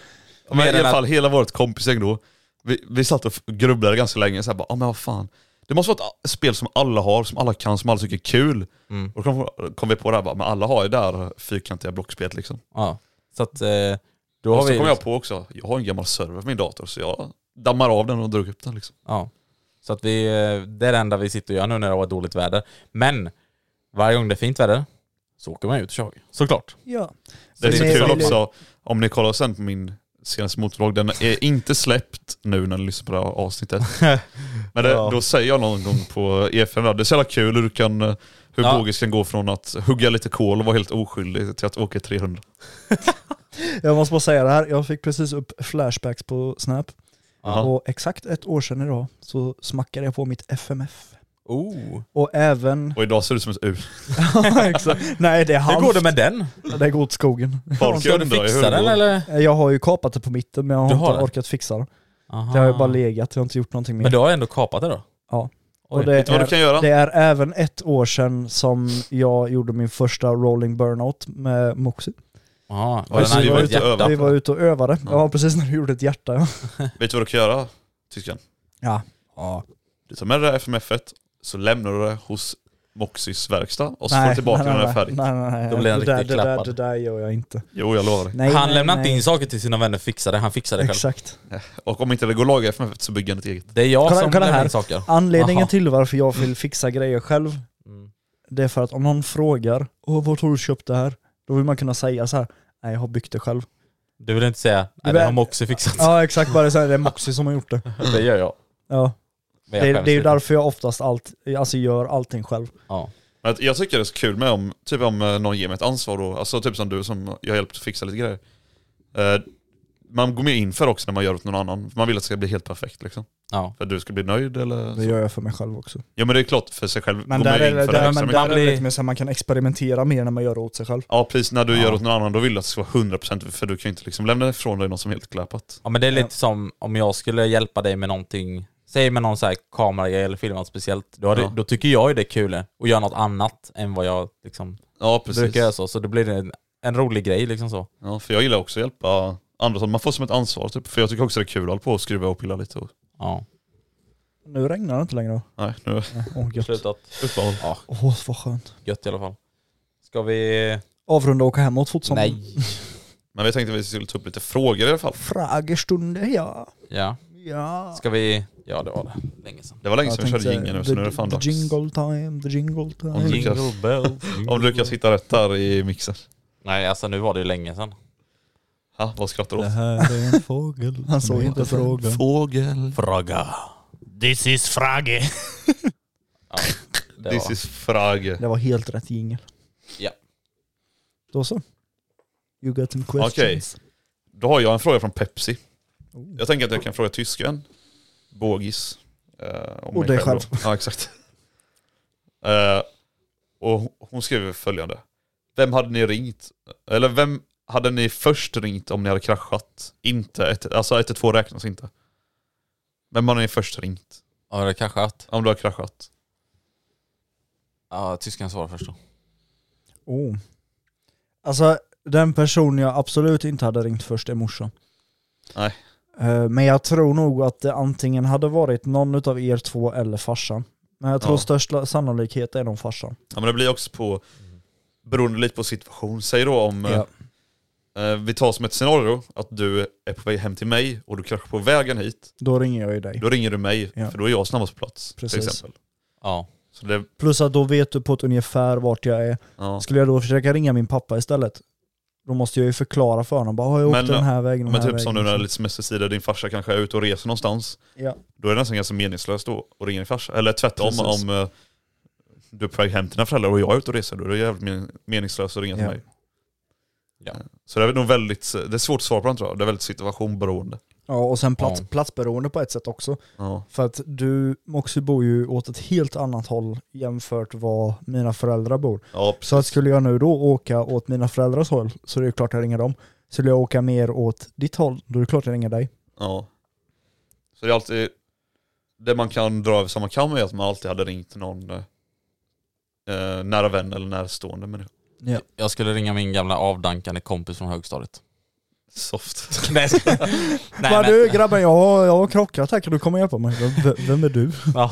[SPEAKER 4] men i
[SPEAKER 3] Mer än
[SPEAKER 4] alla
[SPEAKER 3] att-
[SPEAKER 4] fall hela vårt kompisgäng då. Vi, vi satt och f- grubblade ganska länge såhär bara, ah, men vad fan. Det måste vara ett spel som alla har, som alla kan, som alla tycker är kul.
[SPEAKER 3] Mm.
[SPEAKER 4] Och då kom, kom vi på det här bara, men alla har ju det här fyrkantiga blockspelet liksom.
[SPEAKER 3] Ja. Så att eh, då
[SPEAKER 4] Och
[SPEAKER 3] har
[SPEAKER 4] så
[SPEAKER 3] vi...
[SPEAKER 4] kom jag på också, jag har en gammal server på min dator så jag dammar av den och drog upp den liksom.
[SPEAKER 3] Ja. Så att vi, eh, det är det enda vi sitter och gör nu när det har varit dåligt väder. Men varje gång det är fint väder så åker man ut och kör. Såklart.
[SPEAKER 5] Ja.
[SPEAKER 4] Det är
[SPEAKER 3] Så
[SPEAKER 4] så
[SPEAKER 3] det är
[SPEAKER 4] kul
[SPEAKER 3] samma.
[SPEAKER 4] också, om ni kollar sen på min senaste motorvlogg, den är inte släppt nu när ni lyssnar på det här avsnittet. Men det,
[SPEAKER 3] Ja.
[SPEAKER 4] då säger jag någon gång på EFN, där, det är så jävla kul hur, du kan, eh, hur
[SPEAKER 3] Ja.
[SPEAKER 4] Bogis kan gå från att hugga lite kol och vara helt oskyldig till att åka 300.
[SPEAKER 5] Jag måste bara säga det här, jag fick precis upp flashbacks på Snap.
[SPEAKER 3] Ja.
[SPEAKER 5] Och exakt ett år sedan idag så smackade jag på mitt FMF.
[SPEAKER 3] Oh.
[SPEAKER 5] Och
[SPEAKER 4] [LAUGHS]
[SPEAKER 5] även...
[SPEAKER 4] Och idag ser det ut som ett U.
[SPEAKER 5] exakt. Nej det är halvt.
[SPEAKER 3] Hur går det med den?
[SPEAKER 5] Det går åt skogen.
[SPEAKER 4] Folk
[SPEAKER 3] Ska du
[SPEAKER 4] undrar ju hur
[SPEAKER 3] fixa
[SPEAKER 4] det
[SPEAKER 3] den
[SPEAKER 4] går.
[SPEAKER 3] eller?
[SPEAKER 5] Jag har ju kapat det på mitten men jag har
[SPEAKER 3] Du
[SPEAKER 5] inte
[SPEAKER 3] har det? Ah.
[SPEAKER 5] orkat fixa det. Det har ju bara legat, jag har inte gjort någonting mer.
[SPEAKER 3] Men du har ändå kapat det då?
[SPEAKER 5] Ja.
[SPEAKER 3] Oj.
[SPEAKER 5] Och det,
[SPEAKER 4] Vet du vad du
[SPEAKER 5] är,
[SPEAKER 4] kan göra?
[SPEAKER 5] det är även ett år sedan som jag gjorde min första rolling burnout med Moxie.
[SPEAKER 3] Ja,
[SPEAKER 4] Ja, just
[SPEAKER 3] den
[SPEAKER 4] det, vi
[SPEAKER 3] har
[SPEAKER 4] var
[SPEAKER 3] ju ett hjärta.
[SPEAKER 4] ute och övade.
[SPEAKER 5] Vi var ute och övade.
[SPEAKER 4] Ja.
[SPEAKER 5] Ja, precis när du gjorde ett hjärta. ja.
[SPEAKER 4] Vet du vad du kan göra, tysken?
[SPEAKER 5] Ja. [LAUGHS]
[SPEAKER 4] Du tar med det där FMF et så lämnar du det hos Moxys verkstad och så får
[SPEAKER 5] Nej,
[SPEAKER 4] du tillbaka
[SPEAKER 5] nej,
[SPEAKER 4] när det är
[SPEAKER 5] nej,
[SPEAKER 4] färdigt.
[SPEAKER 5] Nej, nej, nej.
[SPEAKER 3] Då blir den
[SPEAKER 5] det, där,
[SPEAKER 3] riktigt
[SPEAKER 5] det, där,
[SPEAKER 3] klappad.
[SPEAKER 5] det där gör jag inte.
[SPEAKER 4] Jo, jag lovar dig.
[SPEAKER 5] Nej,
[SPEAKER 3] han
[SPEAKER 5] nej,
[SPEAKER 3] lämnar
[SPEAKER 5] nej.
[SPEAKER 3] inte in saker till sina vänner fixade, han fixar det själv.
[SPEAKER 5] Exakt.
[SPEAKER 4] Och om inte det går att laga FMF et så bygger han ett eget.
[SPEAKER 3] Det är jag
[SPEAKER 5] Kolla-
[SPEAKER 3] som
[SPEAKER 5] kolla
[SPEAKER 3] lämnar
[SPEAKER 5] här.
[SPEAKER 3] in saker.
[SPEAKER 5] Anledningen
[SPEAKER 3] Aha.
[SPEAKER 5] till varför jag vill fixa grejer själv,
[SPEAKER 3] Mm.
[SPEAKER 5] det är för att om någon frågar Åh, vart har du köpt det här? Då vill man kunna säga så här. Nej, jag har byggt det själv.
[SPEAKER 3] Du vill inte säga, nej
[SPEAKER 5] Du
[SPEAKER 3] det
[SPEAKER 5] vet-
[SPEAKER 3] har Moxie fixat.
[SPEAKER 5] [LAUGHS] Ja, exakt. Bara så här, det är Moxie som har gjort det.
[SPEAKER 3] [LAUGHS] Det gör jag.
[SPEAKER 5] Ja.
[SPEAKER 3] Men jag
[SPEAKER 5] Det,
[SPEAKER 3] skäms
[SPEAKER 5] det är ju
[SPEAKER 3] lite.
[SPEAKER 5] därför jag oftast allt, alltså gör allting själv.
[SPEAKER 3] Ja.
[SPEAKER 4] Men att jag tycker det är så kul med om, typ om eh, någon ger mig ett ansvar då, alltså typ som du som jag hjälpt att fixa lite grejer. Eh, Man går mer in för också när man gör åt någon annan. för Man vill att det ska bli helt perfekt liksom.
[SPEAKER 3] Ja.
[SPEAKER 4] För att du ska bli nöjd eller...
[SPEAKER 5] Det gör jag för mig själv också.
[SPEAKER 4] Ja men det är klart för sig själv.
[SPEAKER 5] Men
[SPEAKER 4] går
[SPEAKER 5] där
[SPEAKER 4] man
[SPEAKER 5] är
[SPEAKER 4] in
[SPEAKER 5] det,
[SPEAKER 4] för det
[SPEAKER 5] där,
[SPEAKER 4] extra
[SPEAKER 5] men
[SPEAKER 4] mycket.
[SPEAKER 5] där är det
[SPEAKER 3] blir-
[SPEAKER 5] lite mer så här, man kan experimentera mer när man gör det åt sig själv.
[SPEAKER 4] Ja precis, när du
[SPEAKER 3] Ja.
[SPEAKER 4] gör åt någon annan då vill du att det ska vara 100% för du kan ju inte liksom lämna ifrån dig något som är helt kläpat.
[SPEAKER 3] Ja men det är lite som om jag skulle hjälpa dig med någonting, säg med någon så här kameragrej eller filma något speciellt, då, hade,
[SPEAKER 4] Ja.
[SPEAKER 3] då tycker jag ju det är kul att göra något annat än vad jag liksom
[SPEAKER 4] Ja precis.
[SPEAKER 3] brukar göra så, så då blir det en, en rolig grej liksom så.
[SPEAKER 4] Ja, för jag gillar också att hjälpa andra. så Man får som ett ansvar typ. För jag tycker också det är kul att hålla på och skruva och pilla lite. Och,
[SPEAKER 3] Ja.
[SPEAKER 5] Nu regnar det inte längre då.
[SPEAKER 4] nej, nu är
[SPEAKER 5] Nej, Åh, gött.
[SPEAKER 3] Slutat.
[SPEAKER 4] det uppehåll.
[SPEAKER 3] Ja,
[SPEAKER 5] Åh, vad skönt.
[SPEAKER 3] gött i alla fall. Ska vi...
[SPEAKER 5] Avrunda och åka hemåt fort som
[SPEAKER 3] Nej.
[SPEAKER 4] Men vi tänkte att vi skulle ta upp lite frågor i alla fall.
[SPEAKER 5] Frågestunder, ja.
[SPEAKER 3] Ja.
[SPEAKER 5] Ja.
[SPEAKER 3] Ska vi... Ja det var det. Länge sedan.
[SPEAKER 4] Det var länge
[SPEAKER 5] Jag
[SPEAKER 4] sedan vi
[SPEAKER 5] tänkte
[SPEAKER 4] körde
[SPEAKER 5] säga,
[SPEAKER 4] jingeln nu
[SPEAKER 5] the-
[SPEAKER 4] så nu är det fan
[SPEAKER 5] the
[SPEAKER 4] dags.
[SPEAKER 5] Jingle time, the jingle
[SPEAKER 4] Om
[SPEAKER 5] time.
[SPEAKER 4] du lyckas,
[SPEAKER 3] bells.
[SPEAKER 4] om du lyckas hitta rätt där i mixen.
[SPEAKER 3] Nej alltså nu var det ju länge sedan.
[SPEAKER 4] Ha, vad skrattar
[SPEAKER 5] [LAUGHS]
[SPEAKER 4] du åt?
[SPEAKER 5] här är en fågel. Han såg inte frågan.
[SPEAKER 4] Fågel.
[SPEAKER 3] Fråga.
[SPEAKER 6] This is Frage.
[SPEAKER 3] Ja, det
[SPEAKER 4] This
[SPEAKER 3] var.
[SPEAKER 4] is frage.
[SPEAKER 5] Det var helt rätt jingel.
[SPEAKER 3] Ja.
[SPEAKER 5] Då så. You got some questions.
[SPEAKER 4] Då har jag en fråga från Pepsi.
[SPEAKER 5] Oh.
[SPEAKER 4] Jag tänker att jag kan fråga tysken, Bågis eh, om mig
[SPEAKER 5] Och dig
[SPEAKER 4] då. Ja, exakt. Eh, och hon skriver följande. Vem hade ni ringt? Eller vem hade ni först ringt om ni hade kraschat? Inte, ett, alltså 112 räknas inte. Vem hade ni först ringt?
[SPEAKER 3] Ja det kanske att...
[SPEAKER 4] Om du har kraschat?
[SPEAKER 3] Ja, tyskan svarar först då.
[SPEAKER 5] Oh. Alltså, den person jag absolut inte hade ringt först är morsan.
[SPEAKER 4] Nej.
[SPEAKER 5] Eh, Men jag tror nog att det antingen hade varit någon av er två eller farsan. Men jag tror
[SPEAKER 4] Ja.
[SPEAKER 5] största sannolikhet är nog farsan.
[SPEAKER 4] Ja men det blir också på, beroende lite på situation. Säg då om,
[SPEAKER 5] Ja.
[SPEAKER 4] eh, vi tar som ett scenario att du är på väg hem till mig och du kraschar på vägen hit.
[SPEAKER 5] Då ringer jag ju dig.
[SPEAKER 4] Då ringer du mig,
[SPEAKER 5] Ja.
[SPEAKER 4] för då är jag snabbast på plats.
[SPEAKER 5] Precis.
[SPEAKER 4] Till exempel.
[SPEAKER 3] Ja.
[SPEAKER 4] Så det,
[SPEAKER 5] Plus att då vet du på ett ungefär vart jag är.
[SPEAKER 4] ja.
[SPEAKER 5] Skulle jag då försöka ringa min pappa istället, då måste jag ju förklara för honom. Bara, har jag åkt
[SPEAKER 4] Men-
[SPEAKER 5] den här vägen den
[SPEAKER 4] Men
[SPEAKER 5] här
[SPEAKER 4] typ som nu
[SPEAKER 5] vägen.
[SPEAKER 4] när det är lite semesterstider, din farsa kanske är ute och reser någonstans.
[SPEAKER 5] Ja.
[SPEAKER 4] Då är det nästan ganska meningslöst då att ringa din farsa. Eller tvärtom
[SPEAKER 5] Precis.
[SPEAKER 4] om eh, du är på väg hem till dina föräldrar och jag är ute och reser, då är det jävligt men- meningslöst att ringa till
[SPEAKER 5] Ja.
[SPEAKER 4] mig. Eh,
[SPEAKER 3] Ja.
[SPEAKER 4] Så det är nog väldigt, eh, det är svårt att svara på den tror jag. Det är väldigt situationberoende.
[SPEAKER 5] ja, och sen plats,
[SPEAKER 3] Ja.
[SPEAKER 5] platsberoende på ett sätt också.
[SPEAKER 4] Ja.
[SPEAKER 5] För att du, Moxie bor ju åt ett helt annat håll jämfört vad mina föräldrar bor.
[SPEAKER 4] Ja,
[SPEAKER 5] Så att skulle jag nu då åka åt mina föräldrars håll så är det ju klart jag ringer dem. Skulle jag åka mer åt ditt håll, då är det klart jag ringer dig.
[SPEAKER 4] Ja. Så det är alltid, det man kan dra över som man kan är att man alltid hade ringt någon eh, nära vän eller närstående människa.
[SPEAKER 3] Jag skulle ringa min gamla avdankande kompis från högstadiet.
[SPEAKER 4] Soft.
[SPEAKER 3] [LAUGHS] Nej, jag skojar. [LAUGHS] Nej,
[SPEAKER 5] Bara
[SPEAKER 3] men-
[SPEAKER 5] du grabben, jag har, jag har krockat här, kan du komma och hjälpa mig? V- Vem är du?
[SPEAKER 3] Ja.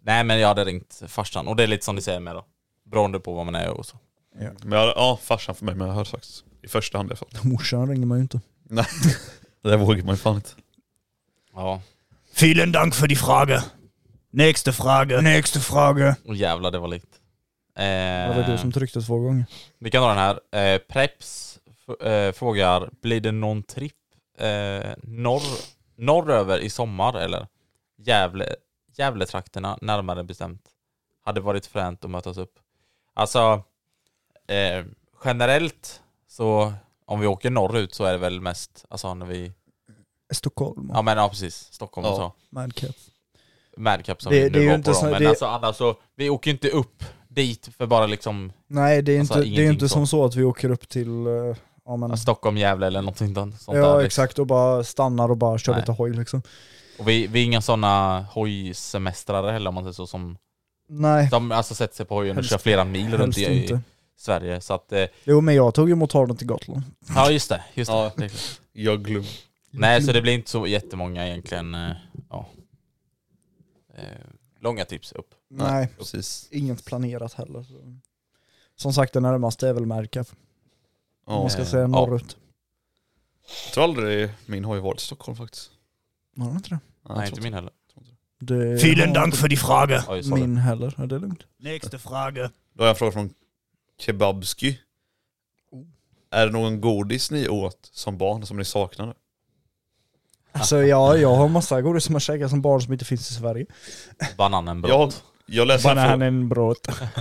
[SPEAKER 3] Nej men jag hade ringt farsan och det är lite som ni säger med då. Beroende på vad man är och så.
[SPEAKER 4] Men jag, ja, farsan för mig, men jag har sagt i första hand i alla fall.
[SPEAKER 5] Morsan ringer man ju inte.
[SPEAKER 4] Nej, det där vågar man ju fan inte.
[SPEAKER 3] Ja.
[SPEAKER 6] Vielen Dank für die Frage. Nächste Frage.
[SPEAKER 5] Nästa fråga.
[SPEAKER 3] Och jävlar det var likt. Eh,
[SPEAKER 5] Det var du som tryckte två gånger.
[SPEAKER 3] Vi kan dra den här. Eh, Preps f- eh, frågar, blir det någon tripp eh, norr, norröver i sommar eller? Gävle, Gävletrakterna närmare bestämt. Hade varit fränt att mötas upp. Alltså, eh, generellt så om vi åker norrut så är det väl mest, alltså när vi,
[SPEAKER 5] Stockholm.
[SPEAKER 3] ja men ja precis, Stockholm och
[SPEAKER 4] Ja.
[SPEAKER 3] så.
[SPEAKER 5] Madcap.
[SPEAKER 3] Madcap som
[SPEAKER 5] Det-
[SPEAKER 3] vi
[SPEAKER 5] det är
[SPEAKER 3] nu
[SPEAKER 5] ju
[SPEAKER 3] var
[SPEAKER 5] inte
[SPEAKER 3] på
[SPEAKER 5] så-
[SPEAKER 3] då. Men
[SPEAKER 5] det-
[SPEAKER 3] alltså annars så, vi åker ju inte upp dit för bara liksom
[SPEAKER 5] Nej, det är
[SPEAKER 3] Alltså,
[SPEAKER 5] inte, det är
[SPEAKER 3] ingenting
[SPEAKER 5] inte
[SPEAKER 3] så.
[SPEAKER 5] som så att vi åker upp till... eh, Ja, men,
[SPEAKER 3] Stockholm, Gävle eller någonting sånt där.
[SPEAKER 5] ja
[SPEAKER 3] liksom.
[SPEAKER 5] exakt, och bara stannar och bara kör
[SPEAKER 3] Nej.
[SPEAKER 5] lite hoj liksom.
[SPEAKER 3] Och vi, vi är inga sådana hojsemestrare heller om man säger så som,
[SPEAKER 5] Nej,
[SPEAKER 3] som alltså sätter sig på hojen och
[SPEAKER 5] Helst-
[SPEAKER 3] kör flera mil runt
[SPEAKER 5] helst
[SPEAKER 3] i,
[SPEAKER 5] inte.
[SPEAKER 3] i Sverige. Så att, eh,
[SPEAKER 5] Jo men jag tog ju motorn till Gotland.
[SPEAKER 3] ja just det, just det.
[SPEAKER 4] Ja.
[SPEAKER 3] det är klart.
[SPEAKER 4] Jag glömmer.
[SPEAKER 3] Nej så det blir inte så jättemånga egentligen, eh, ja. Eh, långa tips upp.
[SPEAKER 4] Nej.
[SPEAKER 5] Nej,
[SPEAKER 4] Precis.
[SPEAKER 5] inget planerat heller. så. Som sagt, det närmaste är väl Madcap. Om
[SPEAKER 4] Ja.
[SPEAKER 5] man ska
[SPEAKER 3] Eh,
[SPEAKER 5] säga
[SPEAKER 3] ja.
[SPEAKER 5] norrut.
[SPEAKER 4] Jag tror aldrig min har ju varit i Stockholm faktiskt.
[SPEAKER 5] Har du inte det?
[SPEAKER 4] jag
[SPEAKER 3] Nej
[SPEAKER 4] tror
[SPEAKER 3] inte min heller.
[SPEAKER 5] det
[SPEAKER 6] Vielen
[SPEAKER 5] har
[SPEAKER 6] Dank
[SPEAKER 5] inte
[SPEAKER 6] für die Frage.
[SPEAKER 3] Ja, just det.
[SPEAKER 5] Min heller, ja, det är
[SPEAKER 3] [LAUGHS]
[SPEAKER 5] lugnt.
[SPEAKER 6] Nächste Frage.
[SPEAKER 4] Då har jag en fråga från Kebabsky. Oh. Är det någon godis ni åt som barn som ni saknade?
[SPEAKER 5] Alltså ja, jag har massa godis som jag käkar som barn som inte finns i Sverige.
[SPEAKER 3] Bananenbrott.
[SPEAKER 4] Jag, jag, läser den här, frå-
[SPEAKER 5] Bananenbröd.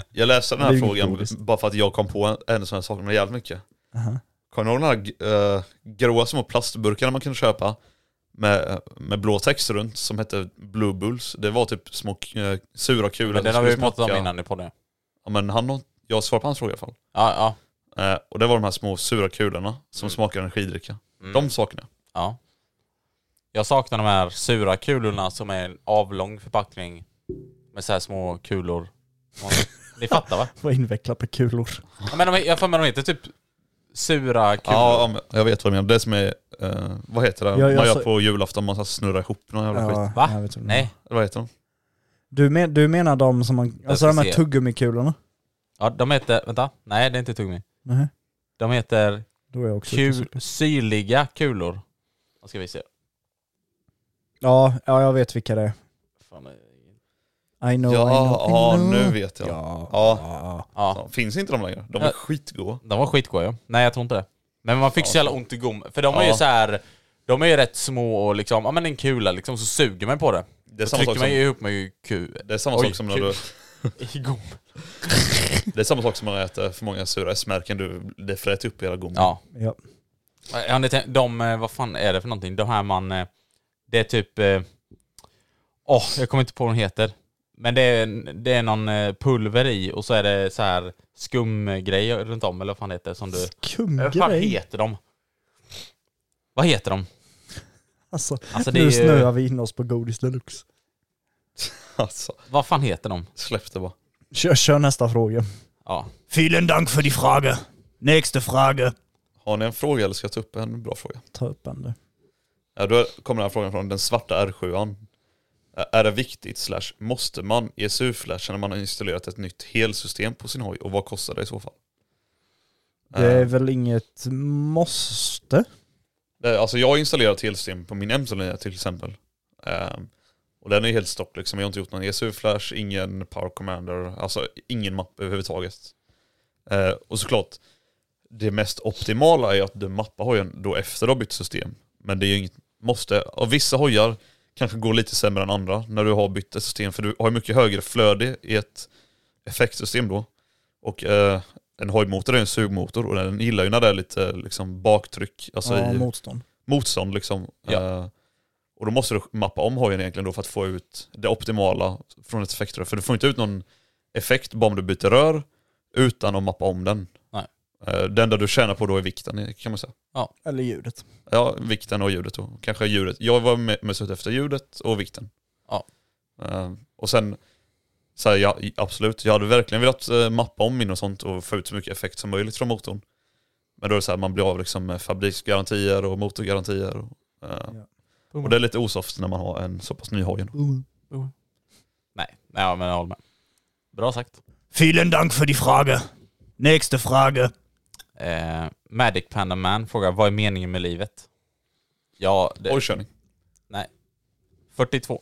[SPEAKER 4] jag läser den här
[SPEAKER 5] Det är
[SPEAKER 4] frågan
[SPEAKER 5] godis.
[SPEAKER 4] bara för att jag kom på en, en som jag saknade jävligt mycket.
[SPEAKER 5] Aha.
[SPEAKER 4] Kommer ni ihåg de här eh, gråa små plastburkarna man kunde köpa? Med, med blå text runt som hette Blue Bulls. Det var typ små eh, sura kulor.
[SPEAKER 3] Men den
[SPEAKER 4] som
[SPEAKER 3] har vi ju
[SPEAKER 4] skulle
[SPEAKER 3] pratat om
[SPEAKER 4] smaka-
[SPEAKER 3] innan i podden.
[SPEAKER 4] Ja, men han, har- jag svarar på hans fråga i alla fall.
[SPEAKER 3] Ja, ja.
[SPEAKER 4] Eh, och det var de här små sura kulorna som
[SPEAKER 3] Mm.
[SPEAKER 4] smakade energidricka.
[SPEAKER 3] Mm.
[SPEAKER 4] De saknar jag.
[SPEAKER 3] Ja. Jag saknar de här sura kulorna som är en avlång förpackning med så här små kulor. Ja, Ni fattar va?
[SPEAKER 5] Vad invecklat med kulor.
[SPEAKER 3] Ja, men de, är- jag får med de heter typ sura kulor.
[SPEAKER 4] Ja, ja, men jag vet vad du menar. Det som är, eh, vad heter det?
[SPEAKER 5] Ja, jag
[SPEAKER 4] man gör
[SPEAKER 5] sa-
[SPEAKER 4] på julafton, man snurrar ihop någon jävla skit.
[SPEAKER 3] Va?
[SPEAKER 5] jag vet inte.
[SPEAKER 3] Nej.
[SPEAKER 4] Eller vad heter de?
[SPEAKER 5] Du, men, du menar de som man, alltså
[SPEAKER 3] får
[SPEAKER 5] de här
[SPEAKER 3] se.
[SPEAKER 5] tuggummikulorna?
[SPEAKER 3] Ja, de heter, vänta, nej det är inte tuggummi.
[SPEAKER 5] Nej,
[SPEAKER 3] De heter
[SPEAKER 5] då är jag också ute och
[SPEAKER 3] kul,
[SPEAKER 5] cyklar.
[SPEAKER 3] syrliga kulor. Vad ska vi se?
[SPEAKER 5] Ja, ja, jag vet vilka det är.
[SPEAKER 3] Fan, det är-
[SPEAKER 5] I know,
[SPEAKER 4] ja,
[SPEAKER 5] I
[SPEAKER 4] ja,
[SPEAKER 5] know, I know.
[SPEAKER 4] nu vet jag.
[SPEAKER 5] Ja.
[SPEAKER 3] Ja,
[SPEAKER 4] Så, finns inte de längre? De är
[SPEAKER 3] Ja.
[SPEAKER 4] skitgoda.
[SPEAKER 3] de var skitgoda ja. Nej jag tror inte det. Men man fick så jävla ont i gom, för de är ju
[SPEAKER 4] Ja.
[SPEAKER 3] så här. De är ju rätt små och liksom, ja men en kula liksom, så suger man på det.
[SPEAKER 4] Det är
[SPEAKER 3] Så
[SPEAKER 4] samma sak
[SPEAKER 3] trycker man ju
[SPEAKER 4] som,
[SPEAKER 3] ihop med
[SPEAKER 4] [LAUGHS]
[SPEAKER 3] ku,
[SPEAKER 4] det är samma
[SPEAKER 3] Oj,
[SPEAKER 4] sak som när
[SPEAKER 3] kul. i
[SPEAKER 4] du
[SPEAKER 3] gom.
[SPEAKER 4] Det är samma sak som när man äter för många sura S-märken, du- det fräter upp hela gommen.
[SPEAKER 3] Ja.
[SPEAKER 5] Ja.
[SPEAKER 3] Har ni tänkt, de, eh, vad fan är det för någonting? De här man, eh, det är typ, eh, åh jag kommer inte på vad de heter. Men det är, det är någon eh, pulver i och så är det så här skumgrej runt om eller vad fan det heter som du... Eh, Vad fan
[SPEAKER 5] Skumgrej.
[SPEAKER 3] heter de? Vad heter de?
[SPEAKER 5] Alltså,
[SPEAKER 3] Alltså det
[SPEAKER 5] nu
[SPEAKER 3] är ju,
[SPEAKER 5] snöar vi in oss på godis deluxe.
[SPEAKER 4] [LAUGHS] Alltså,
[SPEAKER 3] vad fan heter de?
[SPEAKER 4] släpp det bara.
[SPEAKER 5] Kör, kör nästa fråga.
[SPEAKER 3] Ja.
[SPEAKER 6] Vielen Dank für die Frage. Nächste Frage.
[SPEAKER 4] Har ni en fråga eller ska jag ta upp en bra fråga?
[SPEAKER 5] Ta upp den du.
[SPEAKER 4] Ja, då kommer den här frågan från den svarta R7an. Eh, Är det viktigt slash måste man ESU-flasha när man har installerat ett nytt helsystem på sin hoj och vad kostar det i så fall?
[SPEAKER 5] Det är
[SPEAKER 4] Eh,
[SPEAKER 5] väl inget måste?
[SPEAKER 4] det är- Alltså jag har installerat helsystem på min M-linje E till exempel. Eh, Och den är helt stopp liksom. Jag har inte gjort någon ESU-flash, ingen Power Commander, alltså ingen mapp överhuvudtaget. Eh, Och såklart, det mest optimala är att du mappar hojen då efter du har bytt system. Men det är ju inget måste. Och vissa hojar kanske går lite sämre än andra när du har bytt ett system. För du har ju mycket högre flöde i ett effektsystem då. Och eh, en hojmotor är en sugmotor och den gillar ju när det är lite liksom, baktryck, alltså
[SPEAKER 5] ja,
[SPEAKER 4] i
[SPEAKER 5] motstånd.
[SPEAKER 4] motstånd liksom.
[SPEAKER 3] Ja.
[SPEAKER 4] Eh, och då måste du mappa om hojen egentligen då för att få ut det optimala från ett effektrör. För du får inte ut någon effekt bara om du byter rör utan att mappa om den.
[SPEAKER 3] Nej.
[SPEAKER 4] Eh, det enda du tjänar på då är vikten kan man säga.
[SPEAKER 5] Eller ljudet.
[SPEAKER 4] Ja, vikten och ljudet då. Kanske ljudet. Jag var me- mest ute efter ljudet och vikten.
[SPEAKER 3] Ja.
[SPEAKER 4] Eh, och sen, så här, ja, i- absolut, jag hade verkligen velat eh, mappa om min och sånt och få ut så mycket effekt som möjligt från motorn. Men då är det så här, man blir av liksom med fabriksgarantier och motorgarantier. Och, eh, och det är lite osoft när man har en så pass ny hoj. ändå.
[SPEAKER 3] Nej, nej ja, men jag håller med. Bra sagt.
[SPEAKER 6] Vielen Dank für die Frage. Nächste Frage.
[SPEAKER 3] Eh, Magic Panda Man frågar, vad är meningen med livet? Ja, det,
[SPEAKER 4] Hojkörning.
[SPEAKER 3] 42.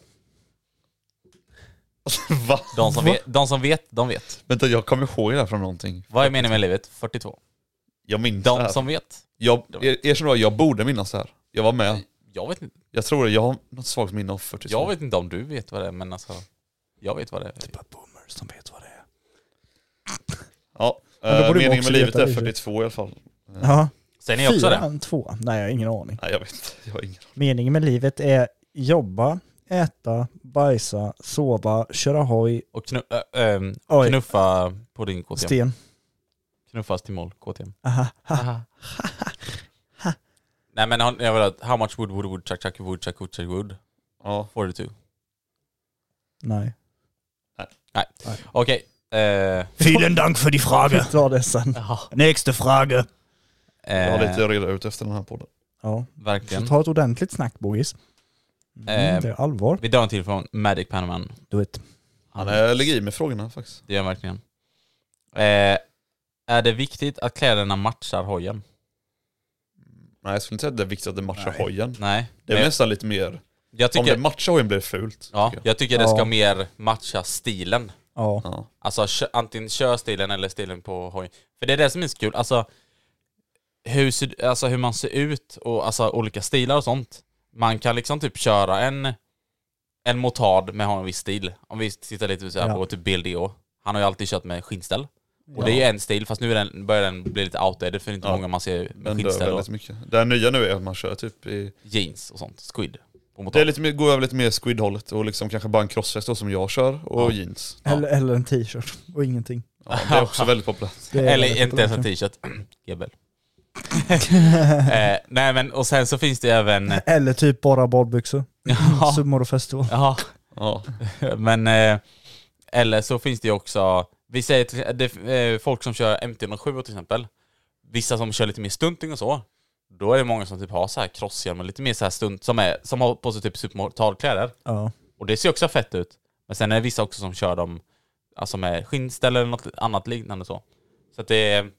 [SPEAKER 4] [LAUGHS] Va?
[SPEAKER 3] De som, vet, de som vet, de vet.
[SPEAKER 4] Vänta, jag kommer ihåg det här från någonting.
[SPEAKER 3] Vad är meningen med livet? 42.
[SPEAKER 4] Jag minns det
[SPEAKER 3] De
[SPEAKER 4] här.
[SPEAKER 3] som vet.
[SPEAKER 4] Jag, er, erkänn då, jag borde minnas det här. Jag var med.
[SPEAKER 3] Jag vet, inte,
[SPEAKER 4] Jag tror det, jag har något svagt minne av 42.
[SPEAKER 3] jag vet inte om du vet vad det är, men alltså. Jag vet vad det
[SPEAKER 4] Typ
[SPEAKER 3] är.
[SPEAKER 6] Boomers, de vet vad det är.
[SPEAKER 4] Ja,
[SPEAKER 5] Men då
[SPEAKER 4] eh,
[SPEAKER 5] borde man
[SPEAKER 4] meningen
[SPEAKER 5] också
[SPEAKER 4] med livet
[SPEAKER 5] veta
[SPEAKER 4] är
[SPEAKER 5] det.
[SPEAKER 4] 42 i alla fall.
[SPEAKER 5] Ja.
[SPEAKER 3] Säger ni också det?
[SPEAKER 5] Fyran, två. Nej, jag har ingen aning.
[SPEAKER 4] Nej jag vet inte, jag har ingen
[SPEAKER 5] Meningen med livet är jobba, äta, bajsa, sova, köra hoj,
[SPEAKER 3] Och knu, äh, ähm,
[SPEAKER 5] Oj.
[SPEAKER 3] knuffa på din KTM.
[SPEAKER 5] sten.
[SPEAKER 3] Knuffas till mål, KTM.
[SPEAKER 5] Aha. Ha.
[SPEAKER 3] Nej men han- jag vill att, how much wood wood wood chuck chuck wood chuck wood chuck wood?
[SPEAKER 4] Ja,
[SPEAKER 3] 42.
[SPEAKER 5] Nej.
[SPEAKER 3] Okej. Eh,
[SPEAKER 6] Vielen Dank für die
[SPEAKER 5] Vi
[SPEAKER 6] Frage.
[SPEAKER 5] tar det sen.
[SPEAKER 6] Nächste Frage.
[SPEAKER 4] jag har
[SPEAKER 3] eh,
[SPEAKER 4] lite att reda ut efter den här podden.
[SPEAKER 5] Ja. Så
[SPEAKER 3] verkligen.
[SPEAKER 5] ta ett ordentligt snack boys. Mm,
[SPEAKER 3] Eh,
[SPEAKER 5] det är allvar.
[SPEAKER 3] Vi drar en till från Magic Panaman.
[SPEAKER 5] Du vet.
[SPEAKER 4] Han är, ligger eh, i med frågorna faktiskt.
[SPEAKER 3] Det gör han verkligen. Eh, är det viktigt att kläderna matchar hojen?
[SPEAKER 4] Nej jag skulle inte säga att det är viktigt att det matchar
[SPEAKER 5] Nej.
[SPEAKER 4] hojen.
[SPEAKER 3] Nej.
[SPEAKER 4] Det är
[SPEAKER 3] Men-
[SPEAKER 4] nästan lite mer,
[SPEAKER 3] Jag
[SPEAKER 4] om det
[SPEAKER 3] tycker,
[SPEAKER 4] matchar hojen blir det fult.
[SPEAKER 3] ja,
[SPEAKER 4] tycker jag.
[SPEAKER 3] jag tycker det ska
[SPEAKER 5] Ja.
[SPEAKER 3] mer matcha stilen.
[SPEAKER 5] Ja.
[SPEAKER 4] Ja.
[SPEAKER 3] Alltså kö, antingen körstilen eller stilen på hojen. För det är det som är så kul. Alltså hur, ser- alltså hur man ser ut och alltså olika stilar och sånt. Man kan liksom typ köra en, en motard med ha en viss stil. Om vi tittar lite så här
[SPEAKER 5] Ja.
[SPEAKER 3] på typ BLDO. Han har ju alltid kört med skinnställ. Och det är ju en stil, fast nu är den, börjar den bli lite outdated för det är inte
[SPEAKER 4] Ja.
[SPEAKER 3] många man ser med
[SPEAKER 4] Den dör
[SPEAKER 3] skinnställ och
[SPEAKER 4] väldigt mycket. Det här nya nu är att man kör typ i,
[SPEAKER 3] jeans och sånt. Squid. På motard.
[SPEAKER 4] det är lite mer, går över lite mer squid-hållet och liksom kanske bara en crossfest då som jag kör och
[SPEAKER 3] Ja.
[SPEAKER 4] jeans.
[SPEAKER 5] Eller, eller en t-shirt och ingenting.
[SPEAKER 4] Ja, det
[SPEAKER 3] [LAUGHS]
[SPEAKER 4] är också väldigt populärt.
[SPEAKER 5] Det är
[SPEAKER 3] Eller
[SPEAKER 5] väldigt
[SPEAKER 3] inte ens en
[SPEAKER 5] populärt.
[SPEAKER 3] t-shirt.
[SPEAKER 4] [CLEARS THROAT]
[SPEAKER 3] Gebbel. [LAUGHS] eh, nej men, och sen så finns det även...
[SPEAKER 4] [LAUGHS]
[SPEAKER 5] Eller typ bara badbyxor.
[SPEAKER 3] Ja.
[SPEAKER 5] Summor och festival.
[SPEAKER 3] Ja,
[SPEAKER 4] Ja.
[SPEAKER 3] [LAUGHS] men... Eh, eller så finns det ju också... Vi säger till, det, eh, folk som kör MT-07 till exempel. Vissa som kör lite mer stunting och så. Då är det många som typ har så här crosshjälm och lite mer så här stunt som, är, som har på sig typ supermotardkläder.
[SPEAKER 5] Ja.
[SPEAKER 3] Och det ser också fett ut. Men sen är det vissa också som kör dem alltså med skinnställ eller något annat liknande så. Så att det är,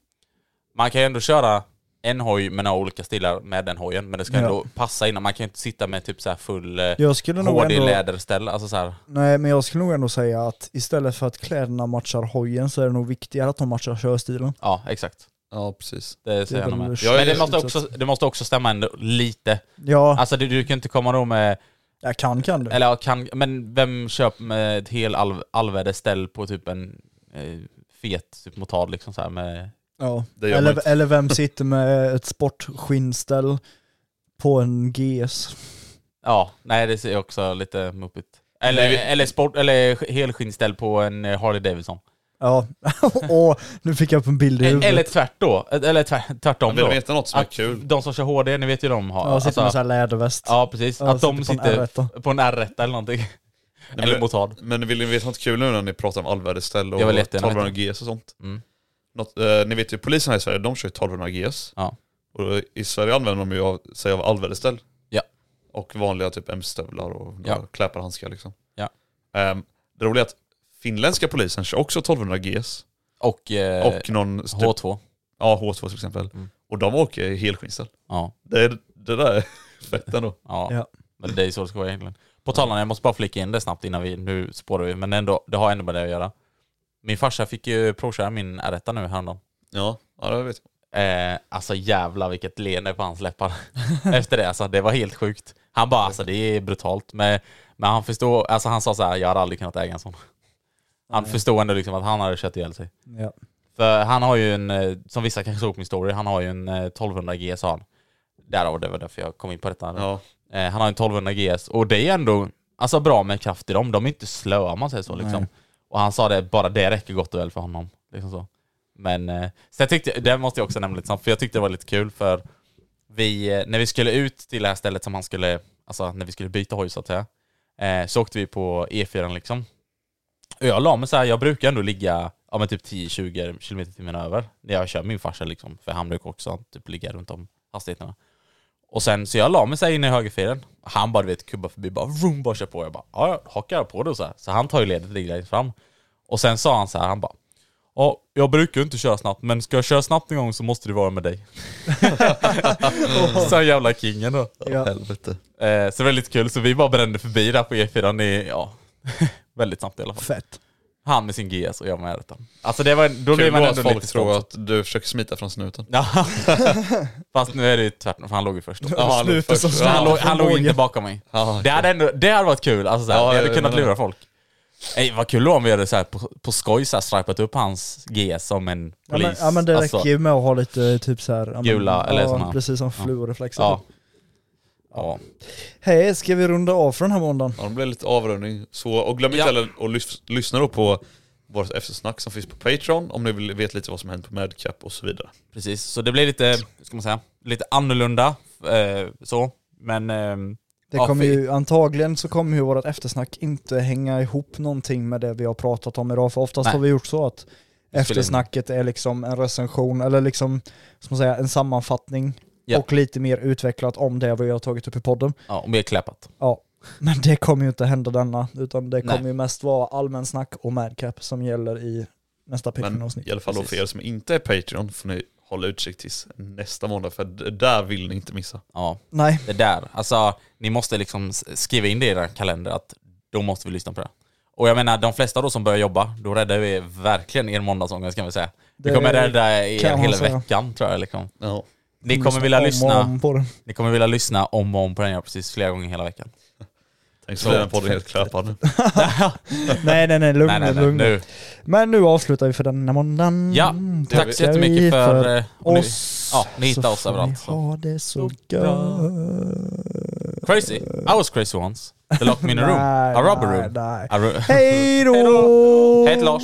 [SPEAKER 3] man kan ju ändå köra en hoj med några olika stilar med den hojen, men det ska
[SPEAKER 5] Ja.
[SPEAKER 3] ändå passa innan. Man kan ju inte sitta med typ så här full eh,
[SPEAKER 5] Jag skulle nog
[SPEAKER 3] hård i
[SPEAKER 5] ändå...
[SPEAKER 3] läderställ, alltså så här.
[SPEAKER 5] Nej, men jag skulle nog ändå säga att istället för att kläderna matchar hojen så är det nog viktigare att de matchar körstilen.
[SPEAKER 3] Ja, exakt.
[SPEAKER 4] ja, precis.
[SPEAKER 3] Det säger jag nog
[SPEAKER 5] väl
[SPEAKER 3] med.
[SPEAKER 5] Ja,
[SPEAKER 3] Men det
[SPEAKER 4] jag-
[SPEAKER 3] måste, också, det måste också stämma ändå lite.
[SPEAKER 5] Ja,
[SPEAKER 3] Alltså du, du kan inte komma då med,
[SPEAKER 5] jag kan kan du.
[SPEAKER 3] eller ja, kan, men vem köper med ett hel all, allvädersställ på typ en eh, fet typ motard liksom så här med
[SPEAKER 5] Ja.
[SPEAKER 4] Det gör man
[SPEAKER 5] Eller,
[SPEAKER 4] inte.
[SPEAKER 5] eller vem sitter med ett sportskinnställ på en GS?
[SPEAKER 3] Ja, nej det ser också lite muppigt. Eller,
[SPEAKER 4] Nej, vi-
[SPEAKER 3] eller, sport, eller sk- helskinnställ på en eh, Harley Davidson.
[SPEAKER 5] Ja, [LAUGHS] och nu fick jag upp en bild i huvudet.
[SPEAKER 3] Eller tvärt då, eh, eller tvärt, tvärtom
[SPEAKER 4] Vill
[SPEAKER 3] då.
[SPEAKER 4] du veta något som är
[SPEAKER 3] Att
[SPEAKER 4] kul?
[SPEAKER 3] De som kör HD, ni vet ju de har. alltså,
[SPEAKER 5] ja, sitter med en sån här läderväst.
[SPEAKER 3] ja precis.
[SPEAKER 5] Ja,
[SPEAKER 3] att de sitter
[SPEAKER 5] på en R1.
[SPEAKER 3] på en R1 eller någonting.
[SPEAKER 4] men-
[SPEAKER 3] eller motard.
[SPEAKER 4] Men vill ni veta något kul nu när ni pratar om allvädersställ och
[SPEAKER 3] Jag vill jättegärna
[SPEAKER 4] 1200 GS och sånt?
[SPEAKER 3] Mm.
[SPEAKER 4] Något, eh, ni vet ju polisen här i Sverige, de kör ju 1200 GS.
[SPEAKER 3] Ja.
[SPEAKER 4] Och i Sverige använder de ju av, sig av allvädersställ.
[SPEAKER 3] Ja.
[SPEAKER 4] Och vanliga typ MC-stövlar och
[SPEAKER 3] Ja.
[SPEAKER 4] ja. kläpar handskar liksom.
[SPEAKER 3] Ja.
[SPEAKER 4] Ehm, det roliga är att finländska polisen kör också 1200 GS.
[SPEAKER 3] Och, eh,
[SPEAKER 4] Och någon... typ-
[SPEAKER 3] H2.
[SPEAKER 4] Ja, H2 till exempel.
[SPEAKER 3] Mm.
[SPEAKER 4] Och de åker i helskinnställ.
[SPEAKER 3] Ja,
[SPEAKER 4] Det, är- det där är [LAUGHS] fett ändå.
[SPEAKER 3] ja.
[SPEAKER 5] Ja.
[SPEAKER 3] Men det är så det ska vara egentligen. På tal om, jag måste bara flika in det snabbt innan vi, nu spårar vi, men ändå, det har ändå med det att göra. Min farsa fick ju provköra min R1 nu häromdagen.
[SPEAKER 4] Ja, ja det vet jag.
[SPEAKER 3] Eh, alltså jävla vilket leende på hans läppar efter det. Alltså, det var helt sjukt. Han bara alltså det är brutalt. Men, men han förstår, alltså han sa så här, jag hade aldrig kunnat äga en sån. Han förstod ändå liksom att han hade kört ihjäl sig.
[SPEAKER 5] Ja.
[SPEAKER 3] För han har ju en, eh, som vissa kanske såg på min story, han har ju en eh, 1200 GS har han. Därav, det var därför jag kom in på detta.
[SPEAKER 4] Ja.
[SPEAKER 3] Eh, han har en 1200 GS och det är ändå alltså, bra med kraft i dem. De är inte slöa om man säger så. Liksom. Och han sa det, bara det räcker gott och väl för honom. Liksom så. Men eh, sen tyckte jag, det måste jag också nämna lite snabbt, för jag tyckte det var lite kul för vi, eh, när vi skulle ut till det här stället som han skulle, alltså när vi skulle byta hoj så att säga, Eh, så åkte vi på E4 liksom. Och jag la mig så här, jag brukar ändå ligga ja, men typ 10-20 km timmen över när jag kör min farsa liksom. För han brukar också typ ligga runt om hastigheterna. Och sen så jag la mig så här inne i högerfilen. Han bara du vet kubbar förbi bara vroom bara kör på. Jag bara ja, jag hakar på det och så här. Så han tar ju ledet lite längst fram. Och sen sa han så här, han bara Ja, jag brukar ju inte köra snabbt, men ska jag köra snabbt en gång så måste det vara med dig. [LAUGHS] så jävla kingen då.
[SPEAKER 5] Ja.
[SPEAKER 4] Helvete.
[SPEAKER 3] Eh, så väldigt kul, så vi bara brände förbi där på E4 i, ja, [LAUGHS] väldigt snabbt i alla fall.
[SPEAKER 5] Fett.
[SPEAKER 3] Han med sin GS och jag med R1. Alltså det var, då
[SPEAKER 4] Kul
[SPEAKER 3] blev man
[SPEAKER 4] var att
[SPEAKER 3] ändå
[SPEAKER 4] folk
[SPEAKER 3] lite
[SPEAKER 4] tror
[SPEAKER 3] stolt.
[SPEAKER 4] att du försöker smita från snuten.
[SPEAKER 3] Ja. [LAUGHS] Fast nu är det ju tvärtom, för han låg ju först.
[SPEAKER 4] Ja, han låg
[SPEAKER 5] Snuten
[SPEAKER 4] först.
[SPEAKER 5] som
[SPEAKER 3] Så han,
[SPEAKER 5] Ja,
[SPEAKER 3] låg, han låg
[SPEAKER 5] förmåga.
[SPEAKER 3] inte bakom mig.
[SPEAKER 4] Ja,
[SPEAKER 3] Det hade, ändå, det hade varit kul, alltså såhär,
[SPEAKER 4] Ja,
[SPEAKER 3] vi hade
[SPEAKER 4] jag
[SPEAKER 3] kunnat
[SPEAKER 4] menar
[SPEAKER 3] lura folk. Ey, vad kul då om vi hade såhär, på, på skoj såhär, stripat upp hans GS som en
[SPEAKER 5] Ja
[SPEAKER 3] polis.
[SPEAKER 5] men, ja men det
[SPEAKER 3] Alltså,
[SPEAKER 5] räcker ju med att ha lite typ så här, ja, men-
[SPEAKER 3] Gula eller
[SPEAKER 5] ja,
[SPEAKER 3] såna.
[SPEAKER 5] Precis som fluoreflexer.
[SPEAKER 3] Ja. Ja.
[SPEAKER 5] Hej, ska vi runda av för den här måndagen?
[SPEAKER 4] Ja, det blev lite avrundning. Så, och glöm inte
[SPEAKER 3] Ja.
[SPEAKER 4] heller att lys- lyssna då på vårt eftersnack som finns på Patreon om ni vill veta lite vad som hänt på Madcap och så vidare.
[SPEAKER 3] Precis, så det blir lite, hur ska man säga, lite annorlunda eh, så. Men ehm,
[SPEAKER 5] Det
[SPEAKER 3] Ja,
[SPEAKER 5] kommer
[SPEAKER 3] för-
[SPEAKER 5] ju, antagligen så kommer ju vårt eftersnack inte hänga ihop någonting med det vi har pratat om idag, för oftast
[SPEAKER 3] Nej.
[SPEAKER 5] har vi gjort så att
[SPEAKER 3] in.
[SPEAKER 5] eftersnacket är liksom en recension, eller liksom, som man säger, en sammanfattning
[SPEAKER 3] Ja.
[SPEAKER 5] och lite mer utvecklat om det vi har tagit upp i podden.
[SPEAKER 3] ja, och mer kläpat.
[SPEAKER 5] Ja. Men det kommer ju inte hända denna, utan det
[SPEAKER 3] Nej.
[SPEAKER 5] kommer ju mest vara allmän snack och madcap som gäller i nästa
[SPEAKER 4] Men
[SPEAKER 5] Patreon-avsnitt.
[SPEAKER 4] i alla fall då för
[SPEAKER 3] Precis.
[SPEAKER 4] er som inte är Patreon får ni hålla utkik tills nästa måndag för det där vill ni inte missa.
[SPEAKER 3] Ja,
[SPEAKER 5] Nej,
[SPEAKER 3] det där. Alltså, ni måste liksom s- skriva in det i era kalender att då måste vi lyssna på det. Och jag menar, de flesta då som börjar jobba, då räddar vi verkligen er måndagsångest kan vi säga. Det,
[SPEAKER 5] Det
[SPEAKER 3] kommer rädda er
[SPEAKER 5] kan man
[SPEAKER 3] hela
[SPEAKER 5] säga.
[SPEAKER 3] veckan tror jag. Liksom.
[SPEAKER 4] Ja.
[SPEAKER 3] Ni kommer vilja
[SPEAKER 5] Liksom om och
[SPEAKER 3] lyssna
[SPEAKER 5] om på det.
[SPEAKER 3] Ni kommer vilja lyssna om och om på den här precis flera gånger hela veckan.
[SPEAKER 4] Tänk
[SPEAKER 3] Så
[SPEAKER 4] så blir den podden helt kläpad nu.
[SPEAKER 5] [LAUGHS] Nej, nej, nej, lugn
[SPEAKER 3] nej, nej, nej.
[SPEAKER 5] lugn
[SPEAKER 3] Nu.
[SPEAKER 5] Men nu avslutar vi för denna måndagen.
[SPEAKER 3] Ja,
[SPEAKER 5] Tackar
[SPEAKER 3] tack så jättemycket
[SPEAKER 5] vi
[SPEAKER 3] för... eh, och ni-
[SPEAKER 5] oss.
[SPEAKER 3] ja, ni hittar
[SPEAKER 5] så
[SPEAKER 3] oss
[SPEAKER 5] får
[SPEAKER 3] överallt,
[SPEAKER 5] Ni
[SPEAKER 3] så.
[SPEAKER 5] ha det så
[SPEAKER 3] bra.
[SPEAKER 5] gött.
[SPEAKER 3] Crazy. I was crazy once. They locked me in a room.
[SPEAKER 5] [LAUGHS] Nej,
[SPEAKER 3] A robber
[SPEAKER 5] nej,
[SPEAKER 3] room.
[SPEAKER 5] nej.
[SPEAKER 3] A ro-
[SPEAKER 5] Hej då!
[SPEAKER 3] Jag heter Lars.